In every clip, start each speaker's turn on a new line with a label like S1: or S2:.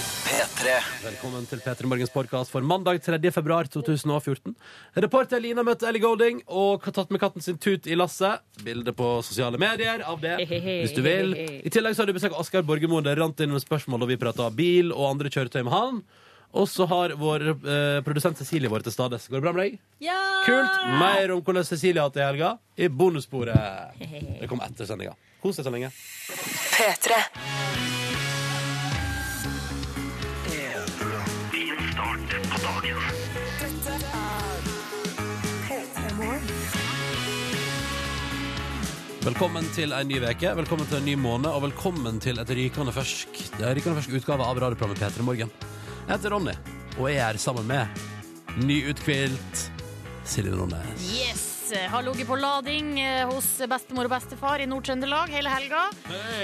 S1: P3.
S2: Velkommen til P3 Morgens podkast for mandag 3. februar 2014. Reporter Lina møtte Ellie Golding og har tatt med katten sin Tut i lasset. Bilde på sosiale medier av det, hvis du vil. I tillegg så har du besøk av Asgeir Borgermoen. Det rant inn med spørsmål da vi prata bil og andre kjøretøy med han. Og så har vår eh, produsent Cecilie vært til stede. Går det bra med deg?
S3: Ja!
S2: Kult! Mer om hvordan Cecilie har hatt det i helga i bonussporet. Det kommer etter sendinga. Kos deg så lenge.
S4: P3.
S2: Velkommen til en ny veke, velkommen til en ny måned, og velkommen til et rykende fersk, det er rykende fersk utgave av radioprogrammet P3 Morgen. Jeg heter Ronny, og jeg er her sammen med nyutkvilt Silje Nordnes.
S3: Yes! Har ligget på lading eh, hos bestemor og bestefar i Nord-Trøndelag hele helga.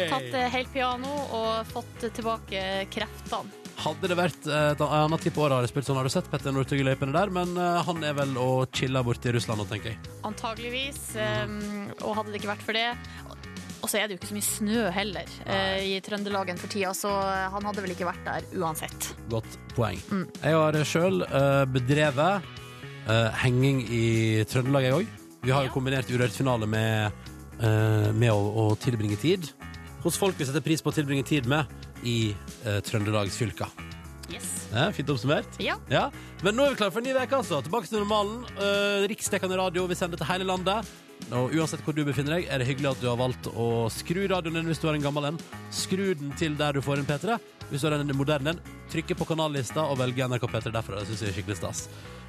S3: Tatt eh, helt piano og fått tilbake kreftene.
S2: Hadde det vært et annet type år, har jeg spilt sånn, har du sett Petter Northug i løypene der, men eh, han er vel og chiller borte i Russland nå, tenker jeg.
S3: Antageligvis.
S5: Mm.
S3: eh, Og hadde det ikke vært for det Og så er det jo ikke så mye snø heller eh, i Trøndelagen for tida, så han hadde vel ikke vært der uansett.
S2: Godt poeng. Jeg har sjøl bedrevet eh, henging i Trøndelag, jeg òg. Vi har jo
S3: Ja.
S2: kombinert urørt finale med, eh, med å, å tilbringe tid hos folk vi setter pris på å tilbringe tid med i uh, trøndelagsfylka.
S3: Yes.
S2: Eh, fint oppsummert.
S3: Ja.
S2: Ja. Men nå er vi klare for en ny uke, altså. Tilbake til normalen. Eh, Riksdekkende radio, vi sender til hele landet. Og uansett hvor du befinner deg, er det hyggelig at du har valgt å skru radioen din hvis du har en gammel en. Skru den til der du får en P3. Hvis du har en moderne en, trykke på kanallista og velge NRK P3 derfra. Det syns jeg er skikkelig stas.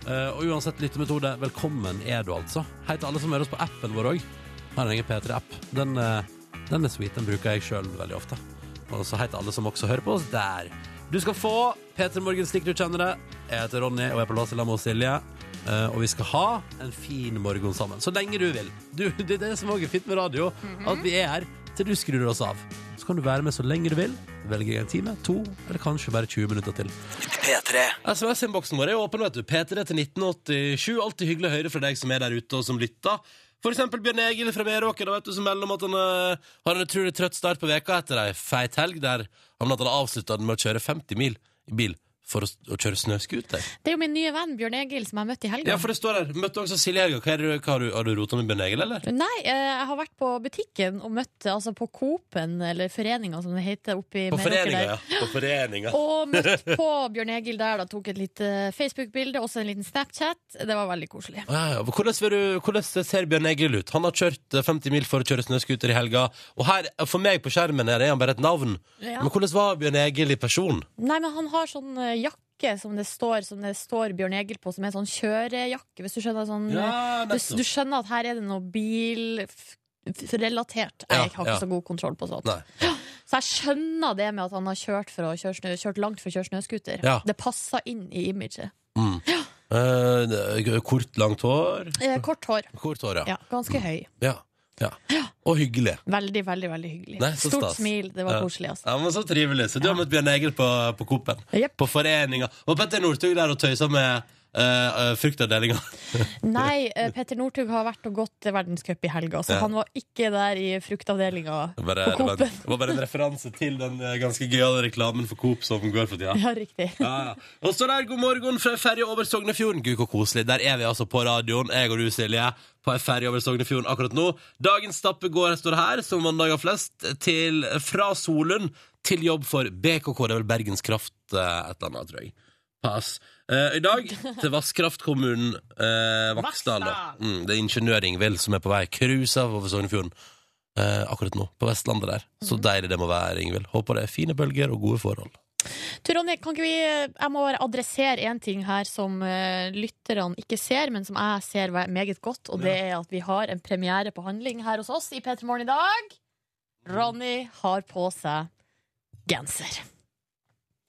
S2: Eh, og uansett lyttemetode, velkommen er du, altså. Hei til alle som hører oss på appen vår òg. Har en egen P3-app. Den, eh, den er sweet. Den bruker jeg sjøl veldig ofte. Og så hei til alle som også hører på oss der. Du skal få P3 Morgen slik du kjenner det. Jeg heter Ronny og er på lås sammen med Silje. Eh, og vi skal ha en fin morgen sammen. Så lenge du vil. Du, det er det som også er fint med radio. At vi er her til du skrur oss av. Så kan du være med så lenge du vil. Velge en time, to eller kanskje bare 20 minutter til.
S1: P3.
S5: SMS-innboksen vår er åpen, vet du. P3 til 1987. Alltid hyggelig å høre fra deg som er der ute og som lytter. For eksempel Bjørn Egil fra Meråker, da vet du, som melder om at han eh, har en utrolig trøtt start på veka etter ei feit helg der han blant annet avslutta den med å kjøre 50 mil i bil for å, s- å kjøre snøscooter.
S3: Det er jo min nye venn Bjørn Egil som jeg møtte i helga.
S5: Ja, for det står her. Møtte også Silje i helga. Hva er det- hva Har du, har du rota med Bjørn Egil, eller?
S3: Nei, eh, jeg har vært på butikken og møtt altså på Coop-en, eller foreninga som det heter, oppi
S5: På
S3: Meråker
S5: foreninga,
S3: der.
S5: ja. På foreninga.
S3: Og møtt på Bjørn Egil der, da tok et lite Facebook-bilde, også en liten Snapchat. Det var veldig koselig.
S5: Ja, ja. Hvordan, vil du, hvordan ser Bjørn Egil ut? Han har kjørt eh, 50 mil for å kjøre snøskuter i helga. Og her, for meg på skjermen her er han bare et navn.
S3: Ja.
S5: Men hvordan var Bjørn Egil i person?
S3: Nei, men han har sånn eh, jakke som det står, som det står Bjørn Egil på, som er sånn kjørejakke, hvis du skjønner sånn eh, du, du skjønner at her er det noe bil f f relatert. Nei,
S5: Ja,
S3: jeg har ikke
S5: ja.
S3: så god kontroll på sånt.
S5: Nei.
S3: Så jeg skjønner det med at han har kjørt, for å kjøre snø, kjørt langt for å kjøre snøskuter.
S5: Ja.
S3: Det passer inn i imaget.
S5: Eh, kort, langt hår?
S3: Eh, kort hår.
S5: Kort hår, ja.
S3: Ja, ganske høy.
S5: ja. ja. Og hyggelig.
S3: Veldig, veldig veldig hyggelig.
S5: Nei, så
S3: Stort
S5: stas.
S3: smil. Det var
S5: Ja.
S3: koselig, altså.
S5: Ja, men Så trivelig. Så du har møtt Bjørn Egil på, på Coop-en?
S3: Jepp.
S5: På foreninga. Og Petter Northug der og tøysa med eh, eh, fruktavdelinga.
S3: Nei, eh, Petter Northug har vært og gått verdenscup i helga, så
S5: Ja.
S3: han var ikke der i fruktavdelinga
S5: Det var bare-
S3: på
S5: det var-
S3: Coop-en.
S5: det var bare en referanse til den eh, ganske gøyale reklamen for Coop som går for tida.
S3: Ja, riktig.
S5: Ja, ja. Og så der, god morgen fra ferje over Sognefjorden. Gud, hvor koselig. Der er vi altså på radioen, jeg og du, Silje, på ei ferje over Sognefjorden akkurat nå. Dagens stappe går, står det her, som mandager flest, til, fra Solund til jobb for BKK. Det er vel Bergens Kraft eh, et eller annet, tror jeg. Pass. Eh, I dag til Vasskraftkommunen eh, Vaksdal. da. Mm, det er ingeniør Ingvild som er på vei. Cruisa over Sognefjorden. eh, akkurat nå, på Vestlandet der. Så deilig det må være, Ingvild. Håper det er fine bølger og gode forhold.
S3: Du, Ronny, kan ikke vi eh, Jeg må bare adressere én ting her som eh, lytterne ikke ser, men som jeg ser ve- meget godt, og det er at vi har en premiere på handling her hos oss i P3 Morgen i dag. Ronny har på seg genser.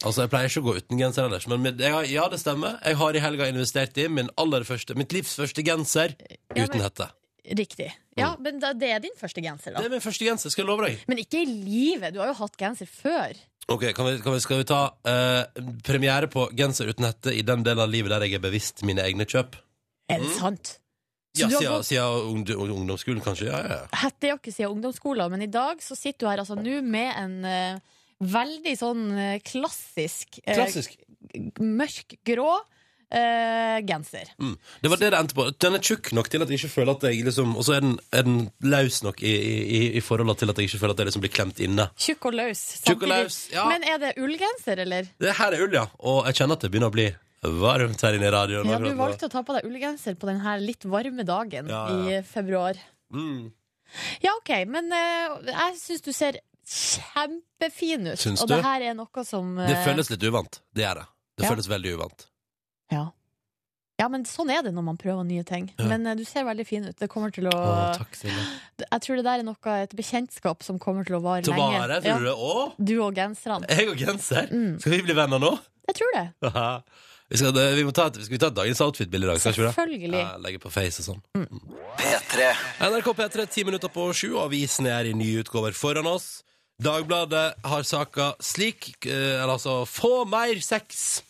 S5: Altså, Jeg pleier ikke å gå uten genser ellers, men med- jeg, har- ja, det stemmer. Jeg har i helga investert i min aller første, mitt livs første genser
S3: Ja,
S5: uten
S3: men-
S5: hette.
S3: Riktig. Ja, men da- det er din første genser,
S5: Mm. Det
S3: da.
S5: er min første genser, skal jeg love deg.
S3: Men ikke i livet. Du har jo hatt genser før.
S5: Ok, kan vi, kan vi, Skal vi ta eh, premiere på genser uten hette i den delen av livet der jeg er bevisst mine egne kjøp?
S3: Er
S5: Mm.
S3: det sant? Så
S5: Ja,
S3: du har
S5: Siden
S3: gått-
S5: siden ungd- ungdomsskolen, kanskje. Ja, ja, ja.
S3: hettejakke siden ungdomsskolen, men i dag så sitter du her altså nå med en eh, Veldig sånn eh, klassisk. eh,
S5: Klassisk.
S3: g- Mørk grå eh, genser.
S5: Mm. Det var det det endte på. Den er tjukk nok til at jeg ikke føler at jeg liksom Og så er den, er den løs nok i, i, i- i forholdet til at jeg ikke føler at jeg liksom blir klemt inne.
S3: Tjukk og løs.
S5: Tjukk og
S3: samtidig.
S5: løs, ja.
S3: Men er det ullgenser, eller?
S5: Det her er ull, ja. Og jeg kjenner at det begynner å bli varmt her inne i radioen.
S3: Ja, du
S5: akkurat nå.
S3: valgte å ta på deg ullgenser på denne litt varme dagen
S5: Ja, ja, ja.
S3: i februar.
S5: Mm.
S3: Ja, OK, men eh, jeg syns du ser kjempefin ut.
S5: Syns
S3: og
S5: du?
S3: det her er noe som eh,
S5: Det føles litt uvant. Det gjør det. Det
S3: Ja.
S5: føles veldig uvant.
S3: ja. ja, men sånn er det når man prøver nye ting.
S5: Ja.
S3: Men eh, du ser veldig fin ut. Det kommer til å
S5: Å, takk, Silje.
S3: Jeg tror det der er noe, et bekjentskap som kommer til å vare
S5: Til å
S3: lenge.
S5: vare,
S3: Ja.
S5: tror du det? Å,
S3: Du og genserne.
S5: jeg og genser?
S3: Mm.
S5: Skal vi bli venner nå?
S3: Jeg tror det.
S5: Haha. vi skal, vi må ta, et- skal vi ta et dagens outfit-bilde i dag? Skal vi ikke det?
S3: Selvfølgelig.
S5: Ja, legge på face og sånn. P3. NRK P3, ti minutter på sju. Avisen er i nye utgaver foran oss. Dagbladet har saka slik, eh, eller altså Få mer sex!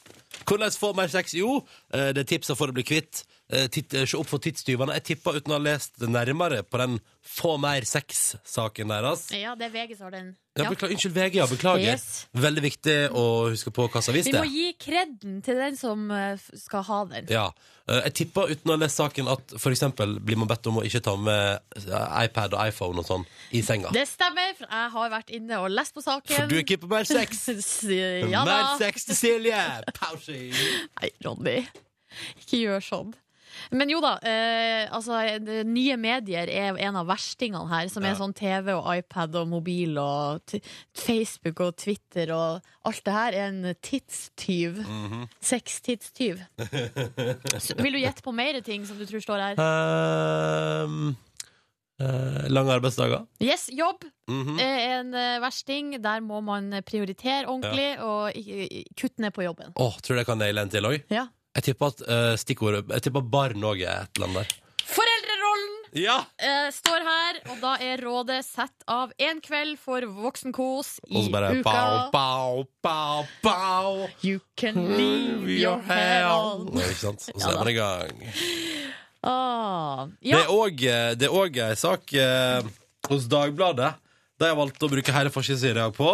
S5: Hvordan få mer sex? Jo, eh, det er tipsa for å bli kvitt. Eh, titt- eh, Se opp for tidstyvene. Jeg tippa uten å ha lest det nærmere på den Få mer sex-saken deres.
S3: Ja, det er VG som har den.
S5: Ja,
S3: Ja.
S5: Beklager, unnskyld, VG, ja, beklager.
S3: Yes.
S5: Veldig viktig å huske på hva som har vist
S3: Vi
S5: det.
S3: må gi kreden til den som eh, f- skal ha den.
S5: Ja. Eh, Jeg tipper uten å ha lest saken at for eksempel blir man bedt om å ikke ta med eh, iPad og iPhone og sånn i senga.
S3: Det stemmer, for jeg har vært inne og lest på saken.
S5: For du er ikke på mer sex!
S3: ja da.
S5: Mer sex til Silje! Pausi!
S3: Nei, Ronny. Ikke gjør sånn. Men jo da, eh, altså, det- nye medier er en av verstingene her, som
S5: Ja.
S3: er sånn TV og iPad og mobil og t Facebook og Twitter og alt det her er en tidstyv.
S5: Mhm.
S3: Sextidstyv. Så Vil du gjette på mer ting som du tror står her?
S5: Ehm, eh, lange arbeidsdager.
S3: Yes, jobb
S5: Mhm.
S3: er en eh, versting. Der må man prioritere ordentlig og i- i- kutte ned på jobben.
S5: Åh, tror du jeg kan naile en til òg?
S3: Ja.
S5: Jeg tipper at eh, stikkordet Jeg tipper barn òg er et eller annet der.
S3: Foreldrerollen!
S5: Ja!
S3: eh, står her, og da er rådet sett av en kveld for voksenkos i
S5: Og så bare
S3: uka.
S5: pow, pow, pow, pow.
S3: You can leave your head on.
S5: Nei, Ikke sant? Og så er
S3: Ja da.
S5: man i gang.
S3: Ah,
S5: Det
S3: ja,
S5: er òg- Det er òg ei sak eh, hos Dagbladet. De har valgt å bruke hele forsiden i dag på.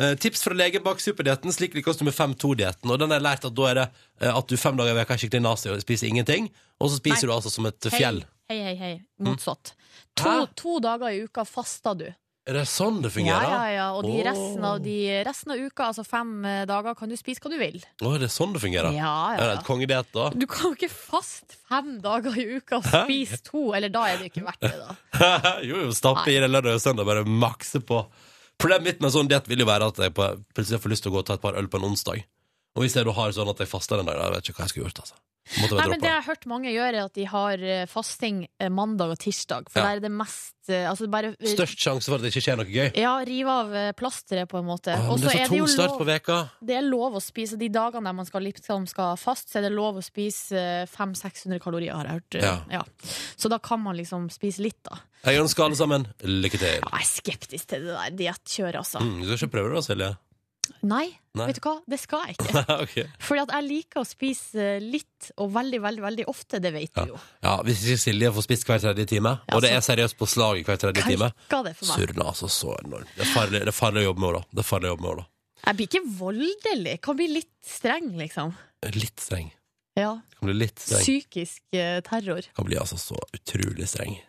S5: Eh, tips fra legen bak superdietten. Slik lykkes du med 5-2-dietten. Og den har jeg lært at da er det eh, at du fem dager i veka er skikkelig nazi og spiser ingenting. Og så spiser
S3: Nei.
S5: du altså som et
S3: hei,
S5: fjell. Mm.
S3: hei, hei, hei. Motsatt. To,
S5: Hæ?
S3: to dager i uka fasta du.
S5: Er det sånn det
S3: Ja,
S5: fungerer?
S3: ja, ja. Og de
S5: Åh.
S3: resten, av, de resten av uka, altså fem eh, dager, kan du spise hva du vil.
S5: Å, er det sånn det
S3: Ja,
S5: fungerer? Er
S3: ja,
S5: det et
S3: ja.
S5: kongediett, da?
S3: Du kan jo ikke faste fem dager i uka og
S5: Hæ?
S3: spise to, eller da er det ikke verdt det, da.
S5: jo, jo, stappe i det lørdag og søndag, bare makse på. Problemet mitt med en sånn diett vil jo være at jeg på, plutselig får lyst til å gå og ta et par øl på en onsdag. Og hvis jeg da har sånn at jeg faster en dag, da vet jeg ikke hva jeg skulle gjort, altså. Måtte
S3: Nei,
S5: bare
S3: men
S5: droppe
S3: Det
S5: det.
S3: jeg har hørt mange gjøre, er at de har eh, fasting eh, mandag og tirsdag. For
S5: Ja.
S3: der er det mest eh, altså bare, eh,
S5: Størst sjanse for at det ikke skjer noe gøy.
S3: Ja, rive av eh, plasteret, på en måte.
S5: Åh,
S3: og
S5: men
S3: så
S5: det er
S3: er
S5: så
S3: det jo
S5: tung start på
S3: lov,
S5: veka.
S3: det er lov å spise de dagene der man skal, liksom skal fast, så er det lov å spise eh, 500-600 kalorier, har jeg hørt. eh,
S5: Ja.
S3: Ja. Så da kan man liksom spise litt, da.
S5: Jeg ønsker alle sammen lykke til.
S3: Ja, Jeg er skeptisk til det der diettkjøret, altså.
S5: Mm, du skal ikke prøve det da, Silje?
S3: Nei,
S5: Nei.
S3: vet du hva, det skal jeg ikke.
S5: ok.
S3: Fordi at jeg liker å spise eh, litt, og veldig, veldig, veldig ofte, det vet
S5: Ja.
S3: du jo.
S5: Ja, hvis ikke Silje får spist hver tredje time,
S3: Ja,
S5: og det
S3: så-
S5: er seriøst på slaget hver tredje time,
S3: Kalka det for meg.
S5: surner altså så enormt. Det er farlig, det er farlig å jobbe med henne, da. Det er farlig å jobbe med henne,
S3: Jeg blir ikke voldelig. Kan bli litt streng, liksom.
S5: da. Litt streng.
S3: Ja.
S5: Kan bli litt streng.
S3: Psykisk eh, terror.
S5: Kan bli altså så utrolig streng.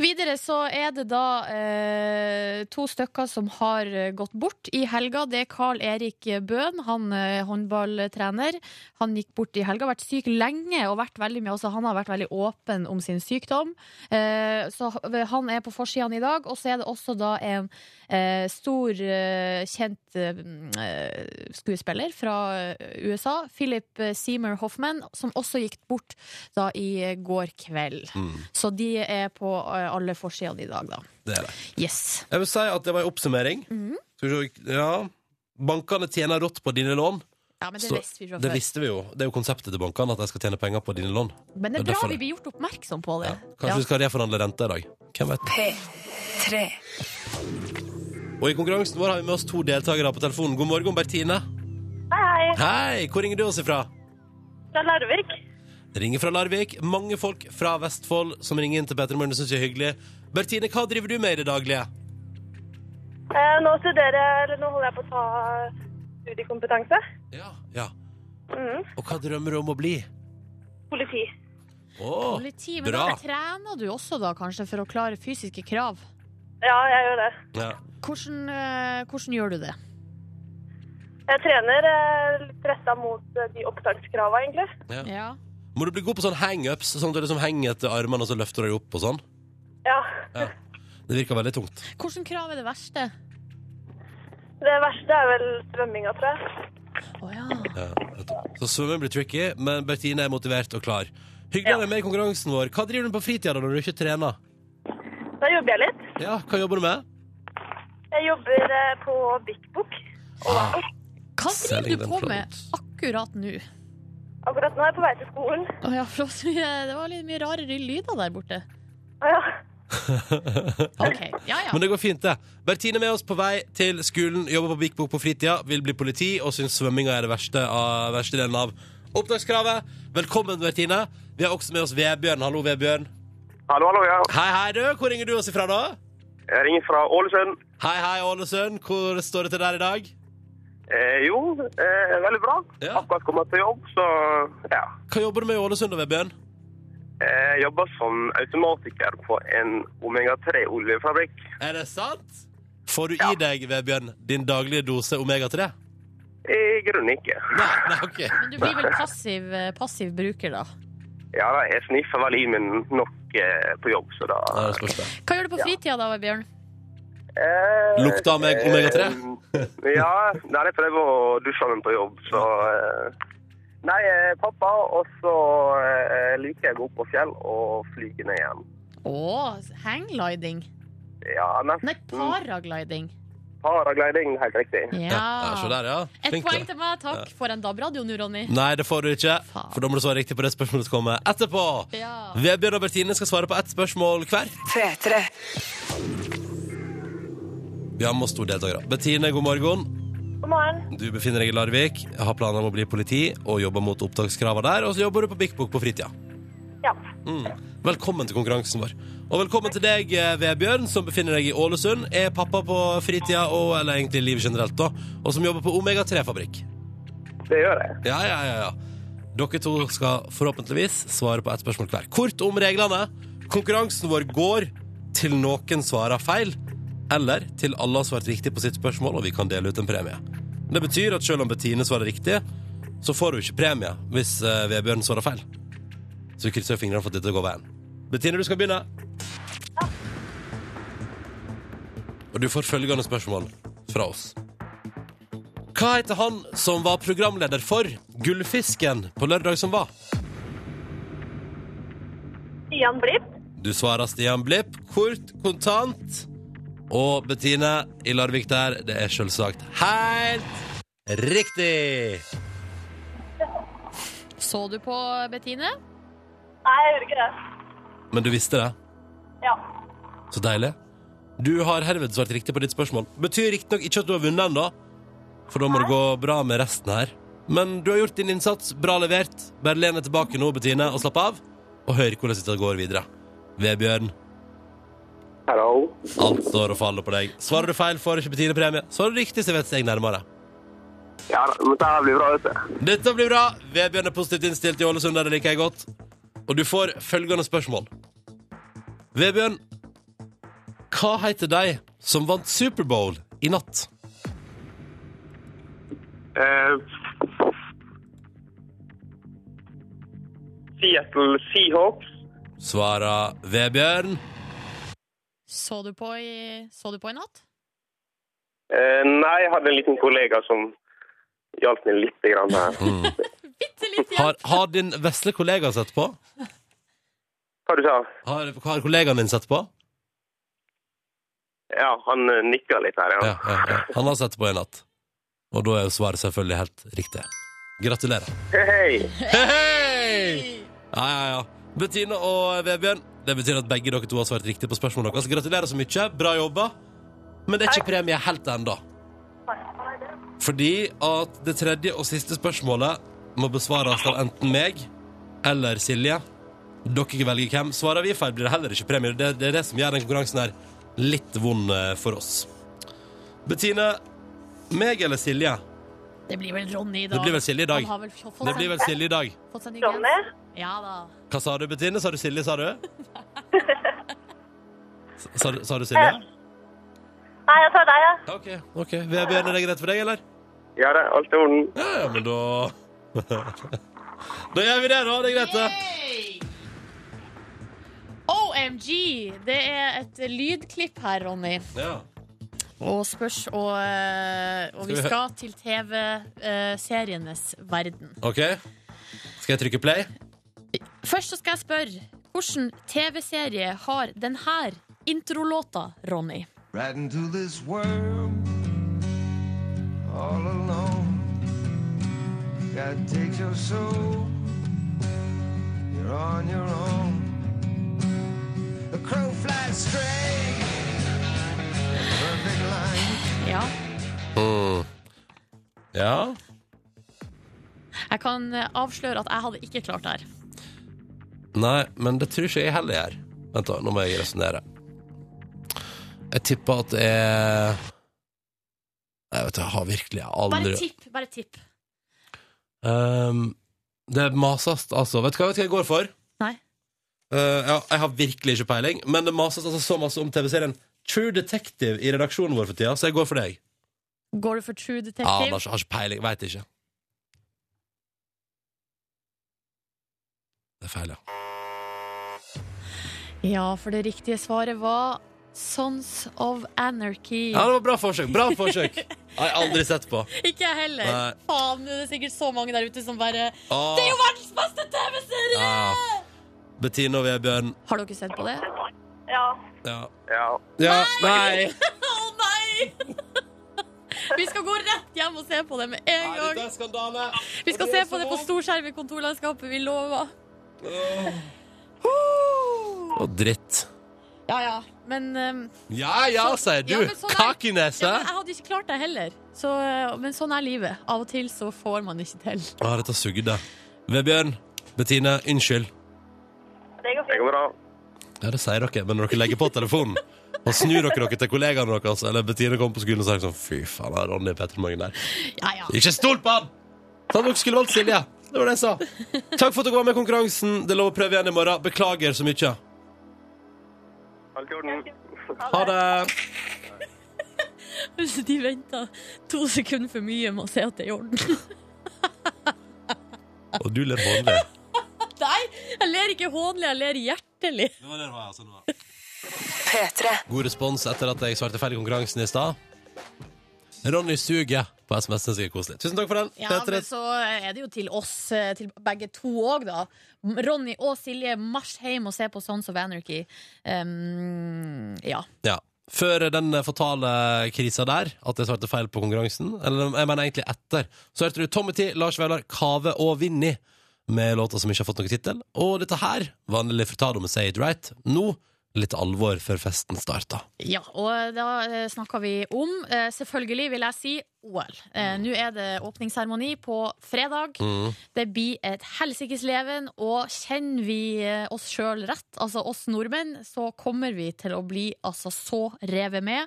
S3: Videre så er det da eh, to stykker som har eh, gått bort i helga. Det er Carl Erik Bøhn, han eh, håndballtrener. Han gikk bort i helga, vært syk lenge og vært veldig med oss. og Han har vært veldig åpen om sin sykdom. Eh, så han er på forsidene i dag. Og så er det også da en eh, stor, eh, kjent eh, eh, skuespiller fra eh, USA, Philip eh, Seymour Hoffman, som også gikk bort da i eh, går kveld.
S5: Mm,
S3: Så de er på eh, alle forsidene i dag, da.
S5: det er det.
S3: Yes.
S5: Jeg vil si at det var en oppsummering.
S3: Mhm.
S5: Skal vi se, ja. Bankene tjener rått på dine lån.
S3: Ja, men det
S5: Så
S3: visste vi fra
S5: Det
S3: før.
S5: visste vi jo. Det er jo konseptet til bankene, at de skal tjene penger på dine lån.
S3: Men det
S5: Og
S3: er bra
S5: derfor-
S3: vi blir gjort oppmerksom på det.
S5: Ja. Kanskje vi skal reforhandle renta i dag. Hvem vet?
S1: P3.
S5: Og i konkurransen vår har vi med oss to deltakere på telefonen. God morgen, Bertine.
S4: Hei,
S5: Hei, hvor ringer du oss ifra?
S4: fra Larvik.
S5: Det ringer fra Larvik. Mange folk fra Vestfold som ringer inn til Petter Morgen. Det syns jeg er hyggelig. Bertine, hva driver du med i det daglige?
S4: Eh, nå studerer jeg, eller nå holder jeg på å ta studiekompetanse.
S5: Ja. ja.
S4: Mm.
S5: Og hva drømmer du om å bli?
S4: Politi.
S5: Åh,
S3: Politi, men
S5: bra.
S3: da trener du også, da, kanskje, for å klare fysiske krav.
S4: Ja, jeg gjør det.
S5: ja.
S3: Hvordan, eh, hvordan gjør du det?
S4: Jeg trener eh, litt retta mot eh, de opptakskravene, egentlig.
S5: Ja.
S3: Ja.
S5: Må du bli god på sånn hangups, sånn at du liksom henger etter armene og så løfter du deg opp og sånn?
S4: Ja.
S5: Ja. Det virker veldig tungt.
S3: Hvordan krav er det verste?
S4: Det verste er vel svømminga, tror jeg.
S3: Å ja.
S5: Ja, nettopp. så svømming blir tricky, men Bertine er motivert og klar. Hyggelig å ha deg med i konkurransen vår. Hva driver du på fritida da når du ikke trener?
S4: Da jobber jeg litt.
S5: Ja, hva jobber du med?
S4: Jeg jobber eh, på Bik Bok.
S3: Hva
S5: Selling
S3: driver du
S5: them
S3: på med
S5: products.
S3: akkurat nå?
S4: Akkurat nå er jeg på vei til skolen.
S3: Å ja, for det var så mye- det var litt mye rare lyder der borte.
S4: Å, ja.
S3: OK. Ja ja.
S5: Men det går fint, det. Bertine er med oss på vei til skolen, jobber på Big Book på fritida, vil bli politi og syns svømminga er det verste, av, verste delen av opptakskravet. Velkommen, Bertine. Vi har også med oss Vebjørn. Hallo, Vebjørn.
S1: Hallo, hallo, ja.
S5: Hei, hei, du. Hvor ringer du oss ifra, da?
S1: Jeg ringer fra Ålesund.
S5: Hei, hei, Ålesund. Hvor står det til der i dag?
S1: Eh, jo, eh, veldig bra.
S5: Ja.
S1: Akkurat kommet til jobb, så ja.
S5: Hva jobber du med i Ålesund, da, Vebjørn?
S1: Eh, Jeg jobber som automatiker på en Omega-3-oljefabrikk.
S5: Er det sant? Får du
S1: Ja.
S5: i deg, Vebjørn, din daglige dose Omega-3?
S1: I grunnen ikke.
S5: Nei, nei, ok.
S3: Men du blir vel passiv, eh, passiv bruker, da.
S1: Ja, da, jeg sniffer vel i meg nok eh, på jobb, så da
S5: Nei, det spørs det.
S3: Hva gjør du på fritida da, Bjørn?
S1: eh,
S5: Lukter av meg omega-3?
S1: eh, ja, nei, jeg prøver å dusje meg på jobb, så eh, Nei, eh, pappa, og så eh, liker jeg å gå opp på fjell og flyge ned igjen.
S3: Å, hanggliding.
S1: Ja, nesten.
S3: Nei, paragliding.
S1: Paragliding, det er helt riktig.
S5: Mm. Ja. ja, se
S3: Ja.
S5: der, ja.
S3: Et
S5: Flink, da.
S3: poeng til meg, takk. For en DAB-radio nå, Ronny.
S5: Nei, det får du ikke,
S3: Faen.
S5: for da må du svare riktig på det spørsmålet som kommer etterpå.
S3: Ja.
S5: Vebjørn og Bertine skal svare på ett spørsmål hver. Vi har med oss to deltakere. Bettine, god morgen.
S4: God morgen.
S5: Du befinner deg i Larvik, har planer om å bli politi og jobber mot opptakskravene der. Og så jobber du på Big Book på fritida.
S4: Ja.
S5: Mm. Velkommen til konkurransen vår. Og velkommen til deg, eh, Vebjørn, som befinner deg i Ålesund. Er pappa på fritida, og, eller egentlig i livet generelt, da. Og som jobber på Omega-3-fabrikk.
S1: Det gjør jeg.
S5: Ja, ja, ja, ja. Dere to skal forhåpentligvis svare på ett spørsmål hver. Kort om reglene. Konkurransen vår går til noen svarer feil, eller til alle har svart riktig på sitt spørsmål, og vi kan dele ut en premie. Det betyr at selv om Bettine svarer riktig, så får hun ikke premie hvis eh, Vebjørn svarer feil. Så vi krysser fingrene for at dette går veien. Bettine, du skal begynne. Og du får følgende spørsmål fra oss. Hva heter han som var programleder for Gullfisken på lørdag som var?
S4: Stian Blipp.
S5: Du svarer Stian Blipp, kort, kontant. Og Bettine i Larvik der, det er selvsagt helt riktig!
S3: Så du på Bettine?
S4: Nei, jeg gjorde ikke det.
S5: Men du visste det?
S4: Ja.
S5: Så deilig. Du har herved svart riktig på ditt spørsmål. Betyr riktignok ikke at du har vunnet ennå, for da må det gå bra med resten her. Men du har gjort din innsats, bra levert. Bare len deg tilbake nå, Bettine, og slapp av. Og hør hvordan dette går videre. Vebjørn,
S1: Hallo.
S5: alt står og faller på deg. Svarer du feil, får du ikke Bettine premie. Svarer du riktig, så er vi et steg nærmere.
S1: Ja, men dette her blir bra, vet du.
S5: Dette blir bra. Vebjørn er positivt innstilt i Ålesund, der det liker jeg godt. Og du får følgende spørsmål. Vebjørn, hva heter de som vant Superbowl i natt?
S1: Eh, Seattle Seahawks.
S5: Svarer Vebjørn.
S3: Så du på i, så du på i natt?
S1: Eh, nei, jeg hadde en liten kollega som hjalp meg litt grann her.
S3: Bitte litt igjen.
S5: Har, har din vesle kollega sett på?
S1: Hva du sa
S5: Har, har kollegaen din sett på?
S1: Ja, han eh, nikka litt her, ja.
S5: Ja, ja, ja. Han har sett på i natt. Og da er jo svaret selvfølgelig helt riktig. Gratulerer.
S1: Hei, hei.
S5: Hei, hei! Ja, ja, ja. Bettine og Vebjørn, det betyr at begge dere to har svart riktig på spørsmålet deres. Gratulerer så mye. Bra jobba. Men det er ikke premie helt ennå. Fordi at det tredje og siste spørsmålet må besvares av enten meg eller Silje. Dere velger hvem. Svarer vi feil, blir det heller ikke premie. Det, det er det som gjør den konkurransen her litt vond eh, for oss. Bettine, meg eller Silje?
S3: Det blir vel Ronny i dag.
S5: Det blir vel Silje i dag.
S3: Han har vel fått,
S5: Det blir vel Silje i dag.
S3: fått seg ny
S4: Ronny?
S3: genser. Ja da.
S5: Hva sa du, Bettine? Sa du Silje, sa du? Sa, du- sa du Silje?
S4: Nei, jeg tar deg, jeg.
S5: Ja, OK. ok. Vebjørn, er det greit for deg, eller?
S1: Ja, det er alt i orden.
S5: Ja, ja, men da Da gjør vi det, da. Det er greit, det.
S3: Yay! OMG! Det er et lydklipp her, Ronny.
S5: Ja.
S3: Og spørs og, eh, og
S5: Skal
S3: vi
S5: vi hø-
S3: skal til TV-serienes verden.
S5: OK. Skal jeg trykke play?
S3: Først så skal jeg spørre hvilken TV-serie har denne introlåta, Ronny?
S6: right into this world all alone. God takes your soul, you're on your own. The crow flies straight, perfect line.
S3: Ja.
S5: Mm. Ja.
S3: Jeg kan eh, avsløre at jeg hadde ikke klart det her.
S5: Nei, men det tror ikke jeg heller gjør. Vent, da. Nå må jeg resonnere. Jeg tipper at det er Nei, vet du, jeg har virkelig aldri
S3: Bare tipp. bare tipp
S5: Ehm, Det mases, altså. Vet du hva vet du hva jeg går for?
S3: Nei.
S5: Eh, ja, jeg har virkelig ikke peiling, men det mases altså så masse om TV-serien True Detective i redaksjonen vår for tida, så jeg går for deg.
S3: Går du for True
S5: Ja, han har
S3: Detective?
S5: ikke, har ikke peiling. Veit ikke. Det er feil, ja.
S3: Ja, for det riktige svaret var Sons of Anarchy.
S5: Ja, Det var bra forsøk. Bra forsøk. Har jeg aldri sett på.
S3: Ikke jeg heller.
S5: Nei.
S3: Faen, det er sikkert så mange der ute som bare
S5: Ah.
S3: Det er jo verdens beste TV-serie!
S5: Ja. Bettine og Vebjørn.
S3: Har dere sett på det?
S4: Ja.
S5: Ja.
S1: Ja.
S5: Nei!
S3: Å nei! Vi skal gå rett hjem og se på det med en gang.
S5: er skandale!
S3: Vi skal se på det på storskjerm i kontorlandskapet, vi lover.
S5: Å, dritt.
S3: Ja, ja. Men, um,
S5: Ja ja, sier du.
S3: Ja, men sånn er- ja,
S5: Kakinese.
S3: men jeg hadde ikke klart det heller. Så, uh, men sånn er livet. Av og til så får man ikke til.
S5: Å, dette sugde. Vebjørn, Bettine, unnskyld.
S4: Det går
S1: Det
S4: fint.
S1: går bra.
S5: Ja, det sier dere, men når dere legger på telefonen og snur dere dere til kollegaene deres, eller Bettine kommer på skolen og sier sånn Fy faen, han er Ronny Pettermorgen der.
S3: Ja, ja.
S5: Ikke stol på han! Sa dere skulle valgt Silje. Det var det jeg sa. Takk for at dere var med i konkurransen. Det er lov å prøve igjen i morgen. Beklager så mye.
S1: Alt i orden.
S5: Ha det.
S3: Hvis de venter to sekunder for mye med å si at det er i orden.
S5: Og du ler vanlig.
S3: Nei, jeg ler ikke hånlig, jeg ler hjertelig.
S5: Det var det det var, altså. Det var. God respons etter at jeg svarte feil i konkurransen i stad. Ronny suger på SMS-en sin. Koselig. Tusen takk for den.
S3: Ja,
S5: Petre.
S3: men så er det jo til oss, eh, til begge to òg, da. Ronny og Silje, marsj hjem og se på Sons of Anarchy. Um, ja.
S5: ja. Før den fatale krisa der, at jeg svarte feil på konkurransen, eller jeg mener egentlig etter, så hørte du Tommy T, Lars Vaular, Kave og Vinni med låter som ikke har fått noen tittel. Og dette her var Nelly Furtado med Say It Right. Nå litt alvor før festen starta.
S3: ja. Og da snakka vi om, eh, selvfølgelig vil jeg si, OL. Eh, Nå er det åpningsseremoni på fredag. Det blir et helsikes leven, og kjenner vi eh, oss sjøl rett, altså oss nordmenn, så kommer vi til å bli altså så revet med.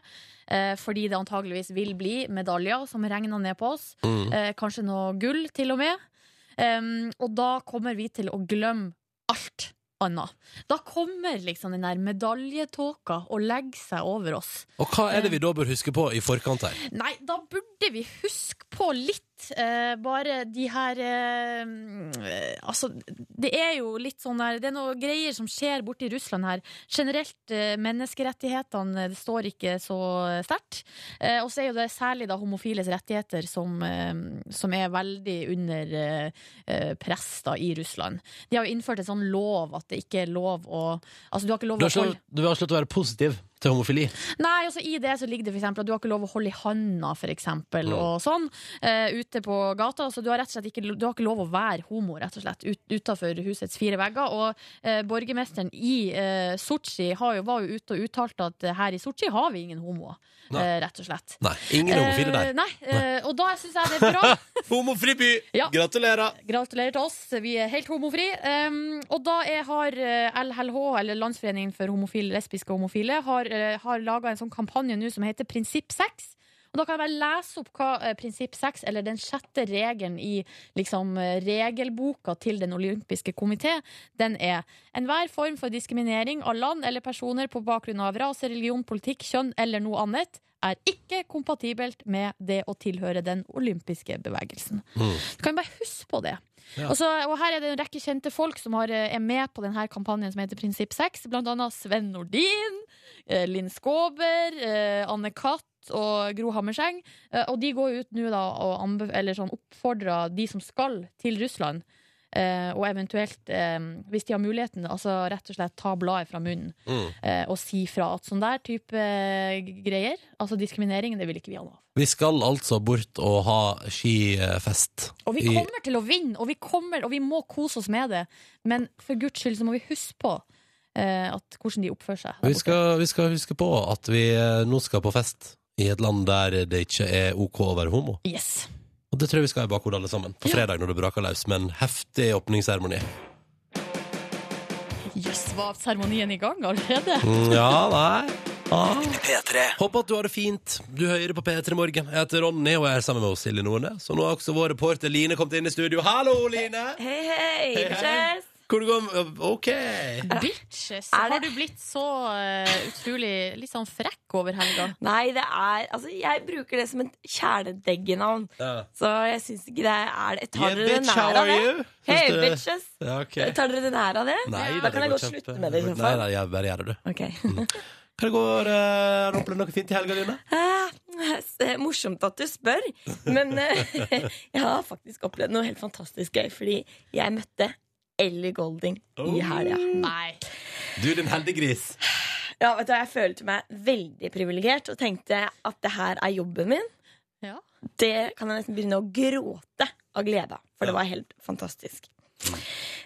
S3: eh, Fordi det antageligvis vil bli medaljer som regner ned på oss.
S5: Mm.
S3: Eh, Kanskje noe gull, til og med. Um, Og da kommer vi til å glemme alt annet. Da kommer liksom den der medaljetåka og legger seg over oss.
S5: Og hva er det vi da bør huske på i forkant her?
S3: Nei, da burde vi huske på litt. eh, bare de her eh, mm, eh, Altså, det er jo litt sånn her Det er noe greier som skjer borte i Russland her. Generelt, eh, menneskerettighetene eh, det står ikke så sterkt. Eh, og så er jo det særlig da homofiles rettigheter som, eh, som er veldig under eh, eh, press da i Russland. De har jo innført en sånn lov at det ikke er lov å Altså, du har ikke lov
S5: Du
S3: å
S5: har
S3: holde
S5: sluttet, du har sluttet å være positiv til homofili.
S3: Nei, altså I det så ligger det for eksempel at du har ikke lov å holde i handa, for eksempel, og sånn, eh, ute på gata. Så du har rett og slett ikke, du har ikke lov å være homo, rett og slett, ut, utenfor husets fire vegger. Og eh, borgermesteren i eh, Sotsji har jo, var jo ute og uttalte at eh, her i Sotsji har vi ingen homoer,
S5: Nei.
S3: eh, rett og slett.
S5: Nei, ingen homofile
S3: Eh,
S5: der.
S3: nei, eh, og da syns jeg det er bra.
S5: Homofri by!
S3: Ja.
S5: Gratulerer!
S3: Gratulerer til oss, vi er helt homofri. Um, og da er, har eh, LHLH, eller eh, Landsforeningen for homofile, lesbiske og homofile, har, uh, har laga en sånn kampanje nå som heter Prinsipp 6. Og da kan jeg bare lese opp hva eh, prinsipp seks, eller den sjette regelen i liksom, eh, regelboka til Den olympiske komité, den er enhver form for diskriminering av land eller personer på bakgrunn av rase, religion, politikk, kjønn eller noe annet er ikke kompatibelt med det å tilhøre den olympiske bevegelsen.
S5: Mm.
S3: Du kan bare huske på det. Og, så, og her er det en rekke kjente folk som har, eh, er med på denne kampanjen som heter Prinsipp 6. Blant annet Sven Nordin, eh, Linn Skåber, eh, Anne Katt og Gro Hammerseng. Eh, Og de går ut nå da og anbe- eller sånn oppfordrer de som skal til Russland, eh, og eventuelt, eh, hvis de har muligheten, altså rett og slett ta bladet fra munnen
S5: Mm.
S3: eh, og si fra at sånn der type eh, greier, altså diskriminering, det vil ikke vi ha noe av.
S5: Vi skal altså bort og ha skifest.
S3: Og vi
S5: I-
S3: kommer til å vinne, og vi, kommer, og vi må kose oss med det, men for guds skyld så må vi huske på eh, at, hvordan de oppfører seg. der
S5: Vi
S3: borte.
S5: skal, vi skal huske på at vi eh, nå skal på fest i et land der det ikke er OK å være homo.
S3: Yes.
S5: Og det tror jeg vi skal ha i bakhodet alle sammen på
S3: Ja.
S5: fredag når det braker løs med en heftig åpningsseremoni.
S3: Yes, var seremonien i gang allerede?
S5: Mm, ja, nei. Ah. Håper at du har det fint. Du hører på P3 Morgen. Jeg heter Ronny og jeg er sammen med oss, Silje Nordnes. Og nå har også vår reporter Line kommet inn i studio. Hallo, Line!
S7: Hei, hei,
S5: Hei, hei.
S7: bitches!
S5: Hvor det går OK.
S3: Bitches!
S7: Er det-
S3: Har du blitt så eh, utrolig litt sånn frekk over helga?
S7: Nei, det er Altså, jeg bruker det som et kjæledeggenavn.
S5: Ja.
S7: Så jeg syns ikke det er jeg Tar
S5: Yeah,
S7: dere
S5: bitch,
S7: nær
S5: how
S7: av
S5: are
S7: det?
S5: you?
S7: Hei,
S5: Syns du-
S7: bitches! Eh,
S5: Ja, ok.
S7: Tar dere nær av det?
S5: Nei,
S7: Da kan jeg godt
S5: går
S7: slutte
S5: kjempe-
S7: med det, liksom. i så
S5: Nei,
S7: fall.
S5: nei, Mm. jeg bare gjør det, du.
S7: Ok.
S5: Hva går, eh, har du opplevd noe fint i helga, Line?
S7: Eh, eh, Morsomt at du spør, men eh, jeg har faktisk opplevd noe helt fantastisk gøy. Fordi jeg møtte Ellie Golding
S5: Oh.
S7: i helga.
S3: Nei.
S5: Du, din heldige gris.
S7: Ja, vet du, hva, Jeg følte meg veldig privilegert og tenkte at det her er jobben min.
S3: Ja.
S7: Det kan jeg nesten begynne å gråte av glede av, for det var helt fantastisk.
S5: Mm.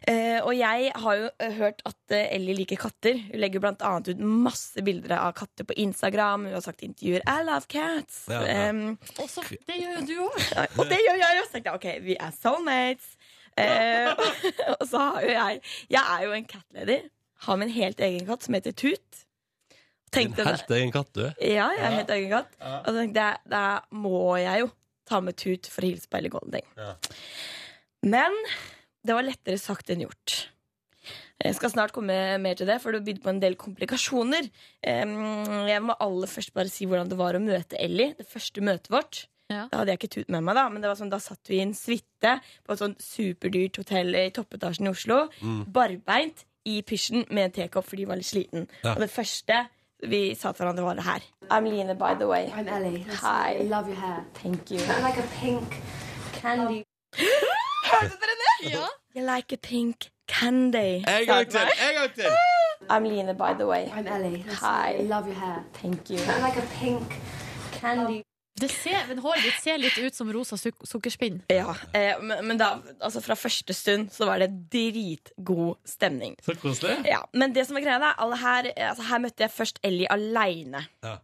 S7: Eh, og jeg har jo eh, hørt at eh, Ellie liker katter. Hun legger blant annet ut masse bilder av katter på Instagram. Hun har sagt i intervjuer 'I love cats'.
S5: Ja, ja.
S7: Em,
S3: Og så- det gjør jo du òg.
S7: og det gjør jeg også. tenkte jeg, ok, vi er soulmates. Eh, og så har jo jeg Jeg er jo en catlady. Har min helt egen katt som heter Tut.
S5: Din
S7: Tenkte,
S5: helt egen katt, du.
S7: ja, jeg er helt egen katt. Og så tenkte jeg, Altså, da må jeg jo ta med Tut for å hilse på Ellie Golding.
S5: Ja.
S7: Men det var lettere sagt enn gjort. Jeg skal snart komme mer til det, for det bydde på en del komplikasjoner. Em, Jeg må aller først bare si hvordan det var å møte Ellie. Det første møtet vårt.
S3: Ja.
S7: Da hadde jeg ikke Tut med meg, da, men det var sånn, da satt vi i en suite på et sånn superdyrt hotell i toppetasjen i Oslo. Barbeint i pysjen med en tekopp, for de var litt sliten.
S5: Ja.
S7: Og det første vi sa til hverandre, var det her. I'm Line, by the way.
S8: I'm Ellie.
S7: Hi.
S8: Love your hair.
S7: Thank you.
S8: I like a pink candy.
S7: You like a pink candy.
S5: En gang til! En gang til!
S7: I'm Line, by the way.
S8: I'm Ellie.
S7: Hi.
S8: Love your hair.
S7: Thank you.
S8: I like a pink candy.
S3: Det ser, men håret ditt ser litt ut som rosa suk sukkerspinn.
S7: Ja, eh, men, men da, altså fra første stund så var det dritgod stemning.
S5: Så koselig.
S7: Ja, men det som var greia da, alle her, eh, altså her møtte jeg først Ellie aleine.
S5: Ja.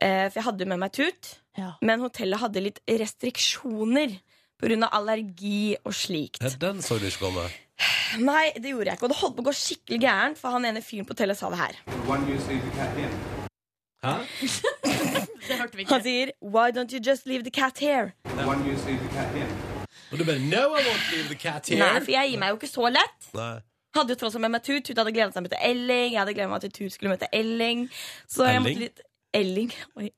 S7: Eh, for jeg hadde jo med meg Tut,
S3: Ja.
S7: men hotellet hadde litt restriksjoner pga. allergi og slikt.
S5: Ja, Den så du ikke komme.
S7: Nei, det gjorde jeg ikke, og det holdt på å gå skikkelig gærent, for han ene fyren på hotellet sa det her.
S5: Hæ?
S3: Det hørte vi ikke.
S7: Han sier 'Why don't you just leave the cat here?'
S5: Og du bare No, I won't leave the cat here.
S7: Nei, for jeg gir meg jo ikke så lett.
S5: Nei.
S7: Hadde jo tross alt med meg Tut. Tut hadde gledet seg til å møte Elling. Jeg hadde gledet meg til Tut skulle møte Elling. Så jeg
S5: Elling?
S7: måtte litt Elling. Oi,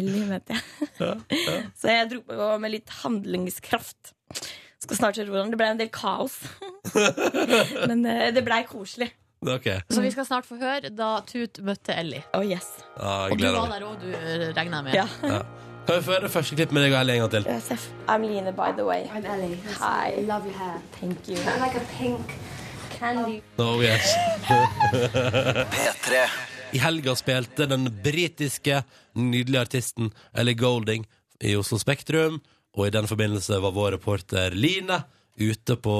S7: Elling heter jeg. Så jeg dro på med litt handlingskraft. Skal snart høre hvordan det ble en del kaos. Men eh, det blei koselig.
S5: Ok.
S3: Så vi skal snart få høre da Tut møtte Ellie.
S7: Oh yes.
S5: Ja, jeg
S3: Og du
S5: gleder
S3: var
S5: meg.
S3: der òg, du, eh, regner jeg med.
S7: Ja.
S5: Kan vi få høre det første klippet med deg og Ellie en gang til?
S7: Sef. I'm Line, by the way.
S8: I'm Ellie.
S7: Hi.
S8: Love your hair.
S7: Thank you.
S8: I like a pink candy.
S5: Oh, yes. I helga spilte den britiske nydelige artisten Ellie Golding i Oslo Spektrum, og i den forbindelse var vår reporter Line ute på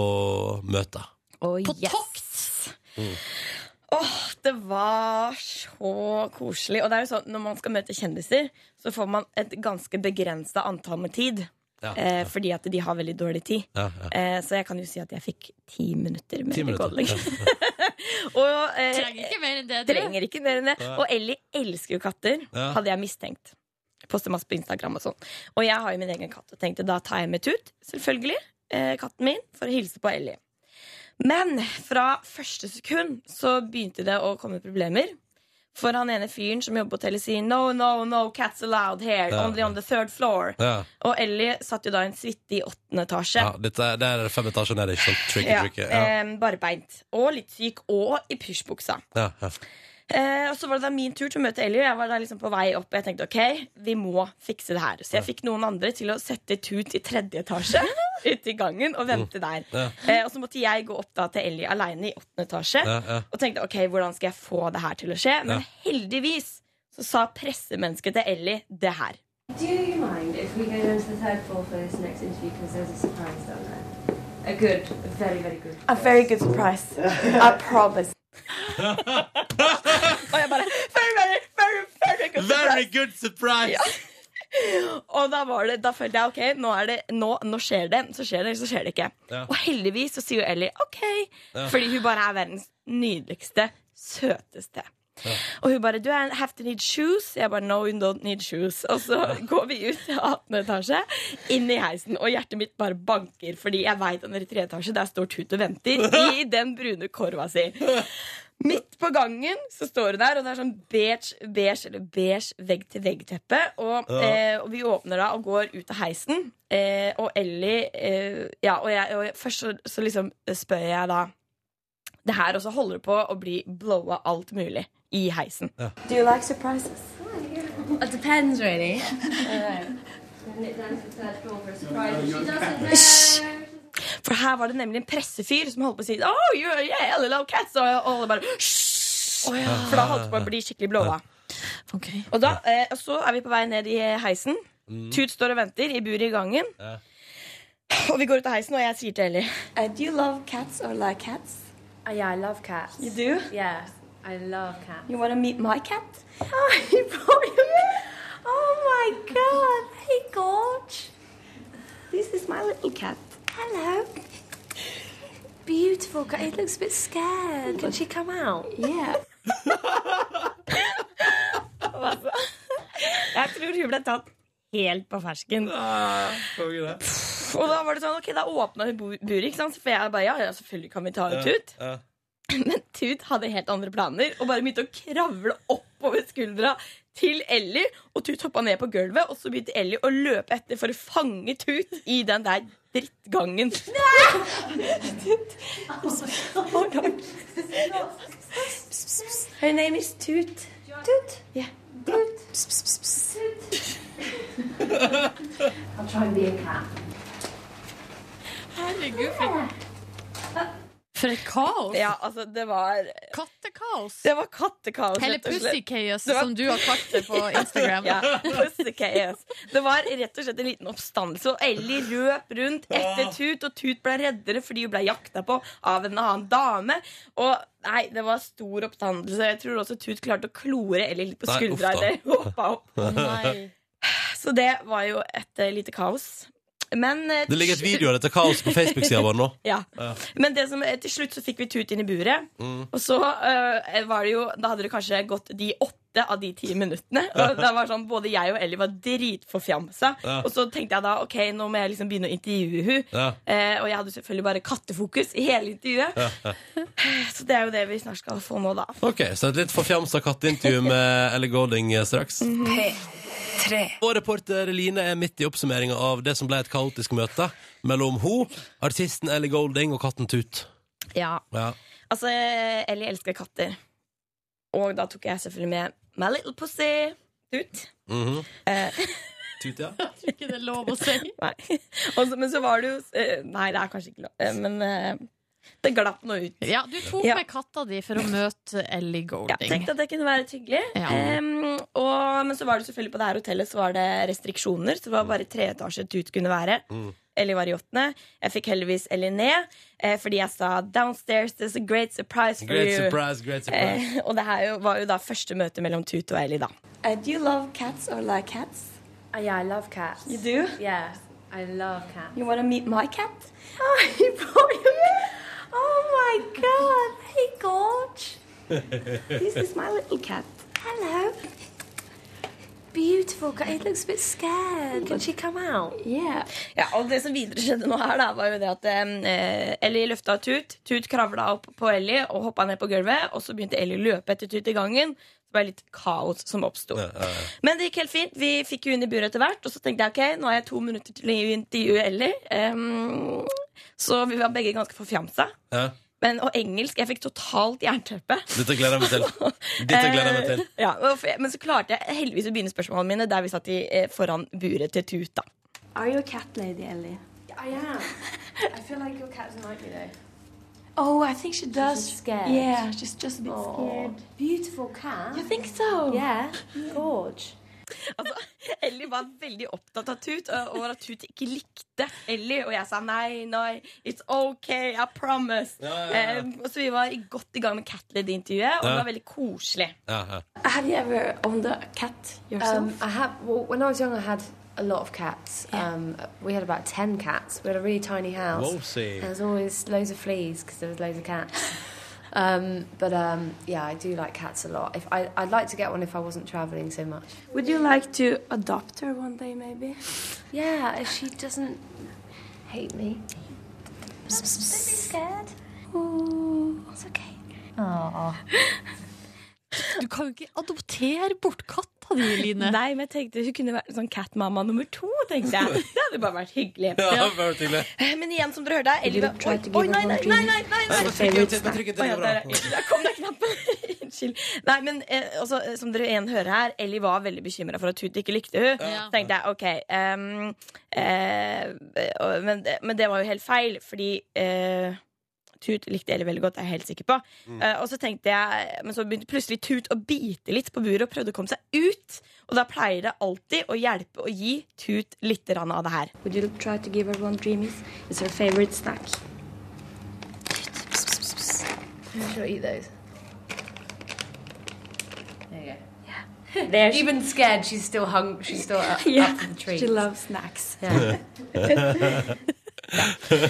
S5: møtet.
S7: Oh,
S3: På
S7: yes.
S3: tokt!
S7: Åh, det var så koselig. Og det er jo sånn, når man skal møte kjendiser, så får man et ganske begrensa antall med tid.
S5: Ja,
S7: eh, Fordi at de har veldig dårlig tid.
S5: Ja, ja.
S7: Eh, så jeg kan jo si at jeg fikk ti minutter med
S5: Ti
S7: Ellie
S5: minutter.
S7: Golding. og eh,
S3: Trenger ikke mer enn det. dere.
S7: trenger ikke mer enn det. Og Ellie elsker jo katter,
S5: Ja.
S7: hadde jeg mistenkt. Poster masse på Instagram og sånn. Og jeg har jo min egen katt og tenkte da tar jeg med Tut, selvfølgelig, eh, katten min, for å hilse på Ellie. Men fra første sekund så begynte det å komme problemer. For han ene fyren som jobber på hotellet, sier no, no, no, cats allowed here.
S5: Ja.
S7: Only on the third floor.
S5: Ja.
S7: Og Ellie satt jo da i en suite i åttende etasje.
S5: Ja, dette, er- det er fem etasjer nede, ikke sant? Tricky,
S7: Ja,
S5: tricky. Ja.
S7: eh, barbeint. Og litt syk. Og i pysjbuksa.
S5: Ja, ja.
S7: Eh, og så var det da min tur til å møte Ellie, og jeg var da liksom på vei opp. Og jeg tenkte ok, vi må fikse det her. Så jeg fikk noen andre til å sette Tut i tredje etasje ute i gangen og
S5: Mm.
S7: vente der. Eh, og så måtte jeg gå opp da til Ellie aleine i åttende etasje
S5: Ja, ja.
S7: og tenkte ok, hvordan skal jeg få det her til å skje? Men heldigvis så sa pressemennesket til Ellie det her.
S8: Do you mind if we go down to the third floor for this next interview because there's a surprise down there? A good, a very, very good.
S9: A very good surprise. I promise.
S7: Og jeg bare very, very, very, very good surprise.
S5: Very good surprise!
S7: Og da, var det, da følte jeg ok, nå, er det, nå, nå skjer det. Så skjer det, eller så skjer det ikke.
S5: Ja.
S7: Og heldigvis så sier jo Ellie ok, fordi hun bare er verdens nydeligste, søteste. Og hun bare 'Do I have to need shoes?' Jeg bare 'No, you don't need shoes'. Og så går vi ut til 18. etasje, inn i heisen, og hjertet mitt bare banker, fordi jeg veit at nede i tredje etasje der står Tut og venter i den brune korva si. Midt på gangen så står hun der, og det er sånn beige, beige eller beige vegg-til-vegg-teppe. Og, eh, og vi åpner da og går ut av heisen, eh, og Ellie eh, Ja, og, jeg, og jeg, først så, så liksom spør jeg da Det her, og så holder det på å bli blowa alt mulig i heisen.
S9: Do you like surprises?
S8: It depends, really. Alright. Down to the third floor for a surprise. She doesn't know.
S7: For her var det nemlig en pressefyr som holdt på å si Oh, you're, yeah, Ellie love cats Og alle bare Hysj! For da holdt det på å bli skikkelig blowa.
S3: Ok.
S7: Og da, eh, og så er vi på vei ned i heisen. Tut står og venter i buret i gangen. Og vi går ut av heisen, og jeg sier til Ellie
S9: Uh, do you love cats or like cats?
S8: Oh, yeah, I love cats.
S9: You do?
S8: Yeah, I love cats.
S9: You want to meet my cat?
S8: Oh, you brought him. Oh my god. Hey, Gorge.
S9: This is my little cat.
S8: Hello. Beautiful cat. He looks a bit scared. Can she come out?
S9: Yeah.
S7: Jeg tror hun ble tatt helt på fersken. Og da var det sånn, ok, da åpna hun bu- buret, ikke sant? For jeg bare, ja, ja, selvfølgelig kan vi ta ut Tut. Men Tut hadde helt andre planer og bare begynte å kravle oppover skuldra til Ellie. Og Tut hoppa ned på gulvet, og så begynte Ellie å løpe etter for å fange Tut i den der drittgangen.
S9: Her name is Toot. Toot? Yeah. Toot.
S8: I'll try and be a cat.
S3: For et kaos!
S7: Ja, altså, det var,
S3: Kattekaos!
S7: det var kattekaos,
S3: Eller
S7: rett og slett.
S3: Pussycaius,
S7: Det var-
S3: som du har kalt det på Instagram.
S7: Ja, pussycats. Det var rett og slett en liten oppstandelse. Og Ellie løp rundt etter Tut, og Tut ble reddere fordi hun ble jakta på av en annen dame. Og nei, det var stor oppstandelse. Jeg tror også Tut klarte å klore Ellie litt på
S5: Nei,
S7: skuldra.
S5: uff da.
S7: idet hun hoppet opp.
S8: Oh
S3: Nei.
S7: Så det var jo et eh, lite kaos. Men eh,
S5: Det ligger et video av dette kaoset på Facebook-sida vår nå.
S7: ja. Men det som, eh, til slutt så fikk vi Tut inn i buret.
S5: Mm.
S7: Og så eh, var det jo Da hadde det kanskje gått de åtte av de ti minuttene. Og det var sånn, Både jeg og Ellie var dritforfjamsa.
S5: Ja.
S7: Og så tenkte jeg da ok, nå må jeg liksom begynne å intervjue hun
S5: Ja.
S7: Eh, og jeg hadde selvfølgelig bare kattefokus i hele intervjuet. Så det er jo det vi snart skal få nå, da.
S5: Ok, så et litt forfjamsa katteintervju med Ellie Golding straks. Og reporter Line er midt i oppsummeringa av det som ble et kaotisk møte mellom ho, artisten Ellie Golding og katten Tut.
S7: Ja,
S5: Ja.
S7: Altså, Ellie elsker katter. Og da tok jeg selvfølgelig med My Little Pussy. Tut.
S5: Mhm.
S7: Eh.
S5: Tut, ja.
S3: Jeg tror ikke det er lov å si.
S7: Nei. Og så- men så var det jo eh, Nei, det er kanskje ikke lov. eh, Men eh, det glapp nå ut.
S3: Ja, du tok
S7: Ja.
S3: med katta di for å møte Ellie
S7: Ja,
S3: Golding.
S7: tenkte at det kunne være litt hyggelig.
S3: Ja.
S7: Em, og, men så var det selvfølgelig på det her hotellet Så var det restriksjoner. Så det var bare tre etasjer Tut kunne være.
S5: Mm.
S7: Ellie var i åttende. Jeg fikk heldigvis Ellie ned, eh, fordi jeg sa 'Downstairs, there's a great surprise for
S5: Great
S7: you'.
S5: surprise, great surprise.
S7: Eh, og det her jo, var jo da første møte mellom Tut og Ellie, da.
S9: Uh, do you love cats or like cats?
S8: Oh, yeah, I love cats.
S9: You do?
S8: Yeah, I love cats.
S9: You want to meet my cat?
S8: Oh, you brought him. Oh my god. Hey, Gorge.
S9: This is my little cat.
S8: Hello.
S9: beautiful cat. It looks a bit scared. Can she come out? Yeah.
S7: Ja, og det som videre skjedde nå her, da, var jo det at eh, Ellie løfta Tut. Tut kravla opp på Ellie og hoppa ned på gulvet. Og så begynte Ellie å løpe etter Tut i gangen. Det var litt kaos som oppsto. Men det gikk helt fint. Vi fikk jo henne i buret etter hvert. Og så tenkte jeg ok, nå har jeg to minutter til å intervjue Ellie. Em, så vi var begge ganske forfjamsa.
S5: Ja.
S7: Men, og engelsk. Jeg fikk totalt jernteppe.
S5: Dette gleder jeg meg til. Dette gleder jeg meg til.
S7: Eh, ja, og for- men så klarte jeg heldigvis å begynne spørsmålene mine der vi satt i, eh, foran buret til Tut. da
S9: Are you a cat lady, Ellie?
S8: I am. I feel like your cat's might be though.
S9: Oh, I think she does.
S8: She's scared.
S9: Yeah, she's just a bit
S8: Aw,
S9: scared.
S8: Beautiful cat.
S9: I think so.
S8: Yeah. Gorge.
S7: Altså, Ellie var veldig opptatt av Tut og over at Tut ikke likte Ellie. Og jeg sa nei, nei, it's ok, I promise. Eh, og så vi var i- godt i gang med Cat Lady-intervjuet, og det
S5: Ja.
S7: var veldig koselig.
S5: Ja, ja.
S9: Have you ever owned a cat yourself?
S8: Um, I have. Well, when I was young, I had a lot of cats. Um, we had about ten cats. We had a really tiny house.
S2: Whoa, see.
S8: There was always loads of fleas because there was loads of cats. um, but um, yeah, I do like cats a lot. If I, I'd like to get one if I wasn't travelling so much.
S9: Would you like to adopt her one day, maybe?
S8: Yeah, if she doesn't hate me.
S3: Du kan jo ikke adoptere bort katta di, Line.
S7: Nei, men jeg tenkte hun kunne vært en sånn Cat-mamma nummer to. tenkte jeg Det hadde bare vært hyggelig.
S5: Ja, bare tydelig.
S7: Eh, Men igjen, som dere hørte, her, Ellie
S8: You
S7: var
S8: tried
S7: Oi,
S8: to give
S7: oi,
S8: her
S7: nei, nei,
S8: one
S7: nei,
S8: dream.
S7: nei, nei, nei.
S5: Bare trykk ut, bare trykk ut,
S7: Å,
S5: det
S7: ja,
S5: er
S7: der,
S5: bra.
S7: der kom det knappen. Unnskyld. Nei, men eh, altså, eh, som dere igjen hører her, Ellie var veldig bekymra for at Tut ikke likte hun
S3: Ja.
S7: Så tenkte jeg OK ehm, eh, og- men, det- men det var jo helt feil, fordi eh, Tut likte Ellie veldig godt, det er jeg helt sikker på. Eh, og så tenkte jeg Men så begynte plutselig Tut å bite litt på buret og prøvde å komme seg ut. Og da pleier det alltid å hjelpe å gi Tut litt grann av det her.
S9: Would you try to give her one dreamies? It's her favorite snack.
S8: She'll eat those. There you go.
S9: There she,
S8: Even scared, she's still hung. She's still up,
S9: Yeah.
S8: up for the treat.
S9: she loves snacks.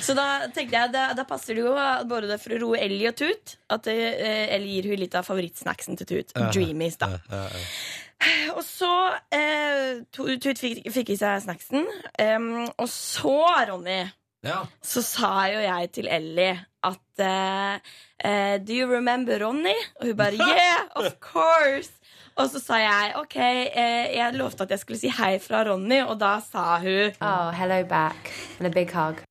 S7: Så da tenkte jeg, da, da passer det jo at både det for å roe Ellie og Tut at eh, Ellie gir hun litt av favorittsnacksen til Tut. Dreamies, da. Og så eh, Tu- Tut fikk, fikk i seg snacksen. em, og så, Ronny,
S5: Ja.
S7: så sa jo jeg til Ellie at eh, eh, Do you remember Ronny? Og hun bare Yeah, of course! Og så sa jeg OK, eh, jeg lovte at jeg skulle si hei fra Ronny, og da sa hun
S10: Ah.
S8: Oh, hello back and a big hug.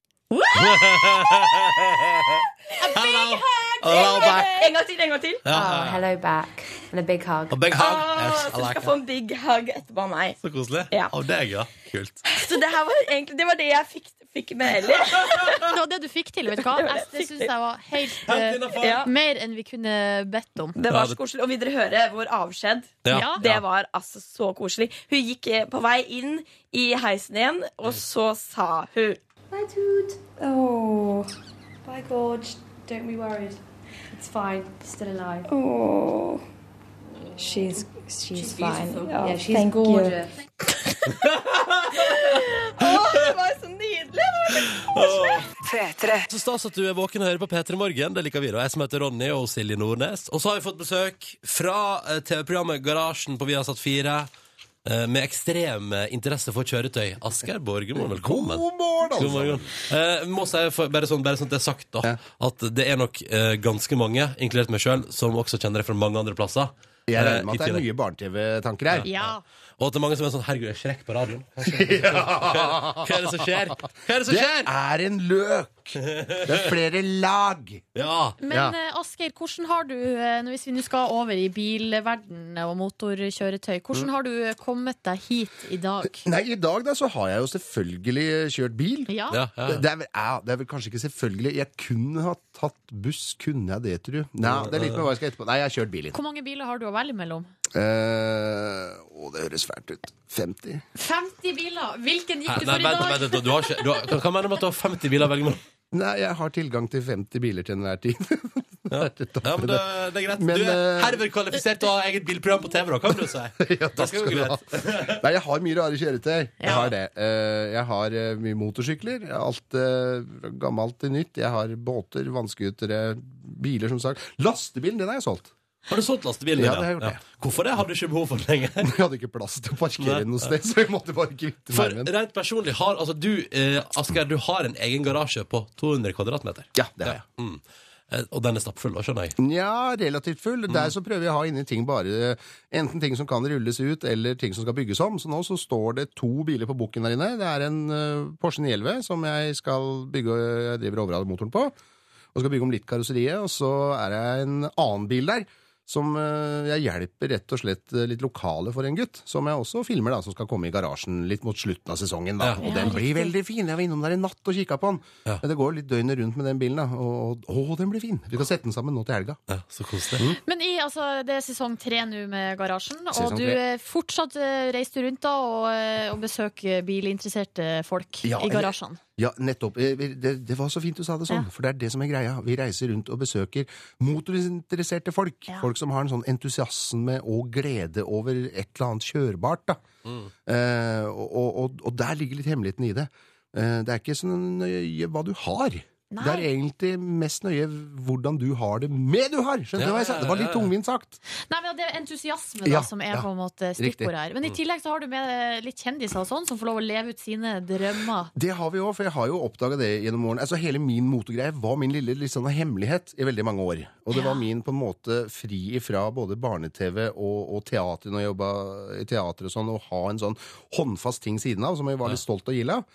S5: Hello. Hello back.
S7: Eh, En gang til, en gang til.
S5: Ja,
S8: Oh,
S9: Ah.
S5: ja, ja.
S8: hello back and a big hug.
S5: Og big hug. Yes,
S7: Ah,
S5: I
S7: så du
S5: like
S7: skal
S5: it.
S7: få en big hug etterpå av meg.
S5: Så koselig.
S7: Ja.
S5: Av deg, ja. Kult.
S7: Så det her var egentlig det, var det jeg fikk, fikk med Ellie.
S3: Det var det du fikk til, vet du hva. Jeg, det syns jeg var helt
S5: Helt
S3: eh,
S5: innenfor.
S7: Ja.
S3: Mer enn vi kunne bedt om.
S7: Det var så koselig. Og vil dere høre vår avskjed?
S3: Ja.
S7: Det var altså så koselig. Hun gikk eh, på vei inn i heisen igjen, og så sa hun
S9: Bye, Toot. Oh. Bye, Gorge. Don't be worried.
S8: It's fine. Still alive.
S9: Oh.
S8: She's she's, fine.
S9: beautiful.
S8: Yeah,
S9: Oh,
S8: she's
S9: thank you.
S8: gorgeous.
S7: Å, det var så nydelig! Det var så-
S5: Så stas at du er våken og hører på P3 Morgen. Det liker vi. da. jeg som heter Ronny, og Silje Nordnes. Og så har vi fått besøk fra eh, TV-programmet Garasjen på Viasat 4. eh, Med ekstrem eh, interesse for kjøretøy. Asgeir Borgermoen, velkommen. God morgen,
S11: altså.
S5: God morgen. Eh, må si, for, bare, sånn, bare sånn at det er sagt, da, at det er nok eh, ganske mange, inkludert meg sjøl, som også kjenner deg fra mange andre plasser.
S11: Jeg
S5: Eh,
S11: regner
S5: i
S11: med at det er
S5: tillegg.
S11: mye barne-TV-tanker her.
S3: Ja.
S5: Og at det er mange som er sånn Herregud, jeg skrekk på radioen. Hva skjer? Hva er det som skjer? Hva er det som
S11: Det
S5: skjer?
S11: er en løk! Det er flere lag.
S5: Ja.
S11: Ja.
S3: Men eh, Asgeir, hvordan har du, eh, nå hvis vi nå skal over i bilverden og motorkjøretøy,
S11: Mm.
S3: hvordan har du eh, kommet deg hit i dag?
S11: Nei, i dag da så har jeg jo selvfølgelig kjørt bil.
S3: Ja,
S5: ja, ja.
S11: Det, er vel, ja, det er vel kanskje ikke selvfølgelig. Jeg kunne ha tatt buss. Kunne jeg det, tror du? Nei, det er litt med hva jeg skal etterpå. Nei, jeg har kjørt bil inn.
S3: Hvor mange biler har du å velge mellom?
S11: Eh, å, det høres fælt ut. 50.
S3: 50 biler!
S5: Hæ?
S3: Hvilken gikk du
S5: Nei,
S3: for i
S5: vent,
S3: dag?
S5: vent, vent, du har ikke du har, Hva hva mener du med at du har 50 biler å velge mellom?
S11: Nei, jeg har tilgang til 50 biler til enhver tid.
S5: Ja, men det, det er greit.
S11: Men,
S5: du er
S11: eh,
S5: herved kvalifisert til å ha eget bilprogram på TV, da, kan du si. Det
S11: Ja, takk
S5: skal
S11: skal
S5: gå
S11: du ha.
S5: greit.
S11: Nei, jeg har mye rare kjøretøy. Jeg
S3: Ja.
S11: har det. Eh, Jeg har eh, mye motorsykler. Jeg har Alt eh, fra gammelt til nytt. Jeg har båter, vannskutere, biler, som sagt. Lastebilen, den har jeg solgt.
S5: Har du solgt lastebilen?
S11: Ja,
S5: din,
S11: det har jeg gjort,
S5: Ja. Hvorfor det? Hadde du ikke behov for den lenger?
S11: Vi hadde ikke plass til å parkere den noe sted, så vi måtte bare kvitte
S5: For
S11: meg med den.
S5: rent personlig har altså du, eh, Asgeir, du har en egen garasje på 200 kvadratmeter.
S11: Ja, Mm. det har jeg.
S5: Mm. Eh, Og den er stappfull, da, skjønner jeg.
S11: Nja, relativt full. Der så prøver jeg å ha inni ting bare enten ting som kan rulles ut, eller ting som skal bygges om. Så nå så står det to biler på bukken der inne. Det er en eh, Porsche 911 som jeg skal bygge eh, Jeg driver og overader motoren på. Og skal bygge om litt karosseriet. Og så er det en annen bil der som eh, jeg hjelper rett og slett eh, litt lokale for en gutt. Som jeg også filmer, da, som skal komme i garasjen litt mot slutten av sesongen. da.
S5: Ja.
S11: Og den blir veldig fin. Jeg var innom der i natt og kikka på den. Men det går litt døgnet rundt med den bilen, da. Og, og å, den blir fin. Vi skal sette den sammen nå til helga.
S5: Ja, så koselig.
S11: Mm.
S3: Men i, altså, det er sesong tre nå med Garasjen,
S11: Sesong
S3: og du
S11: tre.
S3: eh, fortsatt eh, reiser du rundt da og, eh, og besøker bilinteresserte folk
S11: Ja,
S3: i
S11: eller-
S3: garasjene.
S11: Ja, nettopp. Eh, vi- Det, det var så fint du sa det sånn, for det er det som er greia. Vi reiser rundt og besøker motorinteresserte folk. Folk som har en sånn entusiasme og glede over et eller annet kjørbart. da.
S5: Mm.
S11: Eh, og, og- og, og der ligger litt hemmeligheten i det. Eh, det er ikke så nøye hva du har. Det er egentlig mest nøye hvordan du har det med du har!
S5: Ja,
S11: Skjønner du hva jeg sa?
S5: ja,
S11: Det var
S5: ja, ja.
S11: litt tungvint sagt.
S3: Nei, men Det er entusiasme da,
S11: Ja,
S3: som er
S11: ja.
S3: på en måte
S11: Riktig. Mm.
S3: stikkordet her. Men i tillegg så har du med eh, litt kjendiser og sånn, som får lov å leve ut sine drømmer.
S11: Det har vi òg, for jeg har jo oppdaga det gjennom årene. Altså, hele min motegreie var min lille litt sånn hemmelighet i veldig mange år. Og det
S3: Ja.
S11: var min på en måte fri ifra både barne-TV og, og teater når jeg jobba i teater og sånn, å ha en sånn håndfast ting siden av som jeg var litt stolt og gild av.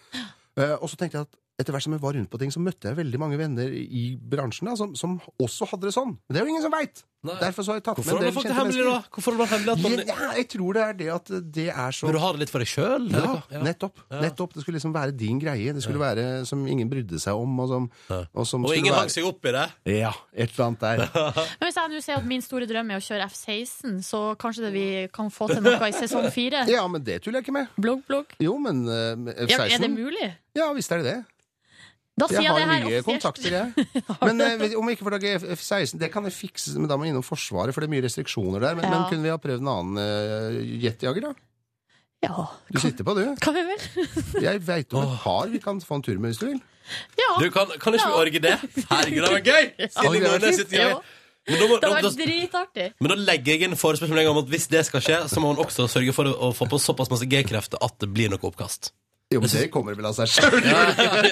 S11: Eh, og så tenkte jeg at etter hvert som jeg var rundt på ting, så møtte jeg veldig mange venner i bransjen da, som, som også hadde det sånn. Men det er jo ingen som veit!
S5: Nei.
S11: Derfor så har jeg tatt
S5: Hvorfor har
S11: med
S5: du
S11: en del
S5: fått det
S11: kjente
S5: hemmelig, da?
S11: mennesker.
S5: Hvorfor har du hemmelig at man...
S11: Ja, jeg tror det er det at det er så
S5: Vil du ha det litt for deg sjøl?
S11: ja, nettopp. nettopp. Det skulle liksom være din greie. Det skulle være som ingen brydde seg om. Og, som, og, som
S5: Og
S11: skulle
S5: ingen
S11: være-
S5: hang seg opp i det?
S11: Ja, et eller annet der.
S3: Men Hvis jeg nå sier at min store drøm er å kjøre F-16, så kanskje det vi kan få til noe i sesong fire?
S11: Ja, men det tuller jeg ikke med.
S3: Blogg, blogg.
S11: Jo, men eh,
S3: Ja, er det
S11: F-16
S3: mulig?
S11: Ja, visst er det det.
S3: Da sier
S11: Jeg
S3: jeg,
S11: har
S3: det her
S11: mye
S3: offisielt.
S11: kontakter, jeg. Men eh, vet- om jeg ikke får tak i F- F-16 Det kan jeg fikse, men da må jeg innom Forsvaret, for det er mye restriksjoner der. Men,
S3: Ja.
S11: men kunne vi ha prøvd en annen eh, jetjager, da?
S3: Ja,
S11: Du sitter på, du.
S3: kan vi vel?
S11: Jeg veit om et par vi kan få en tur med hvis du vil.
S3: Ja.
S5: Du kan, kan ikke vi
S3: Ja.
S5: orge det? Herregud, det var gøy! Silje
S11: det var
S5: Nordnes
S11: fint.
S5: sitter i-
S3: Jo.
S5: Men da, må,
S3: Det
S5: da,
S3: hadde vært
S5: da,
S3: dritartig.
S5: men da legger jeg inn forespørsel med en gang om at hvis det skal skje, så må hun også sørge for å få på såpass masse G-krefter at det blir noe oppkast.
S11: Jo, men det kommer vel av seg sjøl!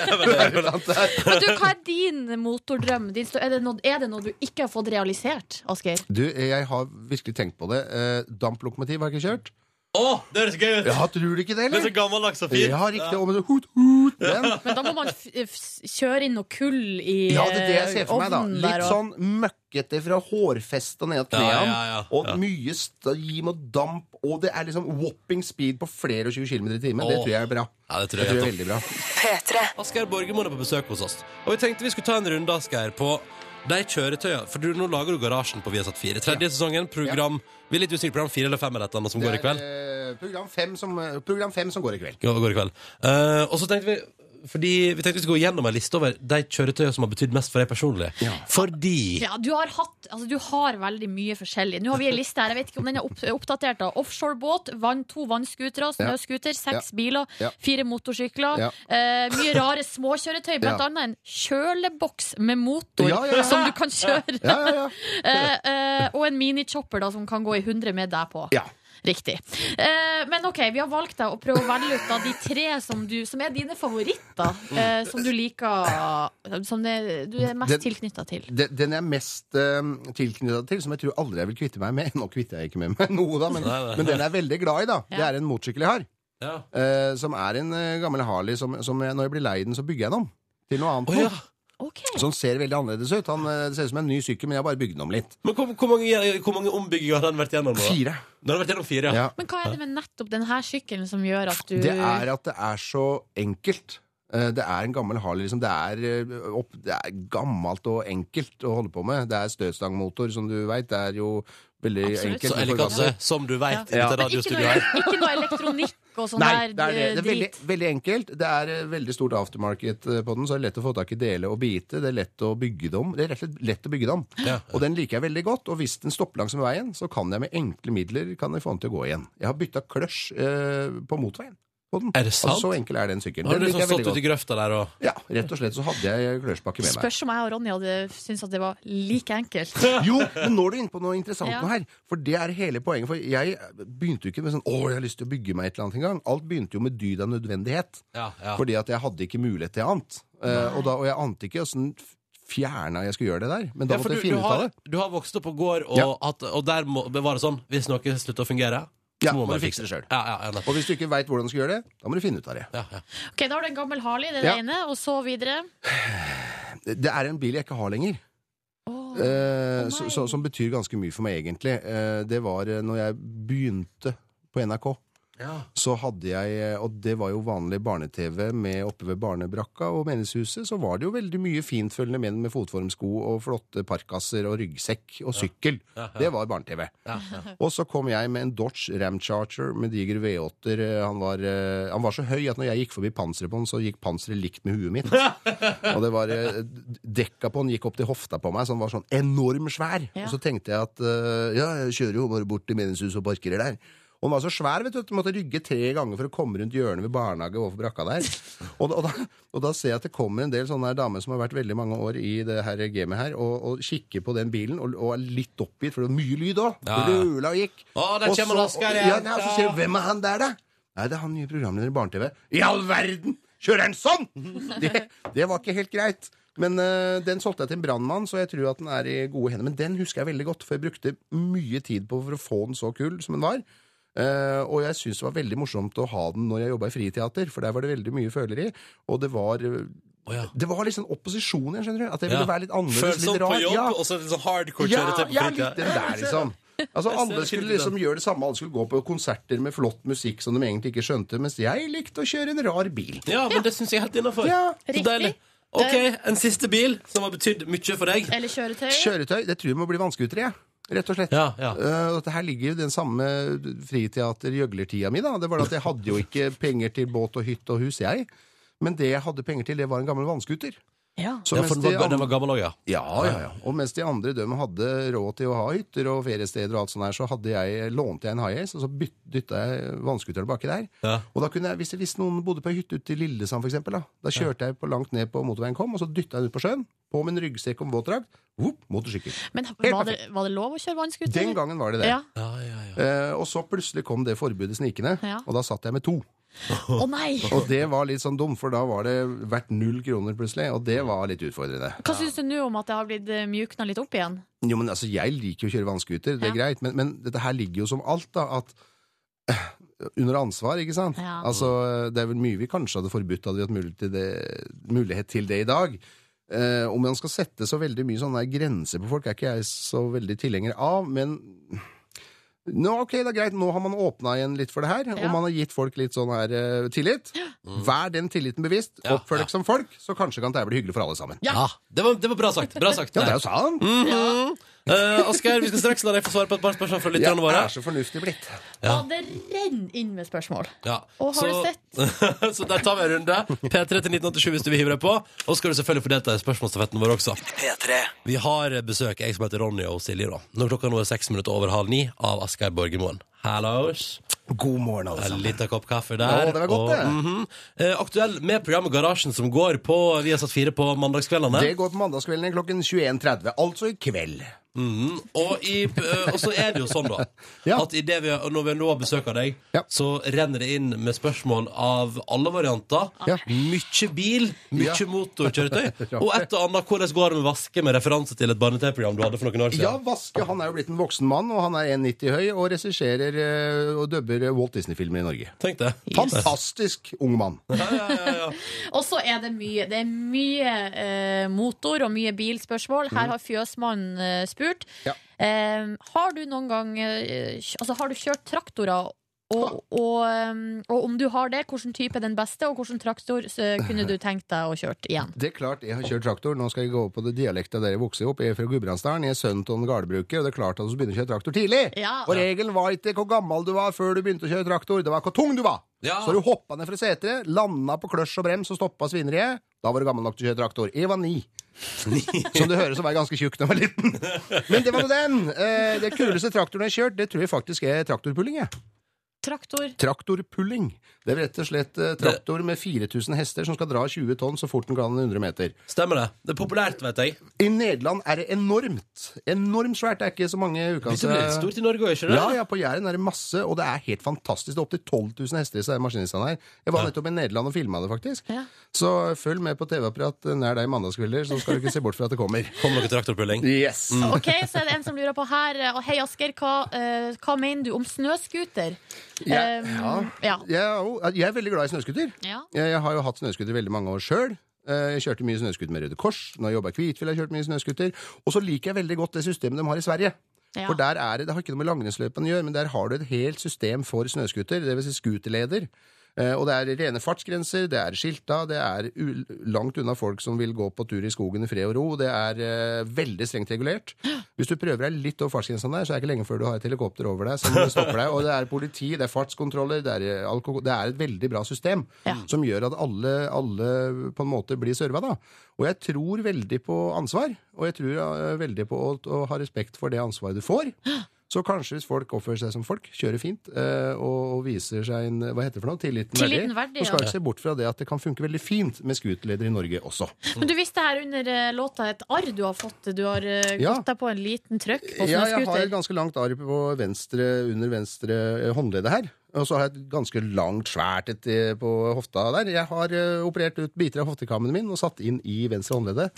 S3: Men du, hva er din motordrøm? Din, sto- er, det noe, er det noe du ikke har fått realisert, Asgeir?
S11: Du, jeg har virkelig tenkt på det. Eh, damplokomotiv har jeg ikke kjørt.
S5: Å, det høres gøy ut!
S11: Ja, tror du ikke
S5: Det
S11: det,
S5: er
S11: eller?
S5: så gammeldags og fint.
S11: Ja, riktig. Og med det hut, hut, den.
S3: Men da må man f f kjøre inn noe kull i eh,
S11: Ja, det er det jeg ser for meg, da.
S3: ovnen der
S11: Litt
S3: og-
S11: sånn møkkete fra hårfestet og ned til
S5: Ja,
S11: knærne.
S5: ja, ja,
S11: Og
S5: ja.
S11: mye stim og damp, og det er liksom whopping speed på flere og 20 km i timen. Det
S5: Åh.
S11: tror jeg er bra.
S5: Ja, det tror jeg
S11: Det tror jeg
S5: er
S11: er veldig bra.
S5: Asgeir Borgermoen er på besøk hos oss. Og vi tenkte vi skulle ta en runde, Asgeir, på de kjøretøyene. For du, nå lager du garasjen på Viasat 4. Tredje sesongen, program Vi er litt usikre på program 4 eller 5 eller et eller annet som går i kveld.
S11: Det er, eh, Program fem, som, eh, program fem som går i kveld.
S5: Ja, går i kveld. Eh, og så tenkte vi fordi vi tenkte vi skulle gå gjennom en liste over de kjøretøyene som har betydd mest for deg personlig. Fordi
S3: Ja, du har hatt Altså, du har veldig mye forskjellig. Nå har vi ei liste her, jeg vet ikke om den er opp, oppdatert. da Offshorebåt, vann, to vannskutere, snøskuter, seks biler,
S11: Ja.
S3: fire motorsykler.
S11: Ja.
S3: Eh, mye rare småkjøretøy, blant
S11: Ja.
S3: annet en kjøleboks med motor
S11: Ja, ja, ja.
S3: som du kan kjøre.
S11: Ja, ja, ja.
S3: Eh, eh, og en minichopper da, som kan gå i 100 med deg på.
S11: Ja.
S3: Riktig. Eh, men ok, vi har valgt deg å prøve å velge ut da, de tre som, du, som er dine favoritter.
S11: Mm.
S3: eh, som du liker Som det, du er mest
S11: Det-
S3: tilknytta til.
S11: Den den jeg er mest uh, tilknytta til, som jeg tror aldri jeg vil kvitte meg med Nå kvitter jeg ikke med meg noe, da, men,
S5: Nei, nei.
S11: men den jeg er veldig glad i, da, det
S3: Ja.
S11: er en motorsykkel jeg har.
S5: ja.
S11: eh, som er en eh, gammel Harley som, som jeg, når jeg blir lei den, så bygger jeg den om til noe annet.
S5: Å, ja.
S3: Ok,
S11: Som ser veldig annerledes ut. Han eh, det ser ut som en ny sykkel, men jeg har bare bygd den om litt.
S5: Men hvor, hvor, mange, hvor mange ombygginger har den vært gjennom? nå?
S11: Fire.
S5: Den har vært gjennom fire, ja.
S11: Ja.
S3: Men hva er det med nettopp denne sykkelen som gjør at du
S11: Det er at det er så enkelt. Eh, Det er en gammel Harley. Liksom. Det, er, eh, opp, det er gammelt og enkelt å holde på med. Det er støtstangmotor, som du veit. Det er jo veldig
S3: Absolutt.
S11: enkelt.
S5: Så eleganse, som du veit. i Dette
S3: Men
S11: Ja.
S3: ikke,
S5: radiostudioet
S3: noe,
S5: her.
S3: ikke noe elektronikk og sånn
S11: Nei,
S3: der
S11: det er det.
S3: eh,
S11: Det er veldig,
S3: drit?
S11: veldig enkelt. Det er eh, veldig stort aftermarket eh, på den, så det er lett å få tak i dele og bite. Det er lett å bygge det om. Det er rett og slett lett å bygge det om.
S5: Ja.
S11: Og den liker jeg veldig godt. Og hvis den stopper langs med veien, så kan jeg med enkle midler kan jeg få den til å gå igjen. Jeg har bytta kløsj eh, på motveien. på den.
S5: Er det sant?
S11: Altså, så enkel er den sykkelen.
S5: Har
S11: Den
S5: du
S11: liker
S5: liksom
S11: jeg veldig
S5: stått ute i
S11: godt.
S5: grøfta der og
S11: Ja, rett og slett så hadde jeg klørspakke med meg.
S3: Spørs om jeg og Ronny hadde syntes at det var like enkelt.
S11: Jo, men nå er du inne på noe interessant
S3: Ja.
S11: noe her. For det er hele poenget. For jeg begynte jo ikke med sånn 'Å, jeg har lyst til å bygge meg et eller annet' engang. Alt begynte jo med dyd av nødvendighet.
S5: Ja, ja.
S11: Fordi at jeg hadde ikke mulighet til annet. Eh, og, da, og jeg ante ikke åssen fjerna jeg skulle gjøre det der. Men da
S5: Ja, for
S11: måtte
S5: du, du,
S11: jeg finne ut av
S5: har,
S11: det.
S5: du har vokst opp på gård, og,
S11: Ja.
S5: hatt- og der må, var det sånn Hvis noe slutter å fungere, så
S11: Ja,
S5: må
S11: må
S5: man
S11: du
S5: fikse
S11: fikse det selv.
S5: Ja, ja, ja, nettopp.
S11: Og hvis du ikke veit hvordan du skal gjøre det, da må du finne ut av det.
S5: ja, ja.
S3: Ok, Da har du en gammel Harley, det er det
S11: Ja.
S3: ene, og så videre.
S11: Det er en bil jeg ikke har lenger.
S3: Åh.
S11: Eh,
S3: Å,
S11: så,
S3: nei.
S11: så, som betyr ganske mye for meg, egentlig. Eh, det var eh, når jeg begynte på NRK. Så hadde jeg, eh, og det var jo vanlig barne-TV med oppe ved Barnebrakka og Menneskehuset, så var det jo veldig mye fintfølgende menn med fotformsko og flotte parkasser og ryggsekk og sykkel. Det var barne-TV. Og så kom jeg med en Dodge Ram Charger med diger V8-er. Eh, Han, var, eh, han var så høy at når jeg gikk forbi panseret på han, så gikk panseret likt med huet mitt. Og det var eh, Dekka på den gikk opp til hofta på meg, så den var sånn enorm svær.
S3: Ja.
S11: Og så tenkte jeg at eh, ja, jeg kjører jo bare bort til meningshuset og parkerer der. Og den var så svær, vet du, at du måtte rygge tre ganger for å komme rundt hjørnet ved barnehage overfor brakka der. Og da, og, da, og da ser jeg at det kommer en del sånne her damer som har vært veldig mange år i det her gamet her, og, og kikker på den bilen og, og er litt oppgitt, for det var mye lyd òg.
S5: Ja, ja.
S11: Det røla og gikk.
S5: Å, der
S11: Og
S5: kommer
S11: så-
S5: Asgeir
S11: ja,
S5: igjen.
S11: nei, og så sier du, hvem er han der, da? Nei, det er han nye programlederen i Barne-TV. I all verden! Kjører han sånn?! Det, det var ikke helt greit. Men øh, den solgte jeg til en brannmann, så jeg tror at den er i gode hender. Men den husker jeg veldig godt, for jeg brukte mye tid på for å få den så kul som den var. Eh, og jeg syns det var veldig morsomt å ha den når jeg jobba i Friteater, for der var det veldig mye føleri. Og det var øh,
S5: Å, ja.
S11: Det var liksom opposisjon igjen, skjønner du. At jeg ville
S5: Ja.
S11: være litt annerledes,
S5: Følsom
S11: litt
S5: på
S11: rar.
S5: jobb,
S11: Ja.
S5: og så litt sånn hardcore
S11: Ja,
S5: kjøretøy på
S11: ja,
S5: fritida.
S11: litt den der, liksom. Altså, Alle skulle liksom gjøre det samme, alle skulle gå på konserter med flott musikk som de egentlig ikke skjønte, mens jeg likte å kjøre en rar bil.
S5: Ja, men det syns jeg er helt innafor.
S11: Ja.
S3: Riktig.
S5: OK, en siste bil som har betydd mye for deg.
S3: Eller kjøretøy.
S11: Kjøretøy, det tror jeg må bli vannskutere, jeg. Rett og slett.
S5: Ja, ja.
S11: Eh, og dette her ligger jo i den samme friteater-gjøglertida mi, da. Det var det at jeg hadde jo ikke penger til båt og hytte og hus, jeg. Men det jeg hadde penger til, det var en gammel vannskuter.
S3: Ja.
S11: Så
S5: Ja,
S11: mens
S5: for den
S11: de
S5: var,
S11: andre-
S5: den var gammel òg, ja.
S11: Ja, ja, ja. Og mens de andre de hadde råd til å ha hytter og feriesteder, og alt sånt her, så hadde jeg, lånte jeg en high-ace, og så dytta jeg vannskuteren baki der.
S5: Ja.
S11: Og da kunne jeg, hvis, hvis noen bodde på ei hytte ute i Lillesand, for eksempel, da, da kjørte jeg på langt ned på motorveien kom, og så dytta jeg den ut på sjøen, på min ryggsekk og en våtdrakt, whoop, motorsykkel.
S3: Men
S11: Helt
S3: var det, var det lov å kjøre vannskuter?
S11: Den gangen var det det.
S3: Ja.
S5: Ja, ja, ja.
S11: Eh, og så plutselig kom det forbudet snikende,
S3: Ja.
S11: og da satt jeg med to.
S3: Å nei!
S11: Og det var litt sånn dumt, for da var det verdt null kroner plutselig, og det var litt utfordrende.
S3: Hva syns du nå om at det har blitt eh, mjukna litt opp igjen?
S11: Jo, men altså, Jeg liker jo å kjøre vannskuter, det
S3: Ja.
S11: er greit, men, men dette her ligger jo som alt, da. at eh, under ansvar, ikke sant?
S3: Ja.
S11: Altså, Det er vel mye vi kanskje hadde forbudt, hadde vi hatt mulighet til det, mulighet til det i dag. Eh, om man skal sette så veldig mye sånne her grenser på folk, er ikke jeg så veldig tilhenger av, men nå, ok, det er greit, nå har man åpna igjen litt for det her, og
S3: Ja.
S11: man har gitt folk litt sånn her eh, tillit. Vær den tilliten bevisst,
S5: Mm. Ja,
S11: oppfør
S5: ja.
S11: deg som folk, så kanskje kan det her bli hyggelig for alle sammen.
S5: Ja, det, var, det var bra sagt. Bra sagt
S11: Ja,
S5: der.
S11: det er jo sant!
S5: Eh, Asgeir, vi skal straks la deg få svare på et par spørsmål fra
S11: Jeg
S5: lytterne våre.
S11: er så fornuftig blitt.
S3: Ja. det renner inn med spørsmål.
S5: Ja.
S3: Og har
S5: så,
S3: du sett?
S5: så der tar vi en runde. P3 til 1987 hvis du vil hive deg på. Og så skal du selvfølgelig få delta i spørsmålsstafetten vår også. Vi har besøk, jeg som heter Ronny og Silje, da. Når klokka nå er seks minutter over halv ni av Asgeir Borgermoen. Hallos.
S11: God morgen, alle
S5: En
S11: sammen.
S5: liten kopp kaffe der.
S11: Å, det var godt,
S5: og,
S11: det.
S5: mhm. eh, aktuell med programmet Garasjen som går på Vi har satt fire på mandagskveldene.
S11: Det går på mandagskveldene klokken 21.30, altså i kveld.
S5: Og, i, eh, og så er det jo sånn, da,
S11: Ja.
S5: at i det vi, når vi nå har besøk av deg,
S11: Ja.
S5: så renner det inn med spørsmål av alle varianter.
S11: Ja.
S5: Mykje bil, mye
S11: Ja.
S5: motorkjøretøy.
S11: Ja.
S5: Og et og annet hvordan går det med vaske, med referanse til et barne-TV-program du hadde for noen år
S11: Ja,
S5: siden.
S11: Vaske han er jo blitt en voksen mann, og han er 1,90 høy og regisserer eh, og dubber eh, Walt Disney-filmer i Norge.
S5: Tenk det.
S11: Fantastisk ung mann.
S3: Og så er det mye, det er mye eh, motor og mye bilspørsmål. Her har Fjøsmannen eh, spurt.
S11: Mhm. Ja.
S3: Eh, har du noen gang eh, kj- Altså, har du kjørt traktorer? Og, og, eh, og om du har det, hvilken type er den beste, og hvilken traktor eh, kunne du tenkt deg å kjøre igjen?
S11: Det er klart, jeg har kjørt traktor. Nå skal jeg gå over på det dialekta dere vokser opp. Jeg er fra Gudbrandsdalen, jeg er sønn til en gårdbruker, og det er klart at du begynner å kjøre traktor tidlig.
S3: Ja.
S11: Og regelen var ikke hvor gammel du var før du begynte å kjøre traktor, det var hvor tung du var.
S5: Ja.
S11: Så du hoppa ned fra seteret, landa på kløsj og brems og stoppa svineriet. Da var du gammel nok til å kjøre traktor. Jeg var ni. Som du hører, så var jeg ganske tjukk da jeg var liten. Men det var nå den. Eh, Det kuleste traktoren jeg har kjørt, det tror jeg faktisk er traktorpulling. Jeg.
S3: Traktor.
S11: Traktorpulling. Det er rett og slett eh, traktor med 4000 hester som skal dra 20 tonn så fort den kan 100 meter.
S5: Stemmer det. Det er populært, vet jeg.
S11: I Nederland er det enormt. Enormt svært. Det er ikke så mange ukas... eh,
S5: Begynte å bli litt stort i Norge òg, ikke det?
S11: Altså- Ja, ja, på Jæren er det masse, og det er helt fantastisk. Det er opptil 12 000 hester i disse maskinistene her. Jeg var nettopp i Nederland og filma det, faktisk. Så følg med på TV-apparat nær deg mandagskvelder, så skal du ikke se bort fra at det kommer.
S5: Kom noe traktorpulling.
S11: Yes.
S3: Ok, så er det en som lurer på her. eh, Og hei, Asker, hva, eh, hva mener du om snøscooter?
S11: Jeg,
S3: Um,
S11: ja.
S3: ja.
S11: Jeg, er jo- jeg er veldig glad i snøskuter.
S3: Ja.
S11: Jeg, jeg har jo hatt snøskuter veldig mange år sjøl. Jeg kjørte mye snøskuter med Røde Kors. Når jeg jobba i Kvitfjell, har jeg kjørt mye snøskuter. Og så liker jeg veldig godt det systemet de har i Sverige.
S3: Ja.
S11: For der er det, det har ikke noe med langrennsløpene å gjøre, men der har du et helt system for snøskuter, dvs. Si skuterleder. Eh, Og det er rene fartsgrenser, det er skilta, det er u langt unna folk som vil gå på tur i skogen i fred og ro. Det er eh, veldig strengt regulert. Hvis du prøver deg litt over fartsgrensa der, så er det ikke lenge før du har et helikopter over deg som stopper deg. Og det er politi, det er fartskontroller, det er eh, alkohol Det er et veldig bra system som gjør at alle, alle på en måte blir serva, da. Og jeg tror veldig på ansvar, og jeg tror eh, veldig på å, å ha respekt for det ansvaret du får. Så kanskje hvis folk oppfører seg som folk, kjører fint eh, og, og viser seg en hva heter det for noe, tilliten,
S3: Tilliten verdig,
S11: så skal
S3: ja.
S11: vi ikke se bort fra det at det kan funke veldig fint med scooterleder i Norge også.
S3: Men du visste her under eh, låta et arr du har fått. Du har eh,
S11: Ja.
S3: gått deg på en liten trøkk på
S11: Ja, jeg har et
S3: snøscooter.
S11: ganske langt arr på venstre, under venstre eh, håndleddet her. Og så har jeg et ganske langt, svært et eh, på hofta der. Jeg har eh, operert ut biter av hoftekammen min og satt inn i venstre håndledde.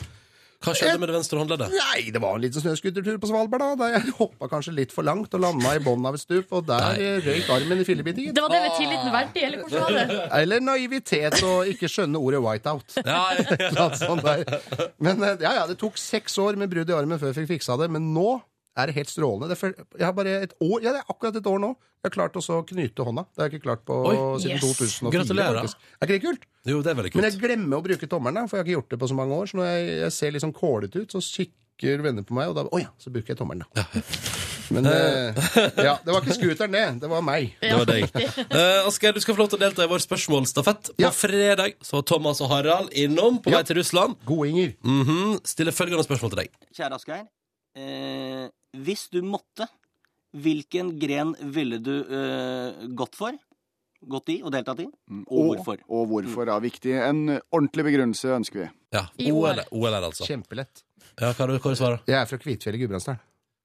S5: Hva
S11: Eh.
S5: skjedde med det venstre håndleddet?
S11: Nei, det var en liten snøskutertur på Svalbard, da. Der jeg hoppa kanskje litt for langt og landa i bånn av et stup, og der eh, røyk armen i fillebitingen.
S3: Det var det med tilliten verdig, eller hvordan var det?
S11: Eller naivitet og ikke skjønne ordet whiteout.
S5: Ja, ja.
S11: Et eller annet sånt der. Men eh, ja, ja, det tok seks år med brudd i armen før jeg fikk fiksa det, men nå er det helt strålende. Det er før- jeg har bare et år, ja, det er akkurat et år nå. Jeg har klart også å knyte hånda. Det har jeg ikke klart på
S5: Oi,
S11: siden
S3: yes.
S11: 2004.
S5: Gratulerer.
S11: faktisk. Er ikke det kult?
S5: Jo, det er veldig
S11: Men jeg
S5: kult.
S11: glemmer å bruke tommelen, da, for jeg har ikke gjort det på så mange år. Så når jeg, jeg ser litt sånn kålete ut, så kikker venner på meg, og da Å ja, så bruker jeg tommelen, da. Men eh, ja, det var ikke scooteren, det. Det var meg.
S5: Det var deg. Eh, Asgeir, du skal få lov til å delta i vår spørsmålstafett. På
S11: Ja.
S5: fredag så var Thomas og Harald innom på
S11: Ja.
S5: vei til Russland.
S11: Gode Inger.
S5: Mhm. Stiller følgende spørsmål til deg.
S12: Kjære Asgeir. Eh, hvis du måtte, hvilken gren ville du eh, gått for? Gått i og deltatt i? Og hvorfor?
S13: Og hvorfor er viktig. En ordentlig begrunnelse ønsker vi.
S5: Ja,
S3: I
S5: OL,
S3: år.
S5: OL er det altså.
S11: Kjempelett.
S5: Ja, hva er det- hva er det svaret?
S11: Jeg er fra Kvitfjell i Gudbrandsdalen.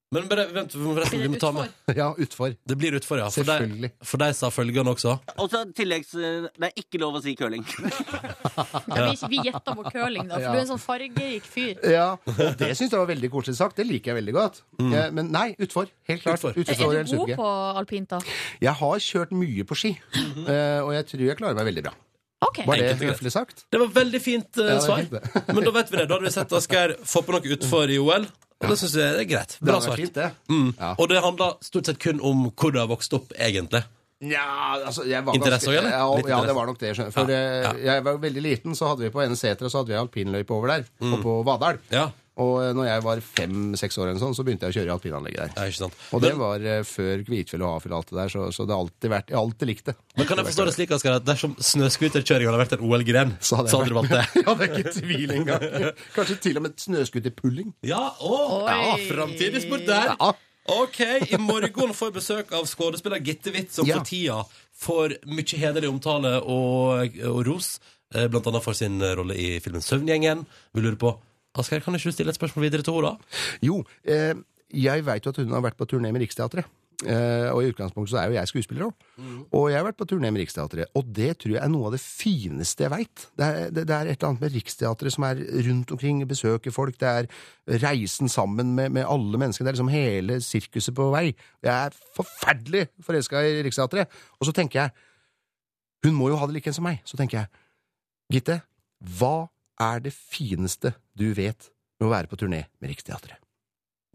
S5: Men bare, vent, forresten, vi må ta med
S11: Ja, utfor.
S5: Det blir utfor, ja. For
S11: Selvfølgelig.
S5: deg, for deg sa følgende også.
S12: Og så tilleggs eh, Det er ikke lov å si curling.
S3: Ja, vi vi gjetta på curling, da, for du er en sånn fargerik fyr.
S11: Ja, og det syns jeg var veldig koselig sagt. Det liker jeg veldig godt. Eh, Men nei, utfor. Helt klart.
S5: Utfor.
S11: Utfor
S3: Er
S11: er en
S3: du god
S11: supergøy.
S3: på alpint, da?
S11: Jeg har kjørt mye på ski, eh, og jeg tror jeg klarer meg veldig bra.
S3: OK.
S11: Var
S5: Mhm.
S11: det
S5: Enkelt og greit.
S11: høflig sagt?
S5: Det var veldig fint eh,
S11: det er
S5: svar.
S11: fint, det.
S5: Men da vet vi det. Da hadde vi sett Asgeir få på noe utfor i OL. Og det syns jeg det er greit.
S11: Det
S5: Bra
S11: hadde vært
S5: svart.
S11: fint, det.
S5: Mm.
S11: Ja.
S5: Og det handler stort sett kun om hvor du har vokst opp, egentlig.
S11: Nja, altså jeg var
S5: Interesse også,
S11: ganske-
S5: eller?
S11: Ja,
S5: Litt
S11: ja,
S5: interesse.
S11: det var nok det. skjønner jeg. For
S5: Ja,
S11: eh, jeg var veldig liten, så hadde vi på Ensetra så hadde vi alpinløype over der, og på Vadal.
S5: Mm. Ja,
S11: Og eh, når jeg var fem-seks år, eller sånn, så begynte jeg å kjøre i alpinanlegget der.
S5: ja ikke sant.
S11: Og det
S5: Men-
S11: var eh, før Kvitfjell og Hafjell og alt det der, så, så det har alltid vært Jeg har alltid likt det.
S5: Men kan jeg forstå det slik, Asgeir, at dersom snøscooterkjøring hadde vært en OL-gren, så hadde du valgt det?
S11: ja, det er ikke tvil engang. Kanskje til og med snøskuterpulling.
S5: Ja, å, ja,
S3: Oi.
S5: framtidig sport der.
S11: Ja.
S5: Ok, i morgen får jeg besøk av skuespiller Gitte Witt, som
S11: Ja.
S5: for tida får mye hederlig omtale og, og ros, eh, blant annet for sin rolle i filmen Søvngjengen. Vi lurer på Asgeir, kan ikke du stille et spørsmål videre til henne, da?
S11: Jo, eh, jeg veit jo at hun har vært på turné med Riksteatret. Eh, og i utgangspunktet så er jo jeg skuespiller òg. Og jeg har vært på turné med Riksteatret, og det tror jeg er noe av det fineste jeg veit. Det, er- det, det er et eller annet med Riksteatret som er rundt omkring, besøker folk, det er reisen sammen med, med alle mennesker, det er liksom hele sirkuset på vei. Jeg er forferdelig forelska i Riksteatret. Og så tenker jeg, hun må jo ha det like enn som meg, så tenker jeg, Gitte, hva er det fineste du vet med å være på turné med Riksteatret?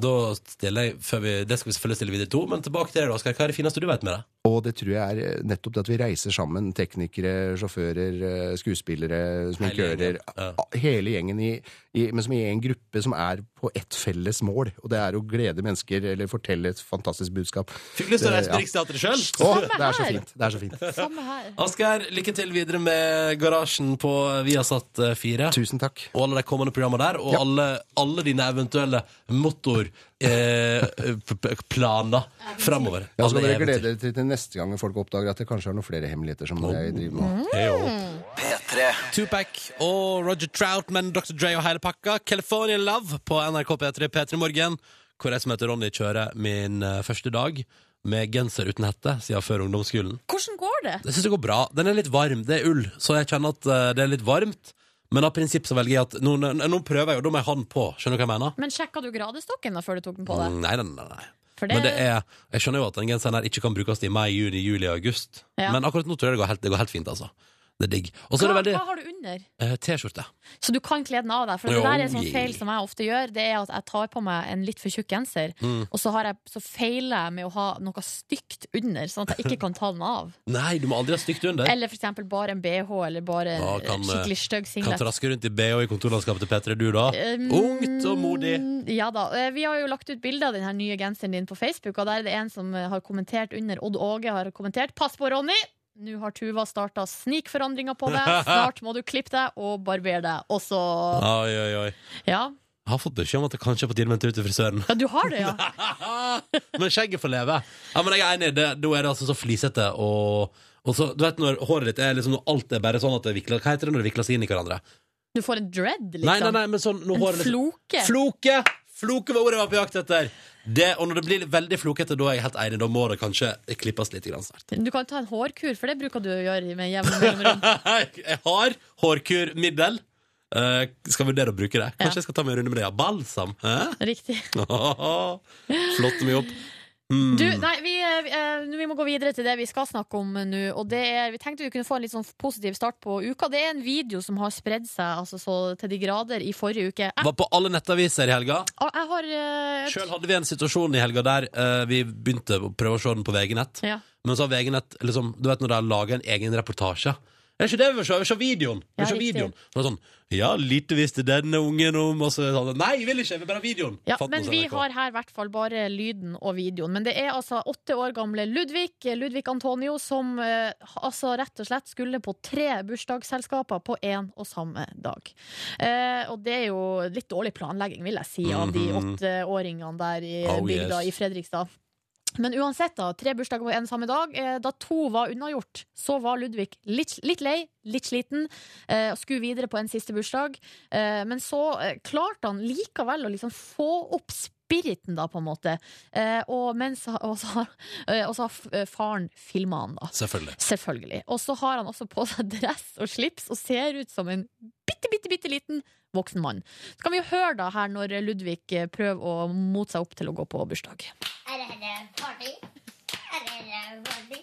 S5: Da stiller jeg, før vi, Det skal vi selvfølgelig stille videre til henne, men tilbake til deg, da, Asgeir. Hva er det fineste du vet med det?
S11: Og det tror jeg er eh, nettopp det at vi reiser sammen, teknikere, sjåfører, eh, skuespillere, sminkører,
S5: gjengen, ja.
S11: a- hele gjengen, i, i, men som i en gruppe som er på ett felles mål, og det er å glede mennesker eller fortelle et fantastisk budskap.
S5: Fikk lyst til å reise
S11: Ja.
S5: til Riksteatret sjøl?
S11: Å, det er så fint! Det er så fint.
S3: Samme her.
S5: Asgeir, lykke til videre med Garasjen på Viasat eh, 4.
S11: Tusen takk.
S5: og alle de kommende programmene der, og alle, alle dine eventuelle motor eh, p- p- planer framover.
S11: Ja, så kan dere glede
S5: eventyr.
S11: dere til, til neste gang folk oppdager at det kanskje er noen flere hemmeligheter som jeg driver med. Mm.
S5: P3. Tupac og Roger Troutman, Dr. Dre og hele pakka. California Love på NRK P3 P3 Morgen, hvor jeg som heter Ronny kjører min eh, første dag med genser uten hette siden før ungdomsskolen.
S3: Hvordan går det?
S5: Jeg synes det går bra. Den er litt varm. Det er ull, så jeg kjenner at eh, det er litt varmt. Men av prinsipp så velger jeg at nå, nå- nå prøver jeg jo, da må jeg ha den på. Skjønner du hva jeg mener?
S3: Men sjekka du gradestokken da før du tok den på deg?
S5: Mm, Nei, nei, nei. nei.
S3: For det-
S5: Men det er, jeg skjønner jo at den genseren her ikke kan brukes i mai, juni, juli og august.
S3: Ja.
S5: Men akkurat nå tror jeg det går helt, det går helt fint, altså. Det er digg. Og så er
S3: Hva,
S5: det veldig
S3: hva har du under?
S5: eh, T-skjorte.
S3: Så du kan kle den av deg. For det
S5: Jo,
S3: der er en sånn
S5: yeah.
S3: feil som jeg ofte gjør. Det er at jeg tar på meg en litt for tjukk genser,
S5: Mm.
S3: og så, har jeg, så feiler jeg med å ha noe stygt under, sånn at jeg ikke kan ta den av.
S5: Nei, du må aldri ha stygt under.
S3: Eller for eksempel bare en BH, eller bare en
S5: Å, kan, eh,
S3: skikkelig stygg
S5: Kan
S3: singlet.
S5: traske rundt i BH i kontorlandskapet til Petter, du da?
S3: Um,
S5: Ungt og modig.
S3: Ja da. Eh, Vi har jo lagt ut bilde av den her nye genseren din på Facebook, og der er det en som eh, har kommentert under. Odd Åge har kommentert 'Pass på, Ronny'! Nå har Tuva starta snikforandringer på deg. Snart må du klippe deg og barbere deg. Og så
S5: Oi, oi, oi.
S3: Ja.
S5: Jeg har fått beskjed om at det kanskje er på tide med en tur til frisøren.
S3: ja, du har det, ja.
S5: Men skjegget får leve. Ja, men jeg er enig, det, da er det altså så flisete og, og så, Du vet når håret ditt er liksom når alt er bare sånn at det vikler Hva heter det når det vikler seg inn i hverandre?
S3: Du får en dread, liksom.
S5: Nei, nei, nei, men sånn når
S3: En
S5: håret liksom-
S3: floke.
S5: Floke! Floke var ordet jeg var på jakt etter. Det, og når det blir veldig flokete, da er jeg helt enig. Da må det kanskje klippes litt grann snart.
S3: Du kan ta en hårkur, for det bruker du å gjøre med jevne mellomrom.
S5: jeg har hårkur middel. Eh, skal vurdere å bruke det. Kanskje jeg skal ta meg en runde med det. Ja, balsam. Hæ?
S3: Riktig.
S5: Flotte meg opp. Mm.
S3: Du, nei, vi, eh, eh, vi må gå videre til det vi skal snakke om nå. Og det er, vi tenkte vi kunne få en litt sånn positiv start på uka. Det er en video som har spredd seg altså, så til de grader i forrige uke. Jeg,
S5: Var på alle nettaviser i helga.
S3: og jeg har eh,
S5: Sjøl hadde vi en situasjon i helga der eh, vi begynte å prøve å se den på VG-nett.
S3: Ja.
S5: Men så har VG-nett liksom, Du vet når de har laga en egen reportasje? Er det ikke det vi vil se? Vi vil se videoen! Vi vil
S3: Ja,
S5: se
S3: riktig.
S5: videoen. Så det er sånn, ja, lite visste denne ungen om og så, er det sånn, Nei, vi vil ikke! Vi vil bare ha videoen!
S3: Ja,
S5: Fant
S3: men
S5: noe som
S3: vi
S5: NRK.
S3: har her i hvert fall bare lyden og videoen. Men det er altså åtte år gamle Ludvig, Ludvig Antonio, som eh, altså rett og slett skulle på tre bursdagsselskaper på én og samme dag. Eh, og det er jo litt dårlig planlegging, vil jeg si, av de
S14: Mhm.
S3: åtteåringene der i
S14: Oh, yes.
S3: bygda i Fredrikstad. Men uansett, da, tre bursdager på en samme dag. Eh, da to var unnagjort, så var Ludvig litt, litt lei, litt sliten, eh, og skulle videre på en siste bursdag. Eh, men så eh, klarte han likevel å liksom få opp spiriten, da, på en måte. Eh, og, mens, og, så, har- eh, og så har f- eh, faren filma han, da.
S5: Selvfølgelig.
S3: Selvfølgelig. Og så har han også på seg dress og slips og ser ut som en bitte, bitte, bitte liten voksen mann. Så kan vi jo høre da her når Ludvig eh, prøver å mote seg opp til å gå på bursdag.
S14: party. party.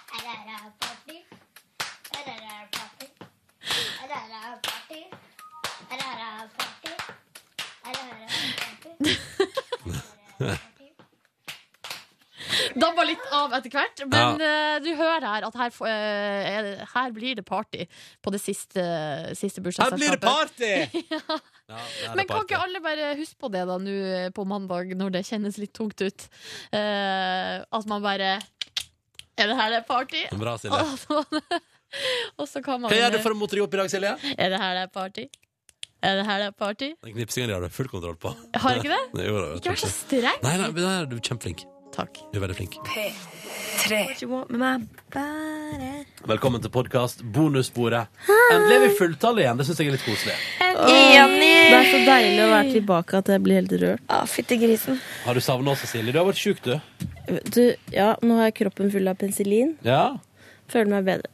S14: party. party. party. party.
S3: Dabba litt av etter hvert. Men
S14: Ja.
S3: eh, du hører her at her, f- eh, er det- her blir det party på det siste, siste bursdagsselskapet.
S14: blir det party!
S3: ja. Men kan ikke alle bare huske på det da nå eh, på mandag, når det kjennes litt tungt ut? Eh, at man bare Er det her det er party?
S5: Bra, Silje.
S3: Og at man- Og så kan man
S5: Hva gjør du for å mote deg opp i dag, Silje?
S3: Er det her det er party? Er det her det er party?
S5: Den knipsingen har du full kontroll på.
S3: Har jeg ikke det?
S5: Nei, jo, da, jeg
S3: Ikke
S5: tror
S3: vær så streng!
S5: Nei, nei, men nei, du er kjempeflink.
S3: Takk.
S5: Du er veldig flink.
S7: P3. What you want med meg? Bare
S5: Velkommen til podkast Bonussporet. Endelig er vi fulltallet igjen. Det syns jeg er litt koselig.
S7: Det er så deilig å være tilbake at jeg blir helt rørt. Ah, Fytti grisen.
S5: Har du savna oss, Silje? Du har vært sjuk, du.
S7: Du, ja, nå har jeg kroppen full av penicillin.
S5: Ja.
S7: Føler meg bedre.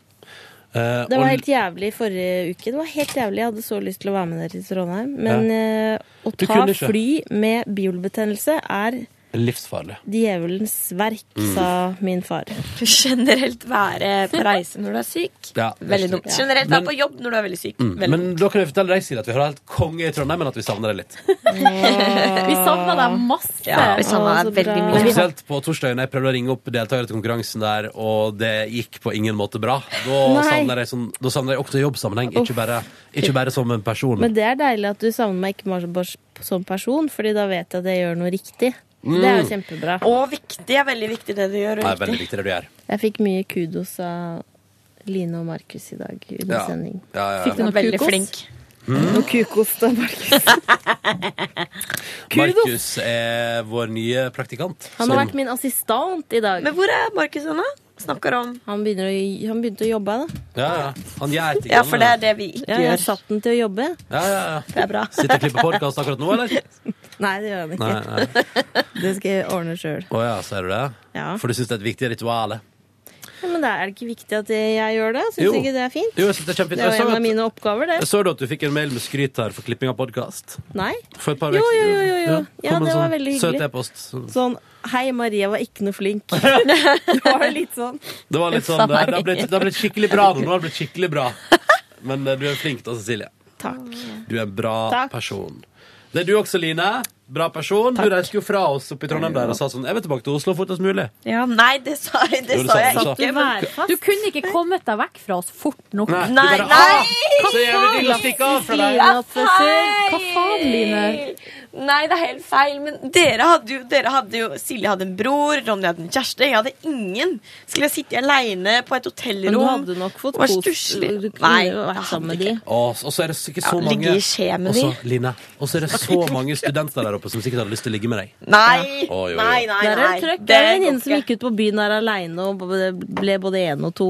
S5: Eh,
S7: Det
S5: og-
S7: var helt jævlig forrige uke. Det var helt jævlig. Jeg hadde så lyst til å være med dere til Trondheim. Men eh, å
S5: Du
S7: ta
S5: kunne ikke.
S7: fly med biolbetennelse er
S5: Livsfarlig.
S7: djevelens verk,
S5: Mm.
S7: sa min far. Generelt være på reise når du er syk.
S5: Ja,
S7: Veldig dumt. Generelt
S5: Men-
S7: være på jobb når du er veldig syk.
S5: Mm. Men da kan jeg fortelle deg, Silje, at vi har helt konge i Trondheim, men at vi savner deg litt.
S3: Vi savna deg masse.
S7: Ja, vi savner deg Å, så veldig bra. mye.
S5: Og spesielt på torsdag når jeg prøvde å ringe opp deltakere til konkurransen der, og det gikk på ingen måte bra. Da
S7: Nei.
S5: savner jeg, sånn, da savner jeg også jobbsammenheng, ikke bare, ikke bare som en person.
S7: Men det er deilig at du savner meg ikke bare som- som person, Fordi da vet jeg at jeg gjør noe riktig. Det er jo kjempebra. Og viktig er veldig viktig, det du gjør.
S5: Mm. det er veldig viktig det du gjør.
S7: Jeg fikk mye kudos av Line og Markus i dag under
S5: Ja.
S7: sending.
S5: Ja, Mm. ja, ja.
S7: Fikk du noe
S5: Veldig
S7: kudos?
S5: flink.
S15: Noe kukost da, Markus. Kudos.
S5: Markus er vår nye praktikant.
S15: Han har
S5: som-
S15: vært min assistent i dag. Men hvor er Markus nå? Snakker om. Han, begynner å, han begynte å jobbe, da.
S5: Ja, ja. Han gjør ting.
S7: Ja, for det er det vi
S15: Ja,
S7: ikke
S15: jeg
S7: gjør.
S15: satt den til å jobbe.
S5: Ja, ja, ja.
S15: Det er bra.
S5: Sitter og klipper podcast akkurat nå, eller?
S15: Nei, det gjør han ikke.
S5: Nei, nei.
S15: Det skal jeg ordne sjøl.
S5: Å ja, sier du det?
S15: Ja.
S5: For du syns det er et viktig ritual? eh?
S15: Ja, men da er det ikke viktig at jeg gjør det? Syns
S5: Jo.
S15: du ikke det er fint?
S5: Jo, jeg synes det er kjempefint.
S15: Det er
S5: Jeg så
S15: jo en
S5: at-
S15: av mine oppgaver, det.
S5: Så du at du fikk en mail med skryt her for klipping av podkast?
S15: Nei?
S5: For et par
S15: Jo,
S5: uker
S15: jo,
S5: siden.
S15: jo. jo, jo.
S5: kom
S15: Ja,
S5: en
S15: det var
S5: sånn
S15: veldig
S5: Søt
S15: hyggelig.
S5: e-post. Så-
S15: Sånn Hei, Maria var ikke noe flink. Det var litt sånn.
S5: Det var litt sånn, det, det, har blitt, det har blitt skikkelig bra nå. nå har det blitt skikkelig bra. Men eh, du er flink da, Cecilie.
S15: Takk.
S5: Du er en bra
S15: Takk.
S5: person. Det er du også, Line. Bra person. Du reiste jo fra oss oppe i Trondheim der og sa sånn Jeg vil tilbake til Oslo fortest mulig.
S7: Ja, nei, det sa jeg, det
S5: Jo, det
S7: sa
S5: sa
S7: jeg
S5: du, sa.
S7: ikke. men-
S3: Du kunne ikke kommet deg vekk fra oss fort nok.
S5: Nei, du Nei, bare, nei! «Ah, så jævlig digg å stikke av fra deg!»
S7: Ja, feil!
S3: Hva faen, Line?
S7: Nei, det er helt feil. Men dere hadde jo, dere hadde jo Silje hadde en bror, Ronny hadde en kjæreste. Jeg hadde ingen. Skulle jeg sitte aleine på et
S15: Men
S7: hotellrom
S15: du hadde nok fått
S7: og være
S15: kost-
S7: stusslig?
S15: Du kunne
S7: Nei,
S15: jo vært
S7: jeg
S15: sammen med
S7: hadde
S15: de.
S7: ikke.
S5: Og og så er det sikkert så
S7: Ja,
S5: mange
S7: ligge i skje med
S5: Også,
S7: de.
S5: Line, og så er det så mange studenter der oppe som sikkert hadde lyst til å ligge med deg.
S7: Nei,
S5: Å, jo, jo.
S7: nei, nei.
S15: Der er en trøkk.
S7: det
S15: Det er en
S7: går
S15: venninne som gikk ut på byen her aleine og ble- ble både én og to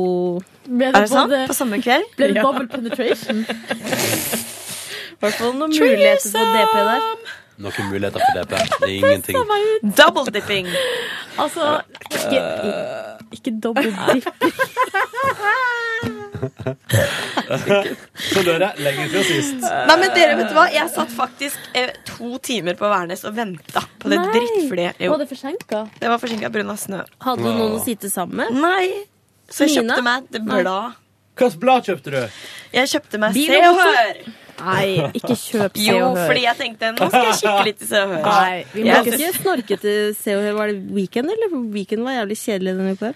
S3: Er det sant? både- På
S7: samme kveld?
S3: Ble det double penetration?
S15: I hvert fall noen muligheter for DP der.
S5: Noen muligheter for DP. Det er ingenting.
S7: Double dipping.
S3: Altså, ikke, ikke double dipping.
S5: Så dere, lenge siden sist.
S7: Nei, men dere, vet du hva? Jeg satt faktisk eh, to timer på Værnes og venta på det
S15: Nei.
S7: drittflyet. Jo,
S15: Var det forsinka?
S7: Det var forsinka pga. snø.
S15: Hadde du noen å sitte sammen med?
S7: Nei. Så jeg
S15: Nina?
S7: kjøpte meg et
S15: Nei.
S7: blad.
S5: Hvilket blad kjøpte du?
S7: Jeg køpte meg
S15: Bil
S7: Se
S15: og
S7: og
S15: motor.
S7: Hør.
S15: Nei, ikke kjøp Se
S7: Jo,
S15: og Hør.
S7: fordi jeg tenkte nå skal jeg kikke litt i Se og Hør.
S15: Nei, vi må
S7: Jeg-
S15: ikke snorke til Se og Hør. Var det Weekend, eller? For Weekend var jævlig kjedelig denne uka. her.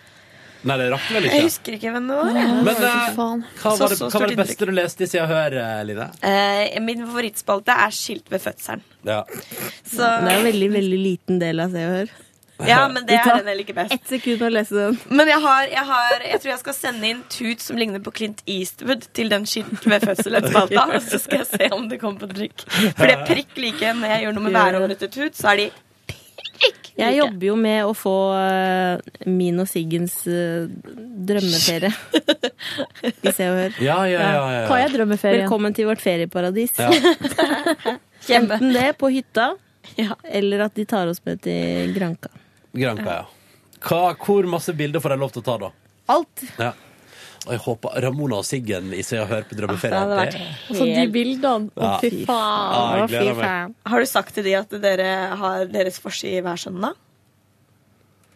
S5: Nei, det rakk vel
S7: Jeg
S5: ikke.
S7: husker ikke hvem det var.
S5: Men
S7: jeg.
S5: eh, hva
S7: Så-
S5: var det,
S7: så
S5: hva var
S7: stort
S5: det beste du leste i Se og Hør, eh, Line?
S7: Eh, min favorittspalte er Skilt ved fødselen.
S5: Ja.
S7: Så,
S15: Det er en veldig, veldig liten del av Se og Hør.
S7: ja, men det
S15: Det tar
S7: er den jeg liker best.
S15: Ett sekund å lese den.
S7: Men jeg har, jeg har Jeg tror jeg skal sende inn tut som ligner på Clint Eastwood til den skilt ved fødselen-spalta, og så skal jeg se om det kommer på trykk. For det er prikk like når jeg gjør noe med værområdet til tut, så er de
S15: Jeg jobber jo med å få eh, min og Siggens eh, drømmeferie i Se og Hør.
S5: Ja, ja, ja, ja, ja. Hva er
S3: drømmeferien?
S15: Velkommen til vårt ferieparadis.
S5: Ja.
S15: Enten det på hytta, eller at de tar oss med til Granca.
S5: Granca, ja. Hva, hvor masse bilder får jeg lov til å ta, da?
S15: Alt.
S5: Ja. Og jeg håper Ramona og Siggen i Se og Hør på
S7: Det
S5: Drømmeferien.
S7: hadde vært Ah,
S3: Altså, de
S7: helt
S3: bildene. Å,
S5: Ja.
S3: fy
S5: Ja, jeg
S3: faen. Å, fy
S5: gleder meg.
S3: faen.
S7: Har du sagt til de at dere har deres forside hver søndag?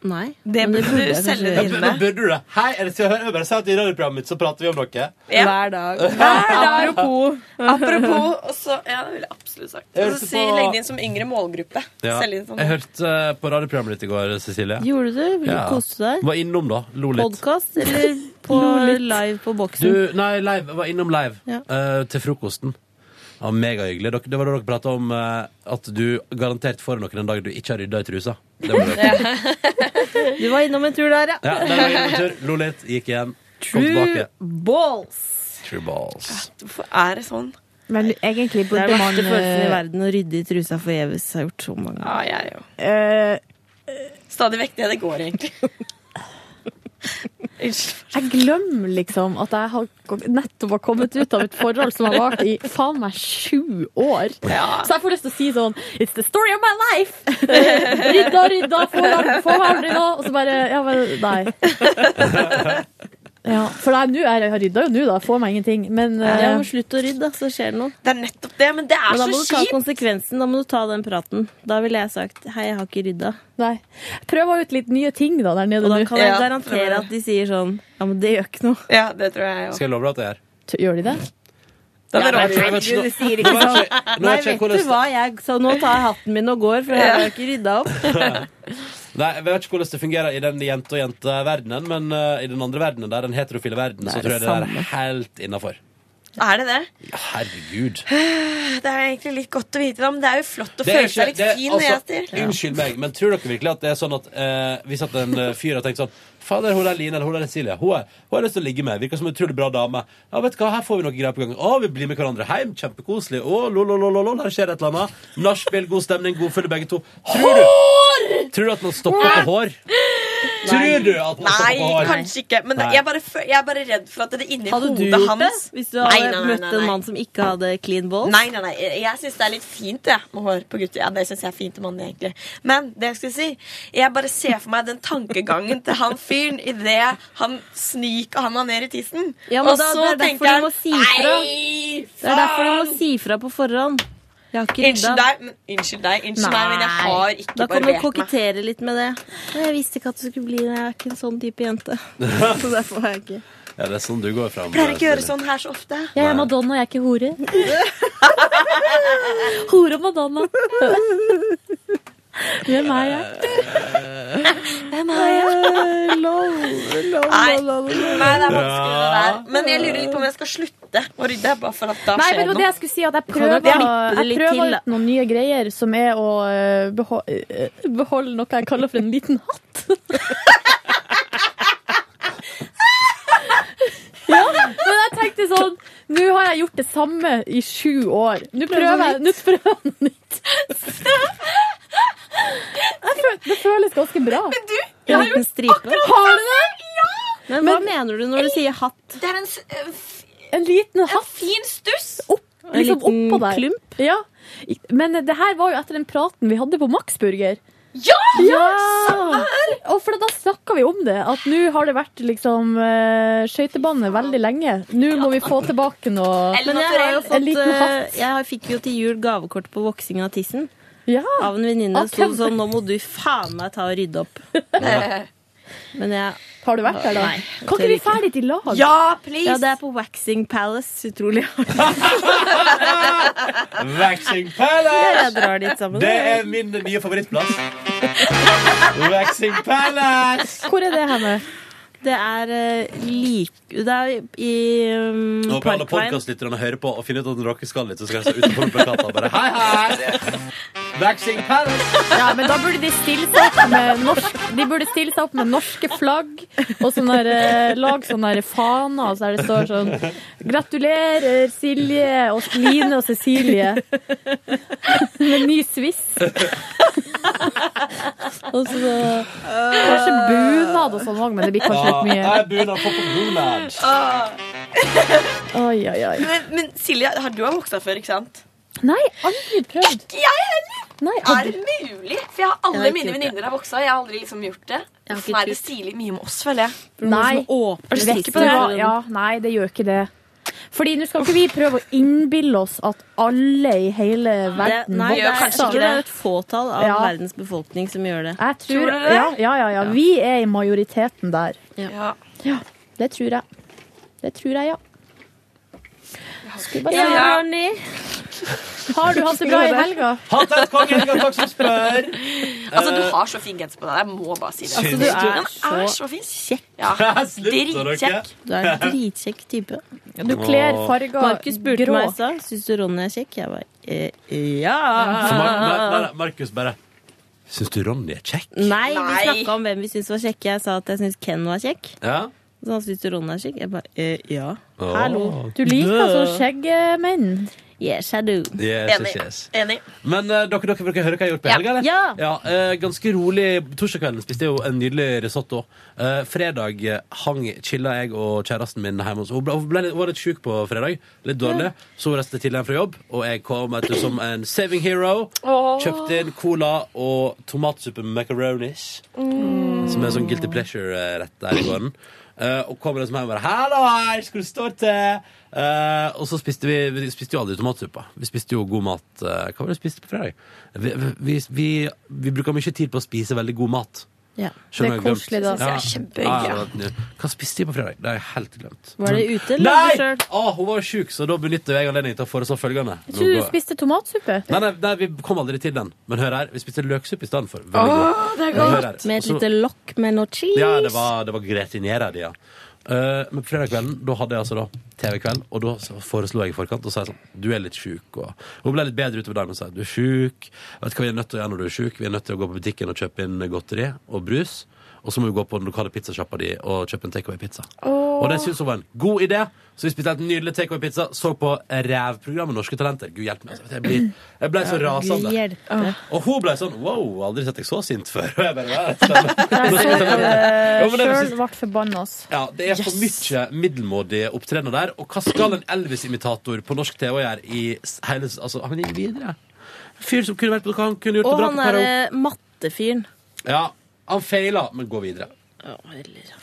S15: Nei.
S7: Det
S15: men
S7: burde du
S15: jeg kanskje
S7: selge
S5: Ja,
S15: gjøre.
S5: men- men burde du det? Hei, er det Se og Hør? Jeg bare sier at i radioprogrammet mitt så prater vi om noe.
S15: Hver dag. Apropos.
S7: Apropos og så, Ja, det ville jeg absolutt sagt.
S5: Jeg
S7: Og
S5: hørte
S7: så si,
S5: på-
S7: legg det inn som yngre målgruppe.
S5: Ja.
S7: Selg inn sånn.
S5: Jeg hørte eh, på radioprogrammet ditt i går, Cecilie.
S15: Gjorde du?
S5: Ja.
S15: Koste du deg?
S5: Var innom, da. Lo litt.
S15: Podkast eller på
S5: Lo litt.
S15: live på boksen?
S5: Du, nei, live, var innom live
S15: Ja.
S5: eh, til frokosten. Ja, Megahyggelig. Dere- Det var da dere prata om eh, at du garantert får noen en dag du ikke har rydda i trusa. Det var det.
S15: Du var innom en tur der, ja.
S5: Ja, der var jeg innom tur. Lo litt, gikk igjen. Kom tilbake.
S15: balls.
S5: True balls.
S7: Hvorfor er det sånn?
S15: Men egentlig
S3: burde
S15: Det er den verste
S3: man,
S15: følelsen i
S3: eh,
S15: verden å rydde i trusa forgjeves. Har gjort så mange
S7: Ja, jeg er jo
S15: Eh,
S7: Stadig vekk det det går, egentlig. Unnskyld.
S3: Jeg glemmer liksom at jeg har nettopp har kommet ut av et forhold som har vart i faen meg sju år.
S7: Ja.
S3: Så jeg får lyst til å si sånn It's the story of my life! Rydda, rydda, forhånd, forhånd, rydda. Og så bare Ja, men nei. Ja, for nei, nå er jeg har rydda jo nå, da. Får meg ingenting. Men
S15: Ja,
S3: eh,
S15: men slutt å rydde, da, så skjer det noe.
S7: Det er nettopp det, men det er
S15: Men da må
S7: så
S15: du ta
S7: kjipt.
S15: konsekvensen. Da må du ta den praten. Da ville jeg sagt 'hei, jeg har ikke rydda'.
S3: nei. Prøv ut litt nye ting da der nede
S15: Og da
S3: nå.
S15: kan jeg
S7: Ja,
S15: garantere at de sier sånn 'ja, men det gjør ikke noe'.
S7: Ja, det tror jeg jo.
S5: Skal jeg love deg at jeg gjør?
S3: Gjør de det?
S7: Det
S5: Nei,
S7: er rart.
S5: jeg vet ikke-
S15: Herregud, du sier ikke
S5: Nå vet
S15: sånn.
S5: jeg- nå vet
S15: Nei,
S5: jeg
S15: vet
S5: hvordan-
S15: du hva, jeg Så nå tar jeg hatten min og går, for jeg har ikke rydda opp.
S5: Nei, Jeg vet ikke hvordan det fungerer i den jente- og jente-verdenen, men eh, i den andre verdenen, der, den heterofile verdenen,
S15: Det
S5: så
S15: er
S5: tror
S15: det
S5: jeg det er
S15: samme.
S5: helt innafor.
S7: Er det det?
S5: Herregud.
S7: Det er egentlig litt godt å vite det, men det er jo flott å
S5: Det er
S7: føle seg
S5: ikke-
S7: litt
S5: det er-
S7: fin.
S5: altså,
S7: Ester.
S5: Unnskyld meg, men tror dere virkelig at det er sånn at eh, hvis at en eh, fyr har tenkt sånn Fader, hun der Line eller hun der Silje, hun, er, hun har lyst til å ligge med. Virker som en utrolig bra dame. Ja, vet du hva, her får vi noe greier på gang. Å, vi blir med hverandre hjem. Kjempekoselig. Å, lo, lo, lo, lo, lo, her skjer et eller annet. Nachspiel, god stemning, god fulle begge to. Tror du, tror du at man stopper på hår? Tror du at man
S7: Nei,
S5: stopper på hår?
S7: kanskje ikke. Men det,
S5: Nei.
S7: jeg, er bare, fø- jeg er bare redd for at det inni
S15: Hadde du
S7: hodet
S15: gjort det
S7: hans
S15: hvis du hadde møtt en mann
S7: som ikke hadde clean balls? Nei, nei, nei. Jeg- Jeg syns det er litt fint jeg, med hår på gutter. Ja, det syns jeg er fint med mannen, egentlig. Men det jeg skulle si, jeg bare ser for meg den tankegangen til han fyren idet han sniker handa ned i tissen.
S15: Ja, men
S7: Og
S15: da-
S7: så
S15: det er derfor
S7: tenker
S15: du
S7: han,
S15: må si fra.
S7: «Nei,
S15: Det er derfor du må
S7: faen!»
S15: si fra på forhånd. Jeg har ikke
S7: Unnskyld
S15: rydda.
S7: deg, men, unnskyld deg, unnskyld meg, men jeg
S15: Nei.
S7: har ikke
S15: Da kan du
S7: barbert meg.
S15: kokettere litt med det. Nei, Jeg visste ikke at du skulle bli det. Jeg er ikke en sånn type jente. Så derfor har jeg ikke
S5: Ja, det er sånn du går fram.
S15: Pleier ikke å gjøre
S5: Silje.
S15: sånn.
S7: Sånn her så ofte.
S15: Jeg er Madonna, jeg er ikke hore. hore og Madonna. Hvem er jeg? Hvem er jeg?
S7: Nei, nei, det er vanskelig det der.
S15: Ja.
S7: Men jeg lurer litt på om jeg skal slutte å rydde. Bare for at da
S3: Nei,
S7: skjer
S3: men det var det jeg skulle si, at jeg
S7: Kan dere
S3: prøver,
S7: klippe det
S3: jeg
S7: litt
S3: prøver
S7: til, da?
S3: ut noen nye greier, som er å eh, beho eh, beholde noe jeg kaller for en liten hatt. ja, men jeg tenkte sånn Nå har jeg gjort det samme i sju år. Nå prøver jeg nå prøver jeg noe nytt. Jeg føl- Det føles ganske bra. Men du,
S15: En liten stripe.
S3: Har du det?
S15: Men hva mener du når du sier hatt?
S7: Det er en,
S3: en liten hatt.
S7: fin stuss.
S3: Opp,
S15: En
S3: liksom
S15: liten
S3: oppå der.
S15: klump.
S3: Ja. Men det her var jo etter den praten vi hadde på Maxburger.
S7: Ja!
S3: ja! Og for da snakka vi om det, at nå har det vært liksom eh, skøytebane veldig lenge. Nå må vi få tilbake noe
S15: Men jeg har jo
S3: En
S15: fått
S3: liten hatt.
S15: eh, Jeg fikk jo til jul gavekort på voksing av tissen. Av en venninne.
S3: Av
S15: Det sto
S3: hvem?
S15: sånn 'Nå må du faen meg ta og rydde opp'. Men jeg
S3: Har du vært der, da?
S15: Nei, jeg
S3: Kan
S15: tør
S3: ikke vi fære dit i lag?
S15: Ja,
S7: please!
S15: Ja, det er på Waxing Palace. Utrolig hardt.
S5: Waxing Palace!
S15: Jeg drar dit sammen.
S5: Det er min nye favorittplass. Waxing Palace!
S15: Hvor er det henne? Det er eh, lik Det er i um,
S5: Nå håper alle
S15: Parkveien.
S5: podcastlytterne hører på og finner ut at dere skal litt, så skal jeg stå utenfor med plakater og bare Hei, hei! Waxing Palace!
S3: Ja, men da burde de stille seg opp med, norsk, de burde stille seg opp med norske flagg og sånne der, eh, lag sånne der faner og så der det står sånn Gratulerer, Silje og Line og Cecilie med ny sviss. Og så Kanskje bunad og sånn òg, men det blir kanskje litt mye.
S5: Jeg begynner å få på bunad.
S3: Oi, oi, oi.
S7: Men, men Silje, har du har voksa før, ikke sant?
S3: Nei, aldri prøvd.
S7: Ikke jeg heller!
S3: Nei,
S7: Er
S3: aldri.
S7: det mulig? For jeg har
S15: Jeg
S7: alle
S15: har ikke
S7: mine
S15: gjort det.
S7: venninner har voksa. Jeg har aldri liksom gjort det.
S15: Jeg har
S7: Uff,
S15: ikke
S7: Nei, det
S15: turt.
S7: stiler mye med oss, føler jeg.
S3: Nei,
S15: åpner
S3: vet
S15: tissen.
S3: du hva? Ja, nei, det gjør ikke det. Fordi nå skal ikke vi prøve å innbille oss at alle i hele
S15: Det,
S3: verden
S15: nei, det er,
S3: vokser.
S15: kanskje ikke det. er et fåtall av
S3: Ja.
S15: verdens befolkning som gjør det.
S3: Jeg tror, ja, ja, ja, ja. Vi er i majoriteten der.
S7: Ja.
S3: Ja, det tror jeg. Det tror jeg, ja. Skulle bare
S15: Ja,
S3: si-
S15: Ronny.
S3: Har du hatt det bra i helga?
S5: Hatt et kongehelga, takk som spør!
S7: Altså, du har så fin genser på deg. Jeg må bare si det.
S5: Syns Altså, du du? er
S7: Den er så fin.
S15: Kjekk.
S7: Ja.
S5: Slutt, dere.
S7: Dritkjekk.
S15: Du er en dritkjekk type.
S3: Du kler farger
S15: Markus spurte
S3: grå.
S15: meg i stad Syns du Ronny er kjekk. Jeg bare eh, ja.
S5: Så Mar Mar Mar Markus bare Syns du Ronny er kjekk?
S15: Nei, vi
S7: Nei.
S15: snakka om hvem vi syntes var kjekke. Jeg sa at jeg syns Ken var kjekk.
S5: Ja?
S15: Så han syntes Ronny er kjekk. Jeg bare eh, ja.
S5: Åh.
S15: Hallo.
S3: Du liker altså skjeggmenn.
S15: Yes, I do.
S5: Yes,
S7: Enig.
S5: yes, yes.
S7: Enig.
S5: Men eh, dere, dere, dere hører hva jeg har gjort på
S7: Ja.
S5: helga? eller?
S15: Ja.
S5: eh, ganske rolig. Torsdagskvelden spiste jeg jo en nydelig risotto. Eh, fredag eh, hang, chilla jeg og kjæresten min hjemme hos Hun ble, hun ble, litt- hun var litt sjuk på fredag. Litt dårlig. Så hun reiste tidlig hjem fra jobb, og jeg kom etter som en saving hero. Kjøpte inn cola og tomatsuppe med macaronis. Som er en sånn guilty pleasure-rett der i gården. Eh, og kommer liksom hjem og bare 'Hallo, her skal du stå til?' Eh, og så spiste vi Vi spiste jo aldri tomatsuppa. Vi spiste jo god mat eh, Hva var det vi spiste på fredag? Vi, vi, vi, vi bruker mye tid på å spise veldig god mat.
S15: Ja.
S5: Skjønner
S3: Det
S5: du, jeg har
S3: er koselig,
S5: glemt.
S3: da.
S5: Ja.
S3: Det er kjempegøy.
S5: Ja, ja, det var nydelig. Hva spiste vi på fredag? Det har jeg helt glemt.
S15: Var det ute, eller var
S5: Nei!
S15: det sjøl?
S5: Å, hun var sjuk, så da benytter jeg anledningen til å foreslå følgende.
S3: Jeg tror
S5: Nå
S3: du
S5: går-
S3: spiste tomatsuppe.
S5: Nei, nei, nei, vi kom aldri til den. Men hør her, vi spiste løksuppe i stedet for. Veldig god.
S3: det er
S5: Men hør her.
S15: Med et
S5: Også-
S15: lite lokk med noe cheese.
S5: ja, det var, det var gretinera di, ja. Eh, men på fredag kvelden, da hadde jeg altså da TV-kveld, og da så foreslo jeg i forkant og sa jeg sånn Du er litt sjuk. Og hun ble litt bedre utover dagen og sa du er sjuk. Vet du hva vi er nødt til å gjøre når du er sjuk? Vi er nødt til å gå på butikken og kjøpe inn godteri og brus. Og så må vi gå på den lokale pizzasjappa di og kjøpe en takeaway-pizza. Og det syntes hun var en god idé, så vi spiste helt nydelig takeaway-pizza. Så på rævprogrammet Norske Talenter. Gud hjelpe meg. Altså. Jeg, blir, jeg ble så rasende. Og hun ble sånn Wow, aldri sett deg så sint før. Og jeg bare, «Ja, det stemmer». Ja, men det
S7: Eh,
S5: var
S3: Sjøl
S5: så-
S3: ble forbanna, ass.
S5: ja, det er for mye middelmådige opptredener der. Og hva skal en Elvis-imitator på norsk TV gjøre i s- hele s- Altså, han gikk videre. Fyr som kunne vært på hva han kunne gjort det
S7: Og
S5: bra
S7: han
S5: på
S7: derre
S15: eh,
S5: karaoke.
S7: mattefyren.
S5: Ja, han feila, men gå videre.
S16: Jeg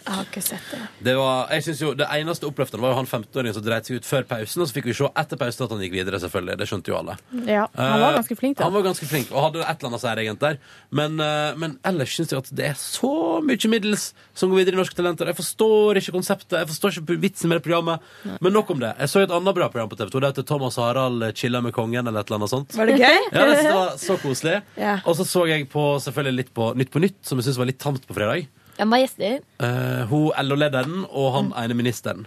S16: har ikke sett det.
S5: Det, var, jeg synes jo, det eneste oppløftende var jo han 15-åringen som dreit seg ut før pausen, og så fikk vi se etter pausen at han gikk videre, selvfølgelig. Det skjønte jo alle.
S3: Ja, han var
S5: Eh,
S3: ganske flink, da.
S5: Han var ganske flink, og hadde et eller annet særegent der. Men, eh, men ellers syns jeg at det er så mye middels som går videre i Norske Talenter. Jeg forstår ikke konseptet, jeg forstår ikke vitsen med det programmet. Men nok om det. Jeg så et annet bra program på TV 2. Det heter Thomas og Harald chilla med kongen, eller et eller annet sånt.
S7: Var det gøy?
S5: Ja, det var så koselig.
S7: Ja.
S5: Og så så jeg på, selvfølgelig litt på Nytt på Nytt, som jeg syns var litt tamt på fredag.
S3: Jeg må ha gjester.
S5: Eh, hun LO-lederen og han
S3: Mm.
S5: ene ministeren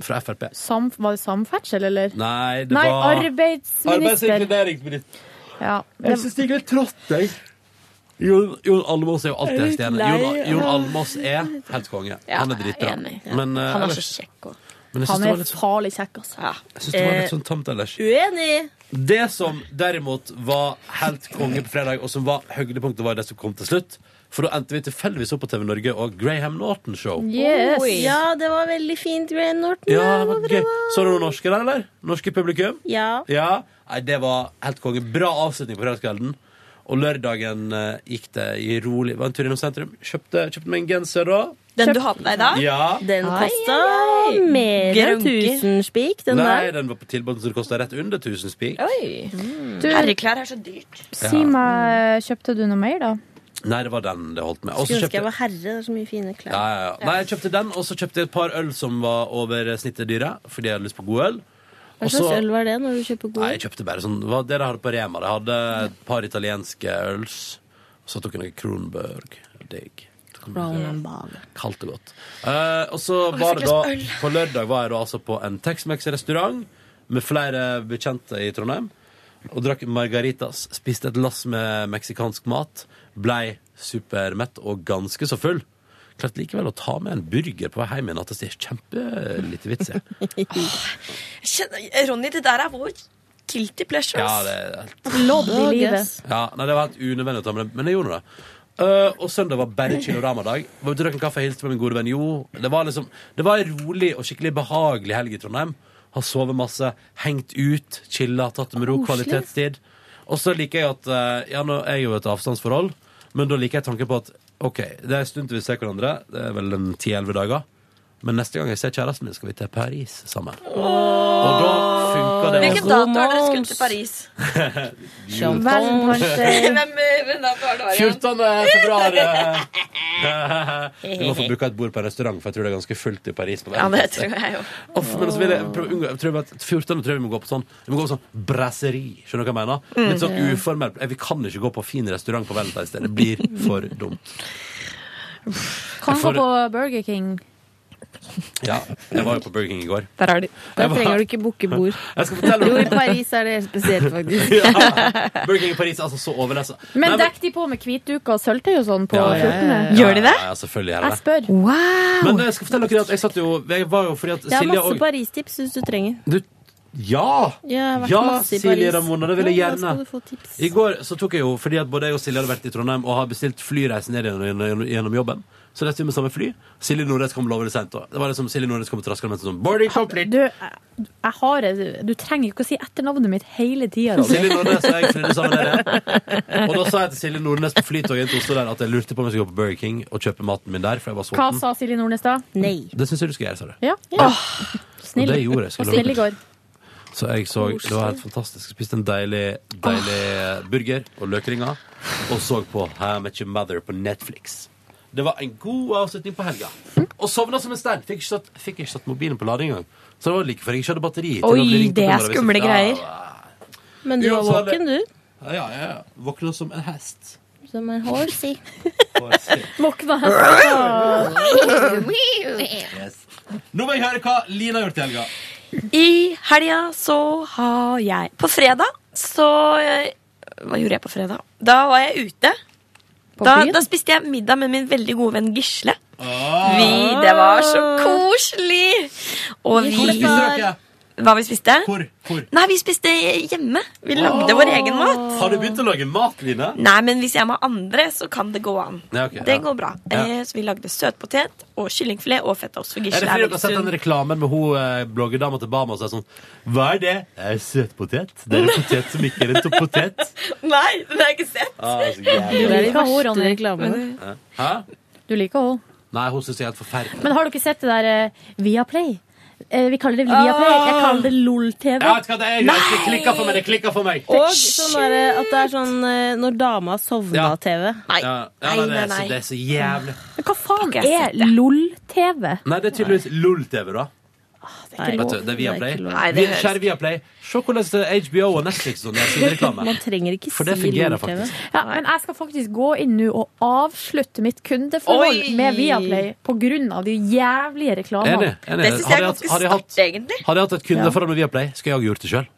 S5: fra Frp.
S3: Sam, var det samferdsel, eller?
S5: Nei, det
S3: Nei,
S5: var Arbeids- og
S3: arbeidsminister.
S5: inkluderingsminister.
S3: Ja,
S5: Jeg
S3: det,
S5: syns det gikk litt trått, jeg. Jon, Jon Almaas er jo alltid
S3: Jeg er
S5: en
S3: litt
S5: stjerne.
S3: lei
S5: Jon, Jon
S3: av-
S5: Almaas er helt konge.
S3: Ja,
S5: han er dritbra.
S3: jeg er enig. Ja.
S5: Men, eh,
S3: Han er så
S5: ellers-
S3: kjekk også.
S5: Men jeg syns
S3: han
S5: det var
S3: er
S5: litt, sånn- så-
S3: farlig kjekk, altså.
S5: jeg synes det var litt sånn tamt ellers.
S7: Uenig!
S5: Det som derimot var helt konge på fredag, og som var høydepunktet, var det som kom til slutt. For da endte vi tilfeldigvis opp på TV Norge og Graham Norton Show.
S7: Oi. Ja, det var veldig fint, Graham Norton.
S5: Ja, det var gøy. Så du noen norske der, eller? Norske publikum?
S7: Ja.
S5: Nei, det var helt konge. Bra avslutning på fredagskvelden. Og lørdagen eh, gikk det i rolig Var en tur innom sentrum. Kjøpte, kjøpte meg en genser da.
S17: Den du har på deg i dag?
S5: Ja.
S7: Den kosta mer enn
S17: Grunke.
S7: tusenspikk, den
S5: Nei,
S7: der.
S5: den var på tilbud, så det kosta rett under 1000 spik.
S17: Oi.
S3: Du-
S17: Herreklær er så dyrt.
S3: Si meg, kjøpte du noe mer, da?
S5: Nei, det var den det holdt med. Og så
S7: Skulle ønske
S5: kjøpte-
S7: jeg var herre. Det er så mye fine klær.
S5: Ja, ja, ja. Nei, jeg kjøpte den, og så kjøpte jeg et par øl som var over snittet dyre, fordi jeg hadde lyst på god øl.
S7: Hva
S5: Og så-
S7: slags øl var det når du kjøper god?
S5: Nei, jeg kjøpte bare sånn Hva det de hadde på Rema? De hadde et par italienske øls. Og så tok jeg noe Kronberg. Digg. Kaldt og godt. Eh, og så
S7: jeg
S5: var
S7: fikk
S5: det da
S7: lyst
S5: På lørdag var jeg da altså på en Tex-Mex-restaurant med flere bekjente i Trondheim. Og drakk margaritas. Spiste et lass med meksikansk mat. Blei supermett og ganske så full. Klarte likevel å ta med en burger på vei hjem igjen. At det er kjempelite vits i.
S17: Jeg Kjenner, Ronny, det der er vår guilty pleasure.
S5: Ja,
S17: ass.
S5: det er helt
S17: Lodd i livet.
S5: Ja, nei, det var helt unødvendig å ta med det, men jeg gjorde det. Eh, og søndag var bare Chilorama-dag. Var ute og drakk en kaffe og hilste på min gode venn Jo. Det var liksom, det var en rolig og skikkelig behagelig helg i Trondheim. Har sovet masse, hengt ut, chilla, tatt det med ro,
S18: Koselig.
S5: kvalitetstid. Og så liker jeg at eh, Ja, nå er jeg jo et avstandsforhold, men da liker jeg tanken på at OK, det er en stund til vi ser hverandre. Det er vel en 10-11 dager. Men neste gang jeg ser kjæresten min, skal vi til Paris sammen. Og da funker det.
S17: Hvilken dato er det dere skulle til Paris?
S5: Jul.
S17: Hvem eh, dato er det? Arian?
S5: 14. februar. eh. Vi må få booka et bord på en restaurant, for jeg tror det er ganske fullt i Paris. På hver
S17: Ja, det
S5: plass.
S17: tror jeg jo.
S5: Off, men så vil jeg prøve å unngå jeg tror at 14. tror jeg vi må gå på sånn Vi må gå på sånn brasseri. Skjønner du hva jeg mener? Litt sånn
S17: Mm.
S5: uformell. Eh, Vi kan ikke gå på fin restaurant på Valentine's Day. Det blir for dumt.
S3: Kan
S5: Jeg
S3: gå
S5: får-
S3: på Burger King.
S5: Ja, jeg var jo på Burger King i går.
S3: Der er de.
S5: Jeg var-
S7: trenger du ikke booke bord.
S5: Jeg skal fortelle
S7: Jo, i Paris er det helt spesielt, faktisk.
S5: Burger King i Paris, altså så overlessa.
S3: Men dekk de på med hvitduker og sølvtøy og sånn på 14.?
S5: Ja, ja, selvfølgelig gjør jeg
S3: Jeg
S5: det.
S3: spør.
S5: Men eh, jeg skal fortelle dere at jeg satt jo Jeg var jo fordi at
S7: Jeg har
S5: Silja
S7: masse
S5: og
S7: Paris-tips hvis du trenger.
S5: Du, ja!
S7: Jeg har vært
S5: Ja,
S7: masse i Paris.
S5: Silje Ramona, det vil jeg
S7: Ja,
S5: gjerne.
S7: Da skal du få tips.
S5: I går så tok jeg jo, fordi at både jeg og Silje hadde vært i Trondheim og har bestilt flyreise ned igjen gjennom, gjennom jobben. Så reiste vi med samme fly. Silje Nordnes kom lovlig sent. og Det var liksom Silje Nordnes kom traskende mens hun sånn Boarding complete!
S3: Du, jeg- jeg har et, du trenger ikke å si etternavnet mitt hele altså. tida.
S5: Silje Nordnes og jeg flydde sammen der igjen. Og da sa jeg til Silje Nordnes på flytoget inn til Oslo der at jeg lurte på om jeg skulle gå på Burger King og kjøpe maten min der, for jeg var
S3: Hva
S5: sulten.
S3: sa Silje Nordnes da? Nei.
S5: Det syns jeg du skal gjøre, sa du.
S3: Ja. Åh,
S5: Ah. Og
S3: snill.
S5: det gjorde jeg,
S3: Og
S5: skulle
S3: snill i
S5: jeg
S3: går.
S5: Så jeg så Det var helt fantastisk. Spiste en deilig, deilig burger og løkringer. Og så på How I Met Your Mother på Netflix. Det var en god avslutning på helga. Og sovna som en stein. Fikk ikke satt, fikk ikke satt mobilen på lading engang. Så det var like før jeg ikke hadde batteri. til å bli ringt opp når jeg visste- Ja,
S7: Men du var
S5: Uansett,
S7: våken, du.
S5: Ja, ja, ja. Våkna som en hest.
S11: som en horsey.
S3: Våkna
S5: Nå vil jeg høre hva Lina har gjort i helga.
S7: I helga så har jeg På fredag så eh, Hva gjorde jeg på fredag? Da var jeg ute. Da,
S3: byen?
S7: da spiste jeg middag med min veldig gode venn Gisle. Vi,
S3: Ah.
S7: det var så koselig! Og vi
S3: Hvor spiste dere?
S7: Hva vi spiste? Nei, vi spiste hjemme. Vi lagde vår egen
S3: Ah.
S7: mat.
S5: Har du begynt å lage mat, Line?
S7: Nei, men hvis jeg må ha andre, så kan det gå an.
S5: Ja, ok,
S7: det
S5: ja.
S7: går bra.
S5: Ja.
S7: Eh, så vi lagde søtpotet og kyllingfilet og fetaost. For
S5: Er det
S7: Gisle
S5: fordi dere har sett
S7: sunn.
S5: den reklamen med hun eh, bloggerdama til Bama som er sånn Hva er det? Det er søtpotet. Det er en potet som ikke er en potet.
S7: Nei, den har jeg ikke sett.
S5: Ah, så
S3: Du
S5: jævlig.
S3: liker henne, Ronny.
S5: Hæ?
S3: Du liker henne.
S5: Nei, hun syns jeg er helt forferdelig.
S3: Men har dere sett det der eh, Viaplay? Eh, vi kaller det Viaplay. Jeg kaller det LOL-TV.
S5: Jeg vet hva det er, jeg klikker for meg, det klikker for meg.
S11: Og sånn der, eh, at det er sånn eh, når dama sovna-TV.
S5: Ja, ja, nei, det, er så, det er så jævlig.
S3: Men hva faen er LOL-TV?
S5: Nei, det er tydeligvis LOL-TV, da.
S3: er
S5: Vet
S3: ikke
S5: du,
S3: lov.
S5: det er Viaplay.
S3: Det er ikke lov. Nei, det
S5: Vi-
S3: høres-
S5: Kjære Viaplay, se hvordan eh, HBO og Netflix og deres reklame.
S11: Man trenger ikke
S5: For det
S11: si
S5: fungerer
S11: LOL-TV.
S5: faktisk.
S3: Ja, men jeg skal faktisk gå inn nå og avslutte mitt kundeforhold
S7: Oi!
S3: med Viaplay på grunn av de jævlige reklamene.
S5: Enig, enig. Det synes jeg er Hadde jeg ganske Eh, hatt- hadde jeg hatt-
S7: egentlig.
S5: Hadde jeg hatt et kundeforhold med Viaplay, skulle jeg ha gjort det sjøl.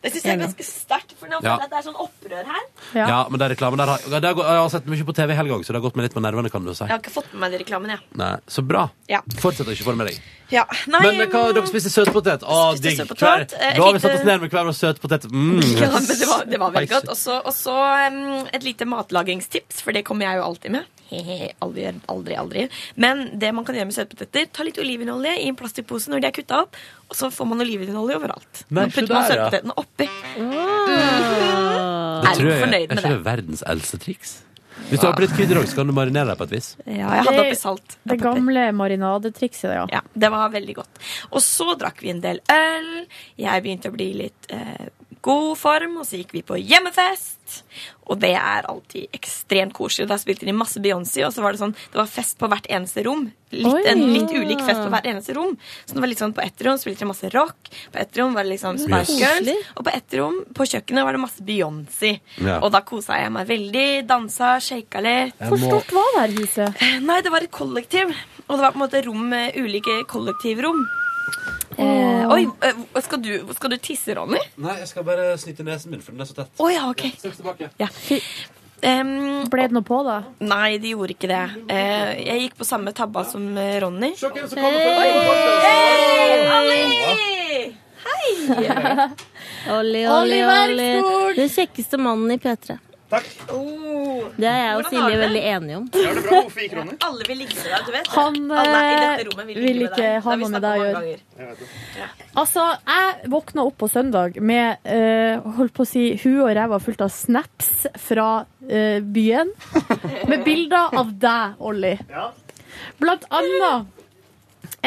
S7: Det syns jeg er ganske sterkt, for nå føler
S5: Ja.
S7: jeg at det er sånn opprør her.
S5: Ja. men den reklamen der har, det har, gått- Jeg har sett mye på TV i helga òg, så det har gått meg litt på nervene, kan du si.
S7: Jeg har ikke fått med meg den reklamen, jeg.
S5: Nei, så bra.
S7: Ja.
S5: Fortsett å ikke få det med deg.
S7: Ja. Nei,
S5: Men hva, dere spiste søtpotet? Å, digg.
S7: søtpotet.
S5: Klar.
S7: Eh,
S5: Da har vi
S7: lite-
S5: satt oss ned med hver vår søtpotet. Mm.
S7: Ja, men det var, det var veldig
S5: Spicy.
S7: godt. Og så- Og så um, et lite matlagingstips, for det kommer jeg jo alltid med. Hehe, aldri, aldri, aldri. Men det man kan gjøre med søtpoteter, ta litt olivenolje i en plastikkpose når de er kutta opp, og så får man olivenolje overalt.
S5: Nei,
S7: Nå
S5: se
S7: putter man
S5: der, ja.
S7: søtpotetene oppi.
S5: Det
S7: Er du
S5: tror jeg,
S7: fornøyd
S5: er
S7: med
S5: ikke det
S7: det? Ah.
S5: verdens eldste triks? Hvis du har på litt krydder også, så kan du marinere deg på et vis.
S7: Ja, jeg hadde oppi salt.
S3: Det gamle marinadetrikset, ja.
S7: Ja, det var veldig godt. Og så drakk vi en del øl. Jeg begynte å bli litt eh, god form, og så gikk vi på hjemmefest. Og det er alltid ekstremt koselig. Der spilte de masse Beyoncé, og så var det sånn Det var fest på hvert eneste rom.
S3: Oi.
S7: Litt, en litt ulik fest på hvert eneste rom. Så det var litt sånn på ett rom spilte de masse rock, på ett rom var det
S3: Mm.
S7: liksom Spice
S3: Yes.
S7: Girls, og på ett rom på kjøkkenet var det masse Beyoncé.
S3: Ja.
S7: Og da kosa jeg meg veldig. Dansa, shaka litt.
S3: Hvor stort var det her huset?
S7: Nei, det var et kollektiv. Og det var på en måte rom, eh, ulike kollektivrom. Eh, oi, eh, skal du, skal du tisse, Ronny?
S5: Nei, jeg skal bare snyte nesen min, for den er så tett.
S7: Å ja, ok. Ja.
S3: Ble det noe på, da?
S7: Nei, det gjorde ikke det. Eh, jeg gikk på samme tabba som eh, Ronny. Hei! Hei!
S11: Olli, Olli,
S7: Olli
S11: Olli.
S7: Werfgård.
S11: Den kjekkeste mannen i P3. Det er jeg og
S7: Hvordan har
S11: Silje
S7: du det?
S11: veldig enige om.
S7: Alle vil ligge med deg, du vet. det.
S3: Han
S7: Alle i dette
S3: eh,
S7: rommet vil ligge
S3: vil
S7: med
S3: ikke
S7: deg.
S3: ha noe med deg å gjøre.
S7: Jeg vet det.
S3: Altså, jeg våkna opp på søndag med eh, holdt på å si, huet og ræva fullt av snaps fra eh, byen. Med bilder av deg, Olli. Blant annet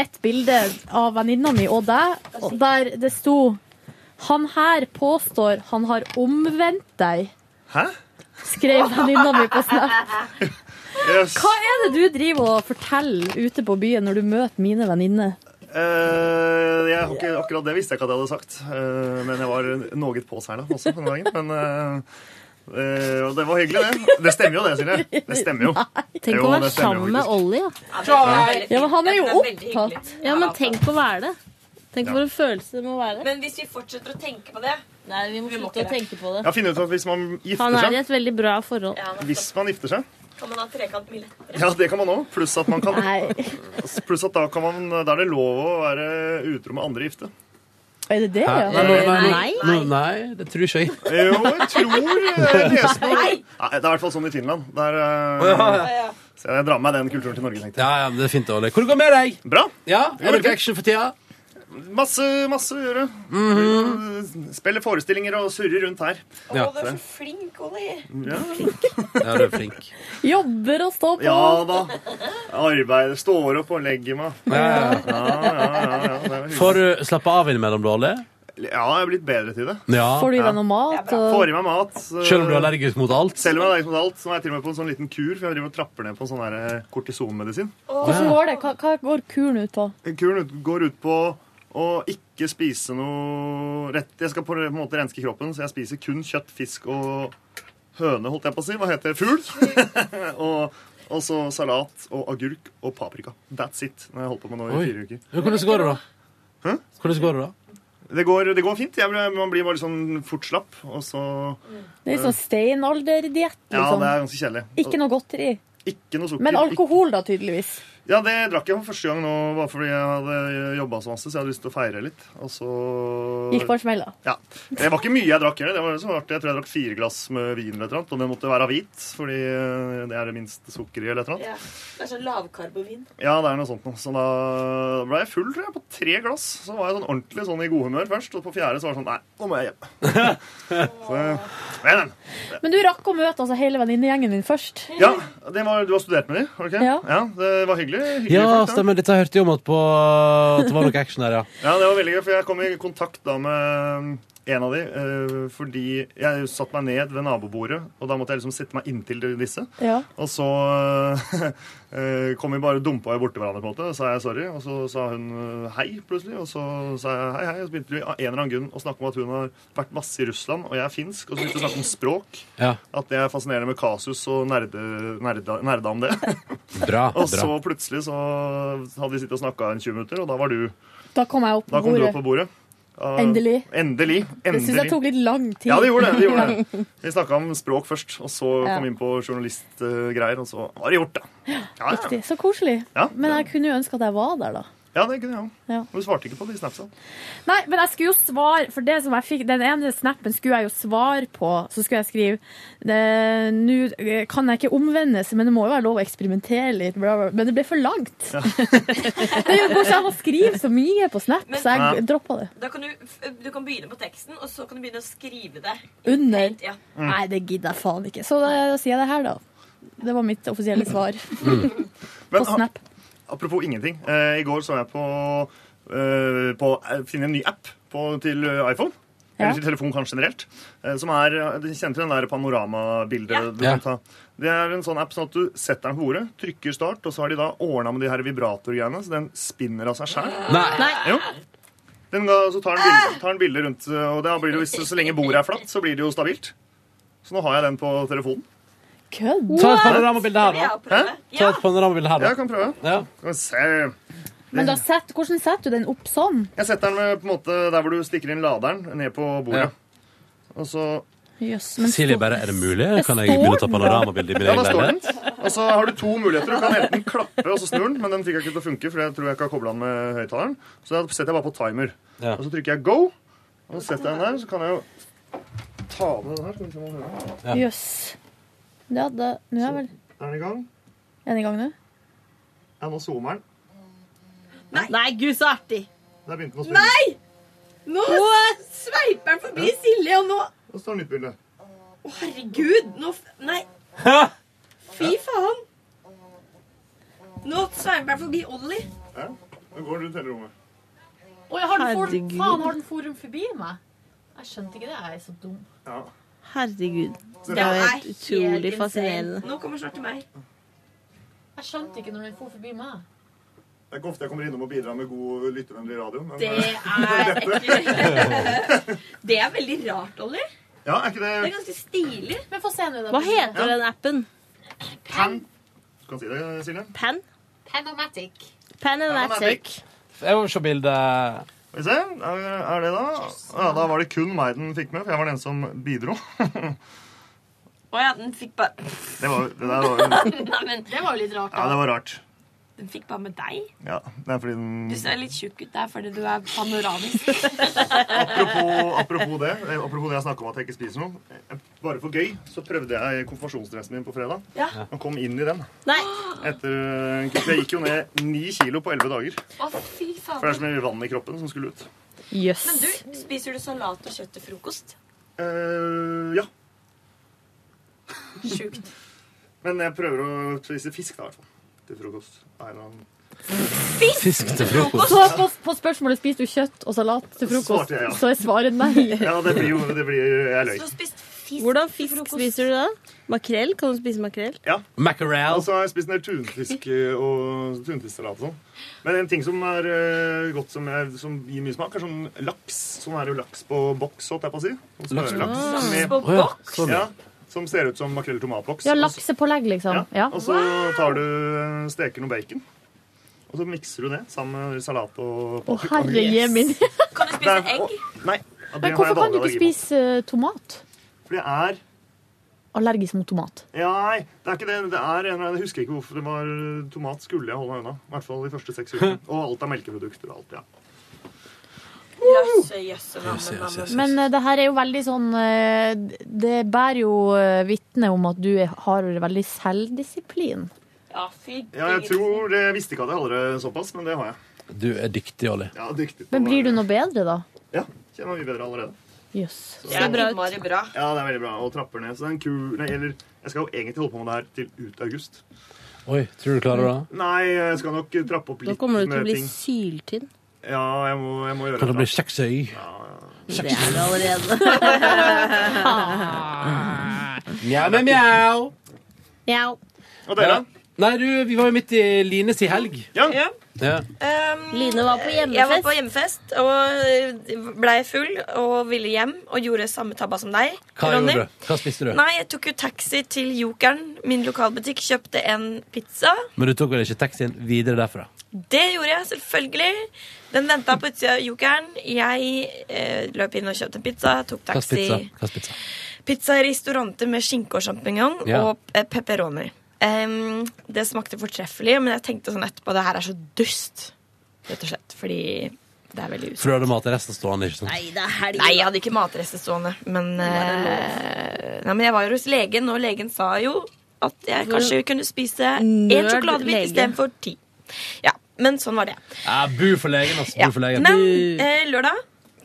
S3: et bilde av venninna mi og deg, og der det sto Han her påstår han har omvendt deg,
S10: Hæ?
S3: skrev venninna mi på Snap.
S10: Yes.
S3: Hva er det du driver og forteller ute på byen når du møter mine venninner?
S10: Eh, jeg har ikke, akkurat det visste jeg ikke at jeg hadde sagt. Eh, men jeg var noe påseila også den dagen. Men eh, eh, og det var hyggelig, det. Det stemmer jo det, Silje. Det stemmer jo.
S11: Tenk
S10: Jo,
S11: å være
S10: det stemmer jo
S11: sammen med Olli, da.
S7: Ja.
S11: Ja, men han er jo
S7: Det er veldig hyggelig.
S11: opptatt. Ja, men tenk å være det. Tenk
S10: Ja.
S11: for en følelse det må være.
S7: Men hvis vi fortsetter å tenke på det
S11: Nei, vi må slutte å tenke på
S10: Jeg har funnet ut at hvis man
S11: Han
S10: gifter
S11: er i
S10: seg
S11: et veldig bra forhold.
S10: Hvis man gifter seg,
S7: Kan man ha trekant med
S10: ja, det kan man òg. Pluss at man kan Pluss at da, kan man, da er det lov å være utro med andre gifte.
S3: Er det det?
S10: Hæ?
S3: ja?
S10: Nei, nei, nei, nei.
S5: Nå- nei, det tror ikke jeg.
S10: Jo, jeg tror jeg leser på
S3: Nei.
S10: Nei, Det er i hvert fall sånn i Finland. Der, eh,
S5: Ja,
S10: Så jeg drar med den kulturen til Norge, tenkte jeg.
S5: Ja, ja, men det er fint, Ole. Hvor går det med deg?
S10: Bra.
S5: Ja,
S10: Det går
S5: Er det
S10: fint.
S5: action for tida?
S10: Masse, masse å gjøre.
S11: Mhm.
S10: Spiller forestillinger og surrer rundt her.
S5: Ja.
S7: Du er så flink, Olli.
S10: Ja.
S5: Ja, du er flink.
S3: Jobber og står på.
S10: Ja da. Arbeider. Står opp og legger meg.
S5: Ja, ja. Får du slappe av innimellom, da, Ole?
S10: Ja, jeg er blitt bedre til det.
S5: Ja.
S3: Får du i deg noe mat? og-
S10: Får i meg mat. så-
S5: Selv om du er allergisk mot alt?
S10: Selv om jeg er allergisk mot alt. Så er jeg til og med på en sånn liten kur, for jeg driver og trapper ned på sånn der, eh, kortisonmedisin.
S3: Hvordan går det? Hva, hva går kuren ut på?
S10: Kuren ut- går ut på å ikke spise noe rett Jeg skal på en måte renske kroppen, så jeg spiser kun kjøtt, fisk og høne, holdt jeg på å si. Hva heter det? Fugl. og, og så salat og agurk og paprika. That's it. Når jeg holdt på med nå i
S5: Oi.
S10: fire uker.
S5: Men hvordan går det, da?
S10: Hæ?
S5: Hvordan går det, da?
S10: Det går, det går fint. Jeg, ble- man blir bare litt sånn fort slapp, og så
S3: Det er litt sånn steinalderdiett,
S10: Ja,
S3: liksom.
S10: det er ganske kjedelig.
S3: Ikke noe godteri.
S10: Ikke noe sukker.
S3: Men alkohol, da, tydeligvis.
S10: Ja, det drakk jeg for første gang nå, bare fordi jeg hadde jobba så masse, så jeg hadde lyst til å feire litt. Og så
S3: Gikk på en smell, da.
S10: Ja. Det var ikke mye jeg drakk heller. Det var liksom artig. Jeg tror jeg drakk fire glass med vin eller et eller annet, og den måtte være hvit, fordi eh, det er det minste sukkeret i eller et eller annet.
S4: Det er så lavkarbovin.
S10: Ja, det er noe sånt noe. Så da ble jeg full, tror jeg, på tre glass. Så var jeg sånn ordentlig sånn i god humør først, og på fjerde så var det sånn Nei, nå må jeg hjem. så, men,
S3: Men du rakk å møte altså, hele venninnegjengen din først.
S10: ja, det var, du har studert med dem, har du ikke?
S3: Ja.
S10: det var hyggelig. hyggelig
S5: Ja,
S10: folk, da.
S5: stemmer. Dette hørte jeg om at, på, at det var noe action her, ja.
S10: Ja, det var veldig gøy, for jeg kom i kontakt da med en av de, eh, fordi jeg satt meg ned ved nabobordet, og da måtte jeg liksom sette meg inntil disse.
S3: Ja.
S10: Og så eh, kom vi bare og dumpa borti hverandre, på en måte. og sa jeg sorry, og så sa hun eh, hei, plutselig. Og så sa jeg hei, hei, og så begynte vi av en eller annen grunn å snakke om at hun har vært masse i Russland, og jeg er finsk, og så begynte vi å snakke om språk.
S5: Ja.
S10: At det er fascinerende med kasus og nerde, nerda, nerda om det.
S5: Bra.
S10: og så
S5: bra.
S10: plutselig så hadde vi sittet og snakka en 20 minutter, og da var du
S3: Da kom jeg opp
S10: da
S3: på
S10: kom du opp
S3: bordet.
S10: på bordet. Ja,
S3: Endelig.
S10: Endelig.
S3: Det syns jeg
S10: Endelig.
S3: tok litt lang tid.
S10: Ja, det gjorde det. det, gjorde det. Vi snakka om språk først, og så
S3: Ja.
S10: kom vi inn på journalistgreier, og så var det gjort, da. Ja, ja.
S3: Riktig. Så koselig.
S10: Ja.
S3: Men jeg kunne jo ønske at jeg var der, da.
S10: Ja, det kunne jeg òg.
S3: Ja.
S10: Du svarte ikke på de snapsa.
S3: Nei, men jeg skulle jo svare For det som jeg fikk, den ene snappen skulle jeg jo svare på. Så skulle jeg skrive «Det- Nå eh, kan jeg ikke omvendes, men det må jo være lov å eksperimentere litt. Bla, bla. Men det ble for langt. det går ikke an å skrive så mye på Snap,
S7: Men-
S3: så
S7: Ja.
S3: jeg droppa det.
S7: Da kan du, f- du kan begynne på teksten, og så kan du begynne å skrive det.
S3: Under.
S7: Ja.
S5: Mm.
S3: Nei, det gidder jeg faen ikke. Så da, da sier jeg det her, da. Det var mitt offisielle svar.
S10: Men, ah,
S3: Snap.
S10: Apropos ingenting. Eh, I går så jeg på, eh, på eh, finne en ny app på, til eh, iPhone.
S3: Ja.
S10: Eller til telefon kanskje generelt. Eh, som er, du kjenner til den der panoramabildet du
S5: Ja.
S10: kan ta. Det er en sånn app sånn at du setter den på bordet, trykker start, og så har de da ordna med de her vibratorgreiene, så den spinner av seg sjæl. Jo. Den ga, så tar den, bilder, tar den bilder rundt, og da blir det jo, hvis- så lenge bordet er flatt, så blir det jo stabilt. Så nå har jeg den på telefonen.
S3: Kødd?
S5: Ta et panoramabilde her, da.
S10: Hæ?
S5: Ta et panoramabilde her, da.
S10: Jeg kan prøve.
S5: Ja.
S10: Skal vi se.
S3: Men da set, hvordan setter du den opp sånn?
S10: Jeg setter den med, på en måte der hvor du stikker inn laderen, ned på bordet. Og så
S3: Jøss,
S5: Silje bare Er det mulig? Kan jeg
S10: Står
S5: begynne å ta
S10: den da?
S5: panoramabilde i min
S10: Ja, da
S5: egen
S10: står den.
S5: leilighet?
S10: Og så har du to muligheter. Du kan enten klappe og så snur den, men den fikk jeg ikke til å funke, for jeg tror jeg ikke har kobla den med høyttaleren. Så da setter jeg bare på timer. Og så trykker jeg go, og så setter jeg den der, så kan jeg jo ta med den her. Skal vi se om man hører.
S3: Jøss. Ja, da Nå er jeg vel
S10: Er den i gang?
S3: Er den i gang nå?
S10: Ja, nå zoomer den.
S7: Nei, gud, så artig!
S10: Der begynte den å spille.
S7: Nei! Nå sveiper den forbi Silje, og nå
S10: Og så står nytt bilde.
S7: Å, herregud! Nå f- Nei, fy faen! Nå sveiper den forbi Ollie.
S10: Ja, Nå går du til rommet.
S19: Oi, har den for,
S20: Herregud.
S19: faen, har den forum forbi meg? Jeg skjønte ikke det. Jeg er så dum.
S10: Ja.
S20: Herregud. Det er jo helt utrolig fascinerende.
S7: Nå kommer snart til meg.
S19: Jeg skjønte ikke når den for forbi meg.
S10: Det er ikke ofte jeg kommer innom og bidrar med god lyttevennlig radio. Men
S7: Det er ekkelt. Det er veldig rart, Ollie.
S10: Ja, er ikke
S7: Det er
S10: det
S7: ganske stilig.
S19: Men få se nå, da.
S20: Hva heter
S10: Ja.
S20: den appen?
S10: Pan. Du kan si det, Silje.
S20: Pan?
S19: Panomatic.
S20: Panomatic.
S5: Jeg må se bildet.
S10: Skal vi se, er, er det da? Ja, da var det kun meg den fikk med, for jeg var den eneste som bidro.
S7: Å ja, den fikk bare
S10: Det var, det der var, ja,
S7: Nei, men Det var jo litt rart.
S10: det var rart.
S7: Den fikk bare med deg.
S10: Ja, det er fordi
S7: Du
S10: den...
S7: ser litt tjukk ut der fordi du er panoramisk.
S10: Apropos, apropos det, eh, apropos det jeg snakket om at jeg ikke spiser noe. eh, Bare for gøy, så prøvde jeg konfirmasjonsdressen min på fredag.
S7: Ja.
S10: Og kom inn i den.
S20: Nei.
S10: Etter, eh, for jeg gikk jo ned 9 kilo på 11 dager.
S7: Å, fy
S10: For det er så
S7: faen.
S10: mye vann i kroppen som skulle ut.
S3: Jøss.
S7: Men du, spiser du salat og kjøtt til frokost?
S10: Eh, ja.
S7: Sjukt.
S10: Men jeg prøver å spise fisk da, i hvert fall. Til frokost. Av en eller annen-
S5: Fisk til
S3: Så
S5: frokost.
S3: på, på spørsmålet spiser du kjøtt og salat til frokost,
S10: Svarte jeg, ja.
S3: så er svaret nei.
S10: Ja, det blir jo, det blir, jeg løy.
S20: Hvordan fisk spiser du da? Makrell? Kan du spise makrell?
S10: Ja.
S5: Mackerel.
S10: Og så har jeg spist en del tunfisk eh, og tunfisksalat og sånn. Men en ting som er eh, godt som, er, som gir mye smak, er sånn laks. Sånn er det jo laks på boks, holdt jeg på å si. Sånn
S5: Laks på
S7: Mm.
S10: smørlaks
S5: boks?
S10: med-
S5: Laks på boks?
S10: Ja. Som ser ut som makrell i tomatboks.
S20: altså.
S3: Ja,
S10: Og så-
S3: laksepålegg, liksom. Ja.
S10: Og så tar du, steker noe bacon. Og så mikser du det sammen med salat og
S3: Å, herre jemin.
S10: Kan du spise egg? Nei.
S3: Men
S10: og det har jeg
S3: hvorfor kan du
S10: dårlig
S3: ikke
S10: allergi
S3: spise eh, tomat?
S10: på. For det er
S3: Allergisk mot tomat.
S10: ja, Nei, det er ikke det. det er en, jeg husker ikke hvorfor det var eh, tomat skulle jeg holde meg unna. I hvert fall de første seks ukene. Og alt er melkeprodukter og alt, ja.
S21: Jøsse, jøsse,
S10: Jøsse, jøsse, jøsse.
S3: Men eh, det her er jo veldig sånn eh, Det bærer jo eh, vitne om at du er, har veldig selvdisiplin.
S21: Ja, fy
S10: ja jeg tror Jeg visste ikke at jeg hadde det såpass, men det har jeg.
S5: Du er dyktig, Olli.
S10: Ja, dyktig.
S3: Men blir du noe bedre, da?
S10: Ja, kjenner meg mye bedre allerede.
S3: Jøss.
S10: Så-
S3: Ser bra ut.
S10: Ja, det er veldig bra. Og trapper ned. Så det er en kul Nei, eller jeg skal jo egentlig holde på med det her til ut august.
S5: Oi, tror du klarer det?
S10: Nei, jeg skal nok trappe opp
S4: Da
S10: litt
S4: kommer du til å
S10: med
S4: bli
S10: ting.
S4: syltynn.
S10: Ja, jeg må, jeg må gjøre
S5: Kan det bli
S10: da.
S5: kjeksøy?
S4: Det er du allerede.
S5: Mjau, mjau, mjau.
S4: Mjau.
S10: Og dere?
S5: Nei, du, vi var jo midt i Lines i helg.
S10: Ja.
S5: Ja.
S4: Line var på hjemmefest.
S7: Ehm, Jeg var på hjemmefest og blei full og ville hjem og gjorde samme tabba som deg.
S5: Hva
S7: Ronny.
S5: gjorde du? Hva spiste du?
S7: Nei, jeg tok jo taxi til Jokeren, min lokalbutikk, kjøpte en pizza.
S5: Men du tok vel ikke taxien videre derfra?
S7: Det gjorde jeg, selvfølgelig. Den venta på utsida av Jokeren. Jeg eh, løp inn og kjøpte en pizza, tok
S5: Hva slags
S7: taxi.
S5: pizza? Hva slags pizza?
S7: Pizza ristorante med skinke og sjampinjong
S5: Ja.
S7: og eh, pepperoni. Em, det smakte fortreffelig, men jeg tenkte sånn etterpå det her er så dust. Rett og slett. Fordi det er veldig usunt.
S5: Frødemat er resten stående, ikke sant?
S7: det er helg. Nei, jeg hadde ikke matrester stående. Men, eh, nei, men jeg var jo hos legen, og legen sa jo at jeg
S4: Hvor
S7: kanskje kunne spise én
S4: nerd
S7: sjokoladebit
S4: lege.
S7: istedenfor ti. Ja, men sånn var det.
S5: Ja, bu for legen, altså. Bu for legen.
S7: Men eh, lørdag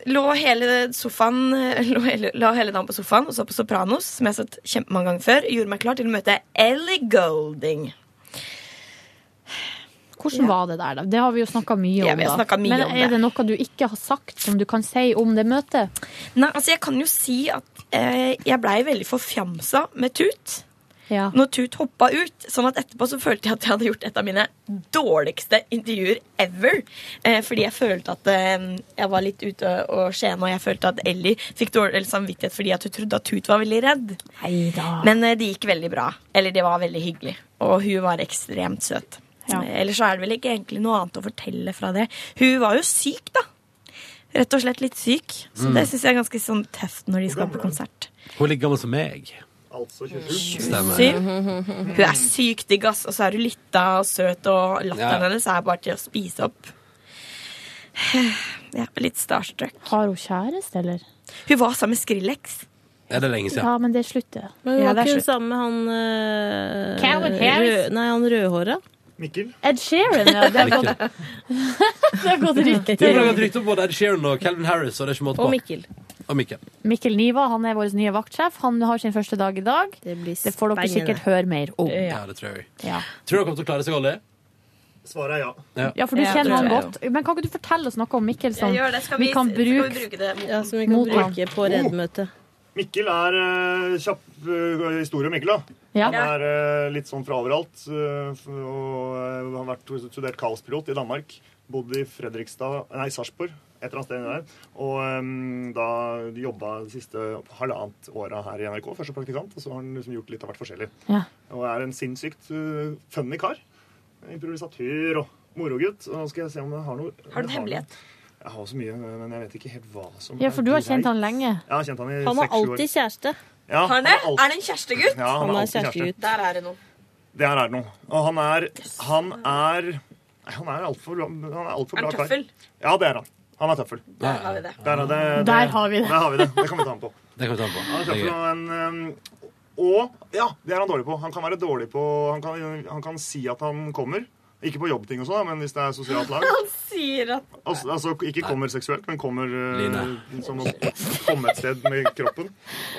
S7: lå hele sofaen lå hele, La hele dagen på sofaen og så på Sopranos, som jeg har sett kjempemange ganger før. Gjorde meg klar til å møte Ellie Golding.
S3: Hvordan var det der, da? Det har vi jo snakka mye
S7: Ja,
S3: om.
S7: vi har
S3: da.
S7: snakket mye
S3: Men
S7: om
S3: er
S7: det.
S3: det noe du ikke har sagt som du kan si om det møtet?
S7: Nei, altså jeg kan jo si at eh, jeg blei veldig forfjamsa med Tut.
S3: Ja.
S7: Når Tut hoppa ut, sånn at etterpå så følte jeg at jeg hadde gjort et av mine dårligste intervjuer ever. Eh, fordi jeg følte at eh, jeg var litt ute og skjene, og jeg følte at Ellie fikk dårlig samvittighet fordi at hun trodde at Tut var veldig redd. Men eh, det gikk veldig bra. Eller det var veldig hyggelig. Og hun var ekstremt søt.
S3: Ja.
S7: Eh, Ellers så er det vel ikke egentlig noe annet å fortelle fra det. Hun var jo syk, da. Rett og slett litt syk. Så
S5: Mm.
S7: det syns jeg er ganske sånn tøft når de skal på konsert.
S5: Hun er like gammel som meg.
S10: Altså
S5: 27.
S7: Syv.
S5: Stemmer.
S7: Hun er sykt digg, ass. Og så er hun lytta og søt, og
S5: Ja.
S7: latteren hennes er bare til å spise opp. Jeg er litt starstruck.
S3: Har hun kjæreste, eller?
S7: Hun var sammen med Skrillex.
S5: Er det lenge
S3: Ja,
S5: siden?
S3: men det er slutt, det.
S4: Men hun
S7: Ja,
S4: var
S7: det er
S4: ikke hun
S7: slutt.
S4: sammen med han eh,
S3: Calvin Harris.
S4: Rød, nei, han rødhåra?
S10: Mikkel?
S3: Ed Sheeran, ja. Det har
S5: Mikkel.
S3: gått, det har gått
S5: Det er laget
S3: riktig.
S5: rykte om både Ed Sheeran og Calvin Harris, og det er ikke måte på. Og Mikkel.
S3: Mikkel Niva han er vår nye vaktsjef. Han har sin første dag i dag. Det, får dere
S4: spennende.
S3: sikkert høre mer om.
S5: Ja, det tror jeg. Tror du han kommer til å klare seg, Olli?
S10: Svaret er ja.
S3: Ja, for du
S4: Ja,
S3: kjenner
S4: tror
S3: han
S4: jeg
S3: godt. Men kan ikke du fortelle oss noe om Mikkel sånn? som
S7: Jeg gjør det. Skal
S3: vi,
S7: vi-
S3: kan
S7: skal vi
S3: bruke,
S7: bruke det mot-
S4: Ja, som vi kan
S3: mot han?
S4: bruke på Redd-møtet.
S10: Mikkel er eh, kjapp eh, historie om Mikkel, da.
S3: Ja.
S10: Han er eh, litt sånn fra overalt. eh, f- og eh, har vært studert kaospilot i Danmark. Bodd i Fredrikstad Nei, Sarpsborg. Et eller annet sted inni der. Og eh, da jobba de siste halvannet åra her i NRK, først som praktikant, og så har han liksom gjort litt av hvert forskjellig.
S3: Ja.
S10: Og er en sinnssykt eh, funny kar. Improvisatør og morogutt. Og nå skal jeg se om jeg har noe
S7: Har du en hemmelighet?
S10: Jeg har så mye, men jeg vet ikke helt hva som
S3: ja, for du har kjent han
S10: greit.
S3: lenge.
S10: Jeg har kjent han i
S4: Han har
S10: seks sju år.
S4: alltid kjæreste.
S10: Ja,
S7: Har han det?
S10: han er alt-
S7: Er det en kjærestegutt?
S10: Ja, han er Han er alltid kjærestegutt. kjæreste.
S7: Der er det noe.
S10: Det her er det noe. Og han er Han er nei, Han er altfor han er alt for
S7: Er han
S10: bra kar.
S7: tøffel?
S10: Ja, det er han. Han er tøffel.
S5: Der har vi det.
S10: Der, er det,
S3: Der har vi det.
S10: Der har vi det. det kan vi ta han på.
S5: Det kan vi ta på.
S10: Han er
S5: Det er
S10: tøffel
S5: gøy.
S10: og en um, Og ja, det er han dårlig på. Han kan være dårlig på Han kan, han kan si at han kommer. Ikke på jobbting og sånn, da, men hvis det er sosialt lag.
S7: Han sier at
S10: Altså, altså ikke kommer seksuelt, men kommer uh,
S5: Line.
S10: som å komme et sted med kroppen.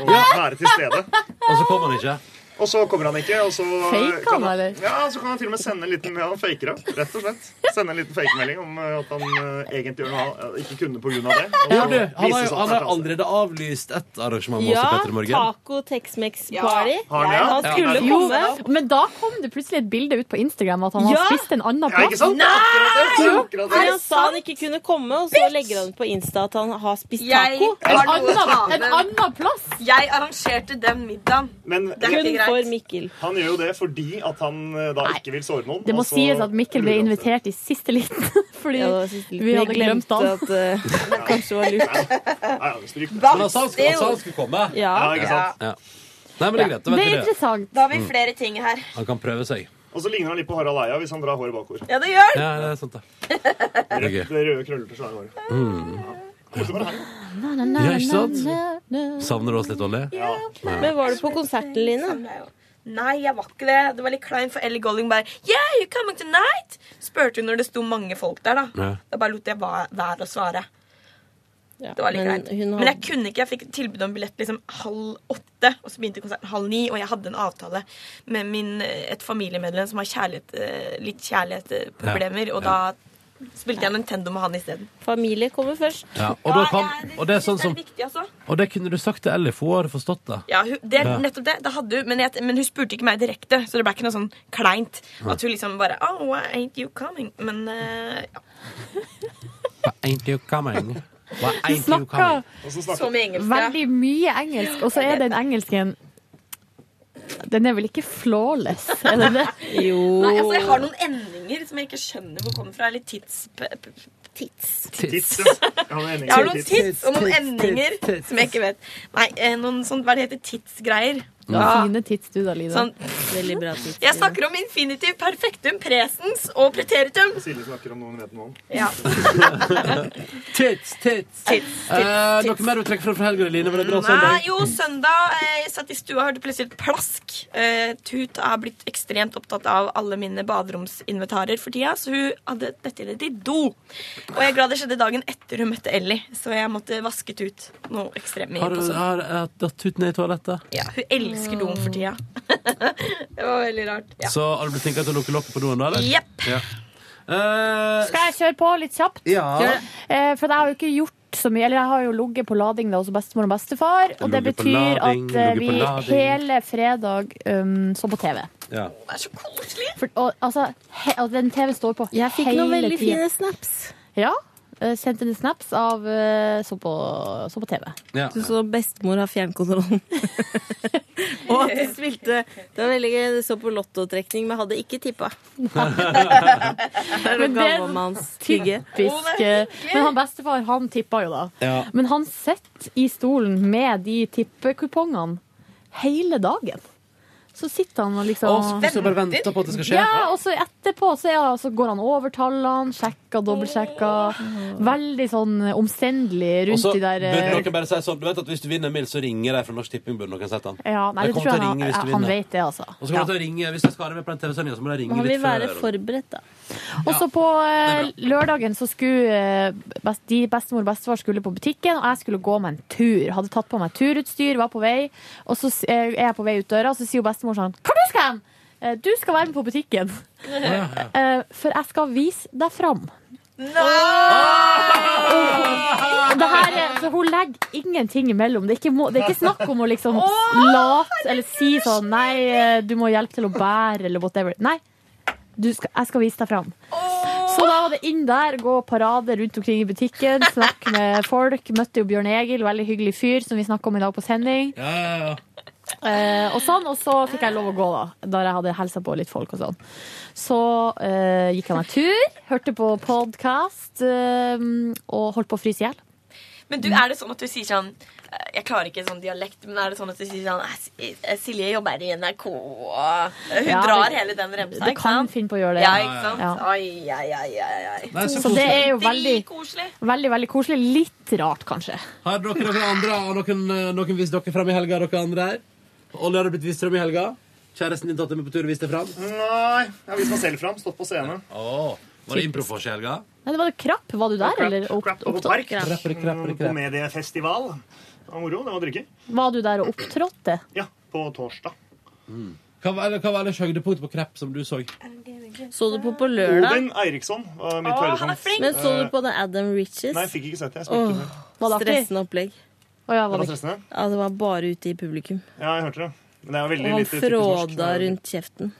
S10: Og være til stede.
S5: Og så kommer han ikke.
S10: Og så kommer han ikke, og så
S3: Fake
S10: kan
S3: han, eller?
S10: Ja, så kan han til og med sende en liten ja, Han faker det, rett og slett. Sende en liten fakemelding om eh, at han eh, egentlig gjør noe han eh, ikke kunne på grunn av det. Og
S5: Ja,
S10: så
S5: du, han har
S10: viser
S5: jo
S10: det seg
S5: han
S10: at
S5: har allerede avlyst ett arrangement med oss i
S4: Ja,
S5: Petter Morgen.
S4: taco Tex-Mex-party.
S5: Har han det?
S4: Han
S5: Ja.
S4: skulle
S3: Jo,
S4: komme.
S3: men da kom det plutselig et bilde ut på Instagram at han
S4: Ja!
S3: har spist en annen plass.
S4: Nei!
S3: Jo.
S4: Men han sa han ikke kunne komme, og så legger han på Insta at han har spist taco.
S3: plass!
S7: Jeg arrangerte den middagen.
S10: Men
S7: Det er ikke greit.
S10: Han gjør jo det fordi at han eh, da ikke vil såre noen.
S3: Det må
S5: Altså,
S10: og så-
S3: sies at Mikkel ble invitert i siste liten, fordi
S10: Ja, det var siste liten.
S3: vi hadde
S4: Vi
S3: glemt
S4: glemte
S3: han.
S4: at, Kanskje det var lurt.
S10: Ja, ja, stryk det.
S4: Hva?
S5: Men han sa han skulle, han sa han skulle komme.
S4: Ja.
S10: Ja, ikke sant?
S5: Ja. Nei, men det er greit. Da vet vi det.
S7: Da har vi
S5: Mm.
S7: flere ting her.
S5: Han kan prøve seg.
S10: Og så ligner han litt på Harald Eia hvis han drar håret bakover.
S7: Ja, det gjør
S5: Ja, det er sant, det.
S10: Rødt,
S5: Det er gøy.
S10: det røde, krøllete, svære håret.
S5: Mm.
S10: Koselig med det her.
S5: Ja, ikke sant? Savner du oss litt, Olli? Ja.
S4: Men var du på konserten, Line?
S7: Nei, jeg var ikke det. Det var litt kleint, for Ellie Golling bare Yeah, you coming tonight? Spurte hun når det sto mange folk der, da.
S4: Ja.
S7: Da bare lot jeg va- være å svare.
S4: Ja,
S7: Det var litt
S4: men
S7: kleint.
S4: hun
S7: Men jeg kunne ikke. Jeg fikk tilbud om billett liksom halv åtte, og så begynte konserten halv ni, og jeg hadde en avtale med min, et familiemedlem som har kjærlighet, eh, litt kjærlighetsproblemer,
S5: Ja,
S7: og
S5: ja.
S7: da spilte jeg Nintendo med han isteden.
S4: Familie kommer først.
S5: Ja, og, da kan, og det er sånn som
S7: viktig, altså.
S5: Og det kunne du sagt til Ellie, for hun hadde forstått det.
S7: Ja, hun, det,
S5: Ja.
S7: nettopp det. det hadde hun, men, jeg, men hun spurte ikke meg direkte, så det ble ikke noe sånn kleint. At hun liksom bare Oh, why ain't you coming? Men eh, ja.
S5: Why ain't you coming? Why ain't you coming?
S3: Snakka
S7: Som i engelsk. ja.
S3: veldig mye engelsk, og så er den engelsken Den er vel ikke flawless, er den det?
S7: Nei, altså, jeg har noen endinger som jeg ikke skjønner hvor kommer fra. Eller tids... p- p- Tids.
S10: Tits, ja. Jeg har noen endinger.
S7: Jeg har noen
S10: Tits.
S7: tids og noen
S10: Tits,
S7: endinger
S10: tits, tits.
S7: som jeg ikke vet. Nei, eh, noen sånn Hva er det heter tidsgreier?
S3: Du har fine tits, du da, Lida.
S7: Sånn.
S4: Veldig bra tids.
S7: Jeg snakker om infinitiv, perfektum, presens og preteritum.
S10: Silje snakker om noen vet noe om.
S7: Ja.
S5: Tits, tits. Eh, noe mer du trekker fram fra helga, Line? Var det bra
S7: Nei,
S5: søndag?
S7: jo, søndag eh, jeg satt i stua og hørte plutselig et plask. Eh, Tut er blitt ekstremt opptatt av alle mine baderomsinventarer for tida, så hun hadde dette i det i do. Og jeg er glad det skjedde dagen etter hun møtte Ellie, så jeg måtte vaske Tut noe ekstremt mye.
S5: Har
S7: på
S5: du
S7: søndag.
S5: har jeg datt ut ned i toalettet?
S7: Ja, hun elsker doen for tida. det var veldig rart. Ja.
S5: Så har du blitt flinkere til å lukke lokket på doen, da? eller?
S7: Jepp.
S5: Ja. Eh,
S3: Skal jeg kjøre på litt kjapt?
S5: Ja. Gjør det.
S3: Eh, for jeg har jo ikke gjort så mye, eller jeg har jo ligget på lading da, hos bestemor og bestefar. Og det
S5: Ligget på lading,
S3: betyr at eh,
S5: ligget på
S3: vi
S5: lading.
S3: hele fredag um, så på TV.
S5: ja.
S7: Det er så koselig!
S3: For, og, altså, he, og den TV står på hele tiden. Jeg
S4: fikk noen veldig fine snaps.
S3: Ja. eh, Sendte en snaps av eh, så, på, så på TV.
S5: Ja.
S4: Du så bestemor har fjernkontrollen. og at de spilte Det var veldig gøy. Du så på lottotrekning, men hadde ikke tippa.
S3: Men det er
S4: hygge.
S3: typisk eh, Men han bestefar, han tippa jo da.
S4: Ja.
S3: Men han sitter i stolen med de tippekupongene hele dagen. Så sitter han og liksom
S5: Å, så plutselig bare venter på at det skal skje.
S3: Ja, og så etterpå så, er, han- så går han over tallene, sjekker, dobbeltsjekker. Veldig sånn omstendelig
S5: Og
S3: rundt
S5: så
S3: de der
S5: burde
S3: eh,
S5: noen bare si sånn Du vet at hvis du vinner en mil, så ringer de fra Norsk Tipping. Burde noen sett den?
S3: ja,
S5: Jeg
S3: nei, det
S5: kommer
S3: tror jeg
S5: til å
S3: han,
S5: ringe hvis du
S3: han
S5: vinner.
S3: vet det, altså.
S5: Og så kommer de til å ringe Hvis jeg skal være med på den TV-sendinga, så må de ringe
S4: Man vil
S5: litt før.
S4: være forberedt, da.
S3: Og så på eh, lørdagen så skulle eh, best, de bestemor og bestefar skulle på butikken, og jeg skulle gå meg en tur. Hadde tatt på meg turutstyr, var på vei, og så s- eh, er jeg på vei ut døra, og så sier jo bestemor sånn Hvor du skal hen? Eh, Du skal være med på butikken.
S22: Ja, ja.
S3: Eh, For jeg skal vise deg fram.
S22: Nei!
S3: Det her, er- så hun legger ingenting imellom. Det er ikke, må, det er ikke snakk om å liksom late eller si sånn Nei, eh, du må hjelpe til å bære, eller whatever. Nei, du skal, jeg skal vise deg fram. Så da var det inn der, gå parade rundt omkring i butikken, snakke med folk. Møtte jo Bjørn Egil, veldig hyggelig fyr, som vi snakka om i dag på sending.
S5: Ja, ja, ja.
S3: Eh, og sånn, og så fikk jeg lov å gå, da, da jeg hadde hilsa på litt folk og sånn. Så eh, gikk jeg meg tur, hørte på podkast eh, og holdt på å fryse i hjel.
S7: Men du, er det sånn at du sier sånn eh, Jeg klarer ikke sånn dialekt, men er det sånn at du sier sånn "Eh, S- eh, Silje jobber i NRK og Hun
S3: Ja,
S7: drar
S3: det-
S7: hele den remsa,
S3: Det
S7: ikke
S3: kan
S7: sant?
S3: finne på å gjøre det.
S7: Ja, ikke sant?
S3: Ja.
S7: Ai, ai, ai, ai, ai.
S5: Nei,
S3: Så det er jo veldig,
S7: Dritkoselig.
S3: veldig, veldig koselig. Litt rart, kanskje.
S5: Har dere noen andre og noen, eh, noen vist dere fram i helga, dere andre her? Olje har blitt vist fram i helga. Kjæresten din tatt deg med på tur og viste deg fram.
S10: Nei, jeg har vist meg selv fram. Stått på scenen.
S5: Åh, var det improfors i helga?
S3: Nei, det var Krapp, var du der? eller opp,
S10: På
S3: opptrådte?
S10: park. Mm, På mediefestival. Det var moro. Det var drikke.
S3: Var du der og opptrådte?
S10: Ja, på torsdag.
S5: Hva var, hva var ellers høydepunktet på krepp som du så?
S7: Så du på på lørdag?
S10: Odin Eiriksson var mitt høydepunkt.
S7: Men så du
S10: Eh,
S7: på den Adam Riches?
S10: Nei, jeg fikk ikke sett det. Jeg spilte
S7: Åh,
S10: det.
S3: Var det artig?
S7: stressende opplegg.
S3: ja,
S10: var Var det det ikke- stressende?
S7: Ja, det var bare ute i publikum.
S10: Ja, jeg hørte det. Men det er jo
S7: Og
S10: veldig
S7: han
S10: lite typisk norsk. eh,
S7: fråda rundt kjeften.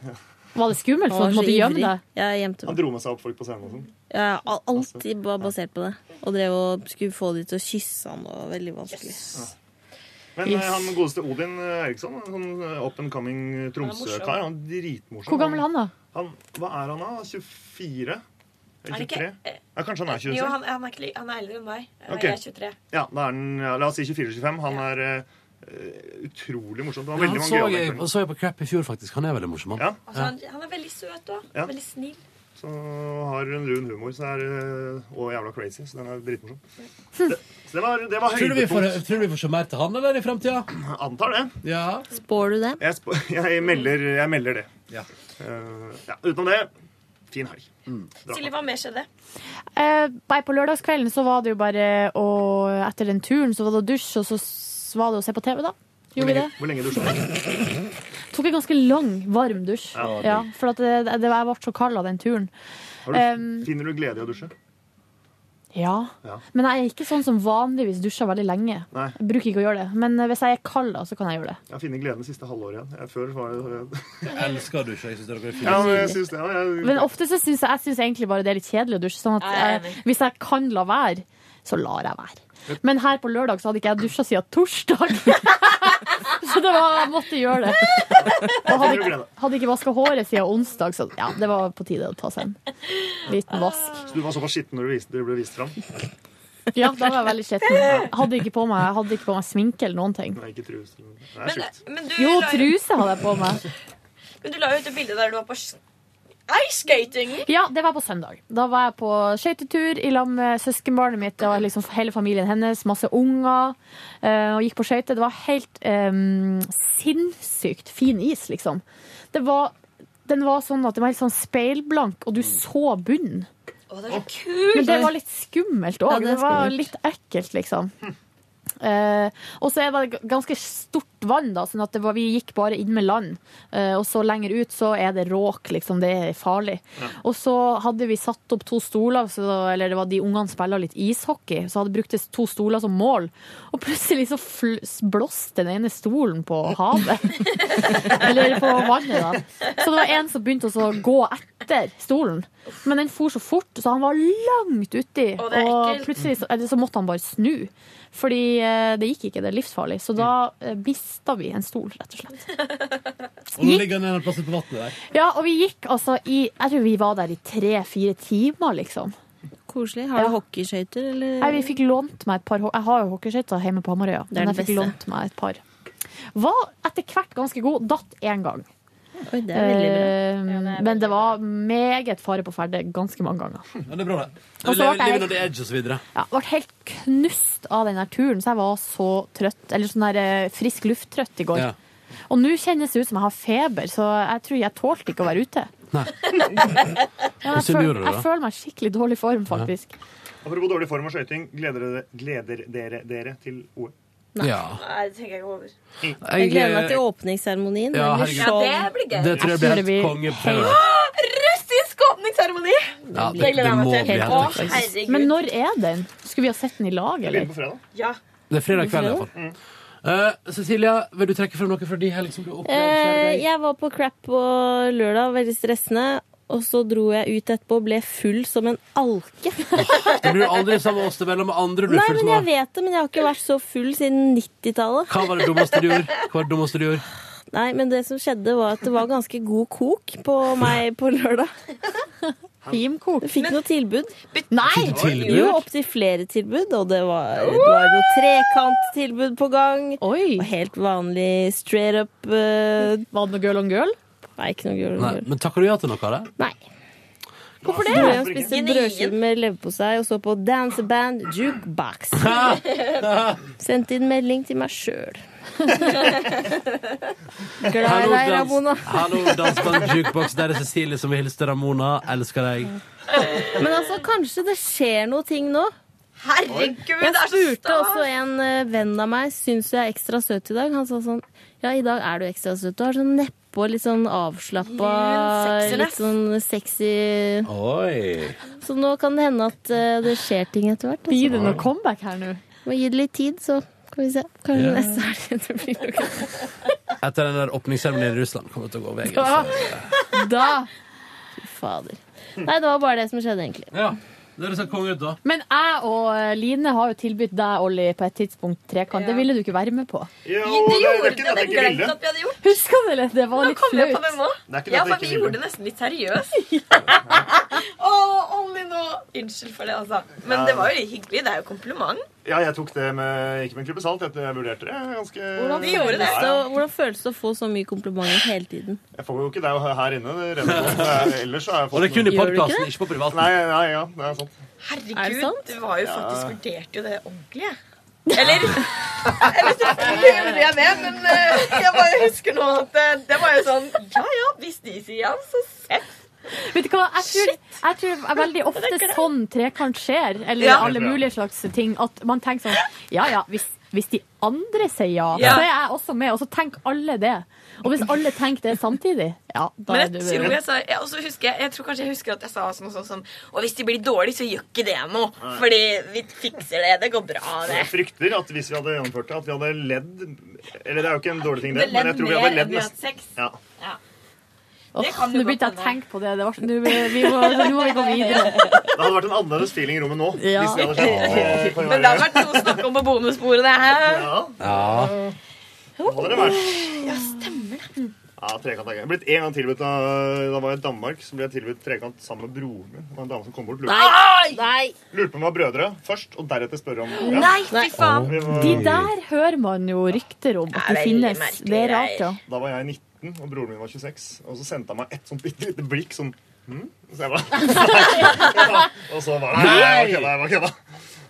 S3: Var det skummelt?
S7: Han var
S3: For du
S7: så
S3: måtte gjemme
S7: ivrig.
S3: deg?
S7: Ja, jeg gjemte
S10: Han
S7: meg.
S10: dro med seg opp folk på scenen og sånn.
S7: Ja, al- alt i- var basert på det. Og drev og skulle få de til å kysse han, og veldig vanskelig.
S10: Men
S7: Yes.
S10: eh, han godeste Odin Eriksson, en sånn eh, up and coming Tromsø-kar, han er dritmorsom.
S3: Hvor gammel er han, da?
S10: Han, hva er han da? 24?
S23: Er
S10: Eller
S23: det ikke-
S10: 23? Ja, kanskje han er 26?
S23: Jo, han, han, er, ikke li- han er eldre enn meg. Eh,
S10: Ok.
S23: Jeg er 23.
S10: Ja, da er han, ja, la oss si 24-25. Han er eh, utrolig morsom. Det var
S5: han så
S10: veldig mange gøyale
S5: jeg,
S10: mennesker.
S5: han så jeg på Crap i fjor, faktisk. Han er veldig morsom, han.
S23: Altså, han, han er veldig søt òg.
S10: Ja.
S23: Veldig snill.
S10: Så har en rund humor så er, eh, og jævla crazy, så den er dritmorsom. Det, så det var, det var
S5: Tror du vi får,
S10: høydepunkt.
S5: tror du vi får se mer til han eller i fremtida?
S10: Antar det.
S5: Ja.
S7: Spår du det?
S10: Jeg, sp jeg, melder, jeg melder det. Eh,
S5: Ja.
S10: ja, utenom det, fin helg.
S5: Mm.
S10: Dra.
S23: Silje, hva mer skjedde?
S3: Eh, nei, på lørdagskvelden så var det jo bare å Etter den turen så var det å dusje, og så s- var det å se på TV, da.
S10: Hvor
S3: Gjorde vi
S10: lenge,
S3: det?
S10: hvor lenge dusja du?
S3: Tok en ganske lang, varm dusj.
S10: Ja, det var
S3: Ja,
S10: digg.
S3: for at det, det, jeg ble så kald av den turen.
S10: Har du-
S3: Em,
S10: Finner du glede i å dusje?
S3: ja.
S10: Ja.
S3: Men jeg er ikke sånn som vanligvis dusjer veldig lenge.
S10: Nei.
S3: Jeg bruker ikke å gjøre det. Men hvis jeg er kald, da, så kan jeg gjøre det.
S10: Jeg har funnet gleden det siste halvåret igjen. Jeg, før var jeg,
S5: Jeg elsker du ikke. Jeg syns dere er
S10: ja, men
S5: fine.
S10: jeg synes det. Ja, jeg,
S3: Men ofte så syns jeg, jeg synes egentlig bare det er litt kjedelig å dusje. Sånn at
S10: Jeg er
S3: eh, hvis jeg kan la være, så lar jeg være. Men her på lørdag så hadde ikke jeg dusja siden torsdag. så det var, jeg måtte gjøre det. Og hadde ikke, hadde ikke vaska håret siden onsdag, så ja, det var på tide å ta seg en liten vask.
S10: Så du var såpass skitten når du, viste, du ble vist fram?
S3: Ja, da var jeg veldig skitten. Jeg Hadde ikke på meg, jeg hadde ikke på meg sminke eller noen ting.
S10: Nei, ikke trus. Det
S23: Men,
S10: er sjukt.
S23: men, du
S3: Jo,
S23: la, jo-
S3: truse hadde jeg på meg.
S23: men du la jo ut et bilde der du var på s- iceskating.
S3: Ja, det var på søndag. Da var jeg på skøytetur i lag med søskenbarnet mitt og liksom hele familien hennes. Masse unger. eh, Og gikk på skøyter. Det var helt eh, sinnssykt fin is, liksom. Det var, den var sånn at den var helt sånn speilblank, og du så bunnen.
S23: Å, Mm. det er så kult!
S3: Men det var litt skummelt
S23: Ja,
S3: òg.
S23: det er
S3: det, var
S23: skummelt.
S3: litt ekkelt, liksom. Eh, og så er det g- ganske stort vann, da, sånn at det var, vi gikk bare inn med land. Eh, og så lenger ut så er det råk, liksom. Det er farlig. Og så hadde vi satt opp to stoler, så, eller det var de ungene spilla litt ishockey, så hadde brukt to stoler som mål. Og plutselig så fl- s- blåste den ene stolen på havet. Eller på vannet, da. Så det var en som begynte å gå etter stolen. Men den for så fort, så han var langt uti.
S23: Å,
S3: Og
S23: det er ekkelt.
S3: plutselig så, eller så måtte han bare snu. Fordi eh, det gikk ikke, det er livsfarlig. Så da mista vi en stol, rett og slett.
S5: Og nå ligger han en eller annen plass ute på vannet der.
S3: Ja, og vi gikk altså i Jeg tror vi var der i tre-fire timer, liksom.
S7: Mm. Koselig. Har du hockeyskøyter, eller?
S3: Nei, vi fikk lånt meg et par ho- Jeg har jo hockeyskøyter hjemme på Hamarøya.
S7: er
S3: Men jeg
S7: det
S3: fikk
S7: beste.
S3: lånt meg et par. Var etter hvert ganske god. Datt én gang.
S7: Oi, det er veldig bra.
S3: Eh, Men det var meget fare på ferde ganske mange ganger.
S5: Ja, det er bra, det.
S3: Og så ble jeg-
S5: Living on the edge og så videre.
S3: Ja, ble helt knust av den her turen, så jeg var så trøtt. Eller sånn der eh, frisk luft-trøtt i går.
S5: Ja.
S3: Og nå kjennes det ut som jeg har feber, så jeg tror jeg tålte ikke å være ute.
S5: Nei.
S3: Ja,
S10: Hvordan
S3: jeg, føl,
S10: gjorde du det?
S3: jeg føler meg i skikkelig dårlig form, faktisk.
S10: Apropos dårlig form og skøyting, gleder, dere- gleder dere dere til E? OL?
S5: Ja.
S23: Nei, det tenker jeg ikke over.
S7: Jeg gleder meg til åpningsseremonien.
S5: Ja,
S7: det blir
S5: herregud.
S7: show.
S23: Ja, det blir gøy.
S5: eh, Det tror jeg blir helt konge.
S23: Ah, Russisk åpningsseremoni!
S5: Ja, det-
S23: Det gleder
S5: det
S23: jeg
S5: må
S23: meg til.
S5: bli
S23: Å,
S5: helt fantastisk.
S23: herregud.
S3: Men når er den? Skulle vi ha sett den i lag, eller?
S23: Ja.
S5: Det er fredag kveld, iallfall. Uh, Cecilia, vil du trekke frem noe fra de helg som du
S7: Eh,
S5: opplevde?
S7: jeg var på crap på lørdag, veldig stressende. Og så dro jeg ut etterpå og ble full som en alke.
S5: Det blir aldri sammen med oss, det er mellom andre du
S7: Nei,
S5: føler
S7: men
S5: som
S7: jeg
S5: har-
S7: vet det, men jeg har ikke vært så full siden 90-tallet.
S5: Hva var det dummeste du gjorde? Hva var det dummeste du gjorde?
S7: Nei, men det som skjedde, var at det var ganske god kok på meg på lørdag.
S3: Himkok?
S7: Jeg fikk noe tilbud.
S3: Nei!
S5: Fikk tilbud?
S7: Jo, opptil flere tilbud, og det var, det var noe trekanttilbud på gang. Og helt vanlig straight up
S3: Var
S7: eh,
S3: det noe girl on girl?
S7: Nei, ikke noe girl on
S5: Nei,
S7: girl.
S5: men takker du ja til noe av det?
S7: Nei.
S3: Hvorfor
S7: det? Jeg spiste brødskive med leverpostei og så på danseband Jukebox. Sendte inn melding til meg sjøl. Glad i
S5: Hallo,
S7: deg,
S5: dans-
S7: Ramona.
S5: Hallo, dansband Jukebox. Der er Cecilie som vil hilse til Ramona. Elsker deg.
S7: Men altså, kanskje det skjer noe ting nå? Herregud,
S24: Jeg
S7: det er så
S24: spurte også en eh, venn av meg Syns du jeg er ekstra søt i dag. Han sa sånn Ja, i dag er du ekstra søt. Du har sånn neppe og litt sånn avslappa,
S7: Mm, sexiness.
S24: litt sånn sexy
S5: Oi.
S24: Så nå kan det hende at eh, det skjer ting etter hvert.
S3: Blir det noe comeback her nå?
S24: Må gi det litt tid, så skal vi se. Kanskje
S5: Ja.
S24: neste helg det blir noe.
S5: Etter den der åpningsseremonien i Russland kommer det til å gå veien. altså.
S24: Da.
S5: så-
S24: da. Fy fader. Nei, det var bare det som skjedde, egentlig.
S5: Ja. Dere ser konge ut, da.
S3: Men jeg og eh, Line har jo tilbudt deg, Olli, på et tidspunkt trekant. Det ville du ikke være med på.
S10: Jo, det, det er ikke det at jeg ikke ville.
S7: at vi hadde gjort.
S3: Husker du det? Det var litt
S7: Kom jeg på
S3: flaut.
S7: det nå?
S10: Det er ikke det
S7: Ja,
S10: at jeg
S7: for
S10: ikke
S7: vi
S10: ville.
S7: gjorde det nesten litt seriøst. Å, Olli nå! Unnskyld for det, altså. Men
S10: Ja.
S7: det var jo litt hyggelig. Det er jo kompliment.
S10: Ja, jeg tok det med, ikke med en klype salt. Jeg jeg vurderte det ganske
S24: Hvordan
S10: Ja,
S24: føles, det,
S10: ja.
S24: å- hvordan føles det å få så mye komplimenter hele tiden?
S10: Jeg får jo ikke deg her inne. Det renner på. Men Ellers så har jeg fått
S5: Og det er kun i
S10: Gjør du ikke
S5: podcasten,
S10: det?
S5: ikke på privaten.
S10: Nei, nei, ja, det er sant.
S24: Er det
S7: Herregud,
S24: sant?
S7: du var jo
S10: Ja.
S7: faktisk vurderte jo det ordentlig, jeg. Eller Eller selvfølgelig gjorde jeg det, men eh, jeg bare husker nå at eh, det var jo sånn Ja ja, hvis de sier ja, så seff.
S3: Vet du hva, jeg tror, jeg tror det er veldig ofte sånn trekant skjer, eller
S7: Ja.
S3: alle mulige slags ting, at man tenker sånn Ja ja, hvis, hvis de andre sier ja,
S7: Ja.
S3: så er jeg også med, og så tenker alle det. Og hvis alle tenker det samtidig, ja, da
S7: Men
S3: er
S7: jeg
S3: du
S7: tror jeg sa jeg, også husker, jeg, jeg tror kanskje jeg husker at jeg sa noe sånt som Og hvis de blir dårlige, så gjør ikke det noe.
S10: Nei.
S7: Fordi vi fikser det. Det går bra, det.
S10: Jeg frykter at hvis vi hadde gjennomført det, at vi hadde ledd Eller det er jo ikke en dårlig ting, det,
S7: Vi hadde ledd
S10: men jeg tror vi
S7: mer
S10: hadde
S7: enn
S10: ledd
S7: vi hadde
S10: mest.
S7: sex.
S10: Ja.
S3: Åh,
S7: Det kan jo
S3: Nå begynte jeg
S7: godt
S3: å tenke på det. det var, så- nå, vi må, nå må vi gå videre.
S10: Det hadde vært en annerledes feeling i rommet nå.
S3: Ja.
S10: Hvis det hadde skjedd. Eh, på
S7: Men det hadde vært noe å snakke om på bonussporene her.
S10: Ja.
S5: Ja.
S10: Hva hadde det vært?
S7: Ja, stemmer det.
S10: Ja, trekant er gøy. Jeg ble en gang tilbudt av, Da var jeg i Danmark, så ble jeg tilbudt trekant sammen med broren min. Det var en dame som kom bort og lurte
S24: Nei!
S10: lurte på om vi var brødre først, og deretter spørre om ja.
S3: Nei, fy
S10: faen. Vi var-
S3: De der hører man jo rykter om at
S10: Ja,
S3: de
S10: veldig
S3: finnes.
S10: merkelige
S3: Det er rart, ja.
S10: greier. Da var jeg 19, og broren min var 26. Og så sendte han meg et sånt bitte lite blikk sånn hm? Så jeg bare Og så var det Nei! Jeg var kødda, jeg var kødda.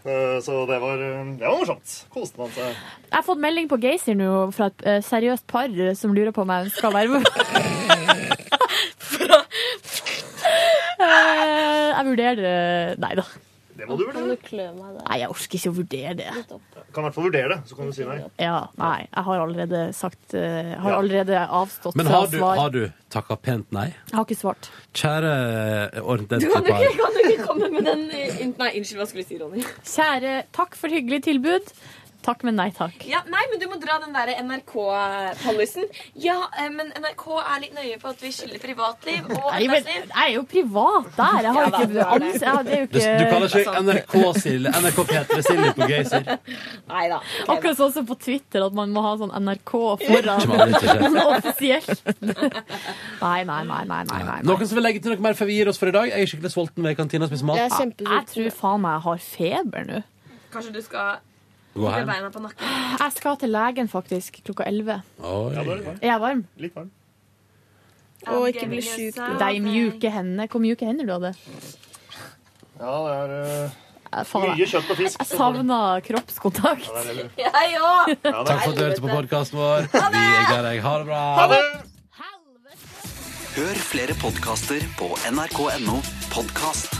S10: Eh, Så det var, eh, det var morsomt. Koste man seg.
S3: Jeg har fått melding på Geysir nå fra et eh, seriøst par eh, som lurer på om jeg skal være med. Eh, jeg vurderer eh, Nei da.
S10: Det må du vurdere.
S3: Nei, jeg orker ikke å vurdere det.
S10: Kan i hvert fall vurdere det, så kan du si nei.
S3: Ja, nei, jeg har allerede sagt eh, Har
S5: Ja.
S3: allerede avstått
S5: Men
S3: fra
S5: har
S3: å
S5: du,
S3: svare.
S5: har du takka pent nei?
S3: Jeg har ikke svart.
S5: Kjære
S7: Du
S5: ordentlige
S7: kan jo ikke,
S5: par.
S7: kan jo ikke komme med den eh, in- Nei, unnskyld, hva skulle du si, Ronny?
S3: Kjære, takk for hyggelig tilbud. Takk, men nei takk.
S7: Ja, nei, men du må dra den derre NRK-pollisen. Ja, eh, men NRK er litt nøye på at vi skiller privatliv og
S3: Nei, men,
S7: arbeidsliv.
S3: jeg er jo privat der. Jeg har
S7: Ja da,
S3: ikke
S7: du er det.
S3: ans- jeg har- det er jo
S5: Du, du kaller
S3: ikke
S5: ikke NRK Silje NRK Petre Silje på Geysir?
S7: Nei da.
S3: Akkurat sånn som på Twitter, at man må ha sånn NRK foran.
S5: Som aldri ikke skjer.
S3: Sånn offisielt. Nei, nei, nei, nei, nei. nei.
S5: Noen som vil legge til noe mer før vi gir oss for i dag? Jeg er skikkelig sulten ved kantina og spiser mat.
S3: Jeg, jeg tror faen meg jeg har feber nå.
S7: Kanskje du skal
S5: Gå
S7: med
S5: hjem.
S7: beina på nakken?
S3: Jeg skal til legen faktisk klokka 11.
S5: Oi.
S3: Er jeg varm?
S10: Litt varm.
S3: Og ikke bli sjuk. De mjuke hendene. Hvor mjuke hender du hadde?
S10: Ja, det er eh,
S3: faen, jeg-
S10: mye kjøtt og fisk.
S3: Jeg savna kroppskontakt.
S7: Jeg òg!
S5: Takk for at du hørte på podkasten vår. Vi er glad i deg. Ha det bra.
S12: Hør flere podkaster på nrk.no podkast.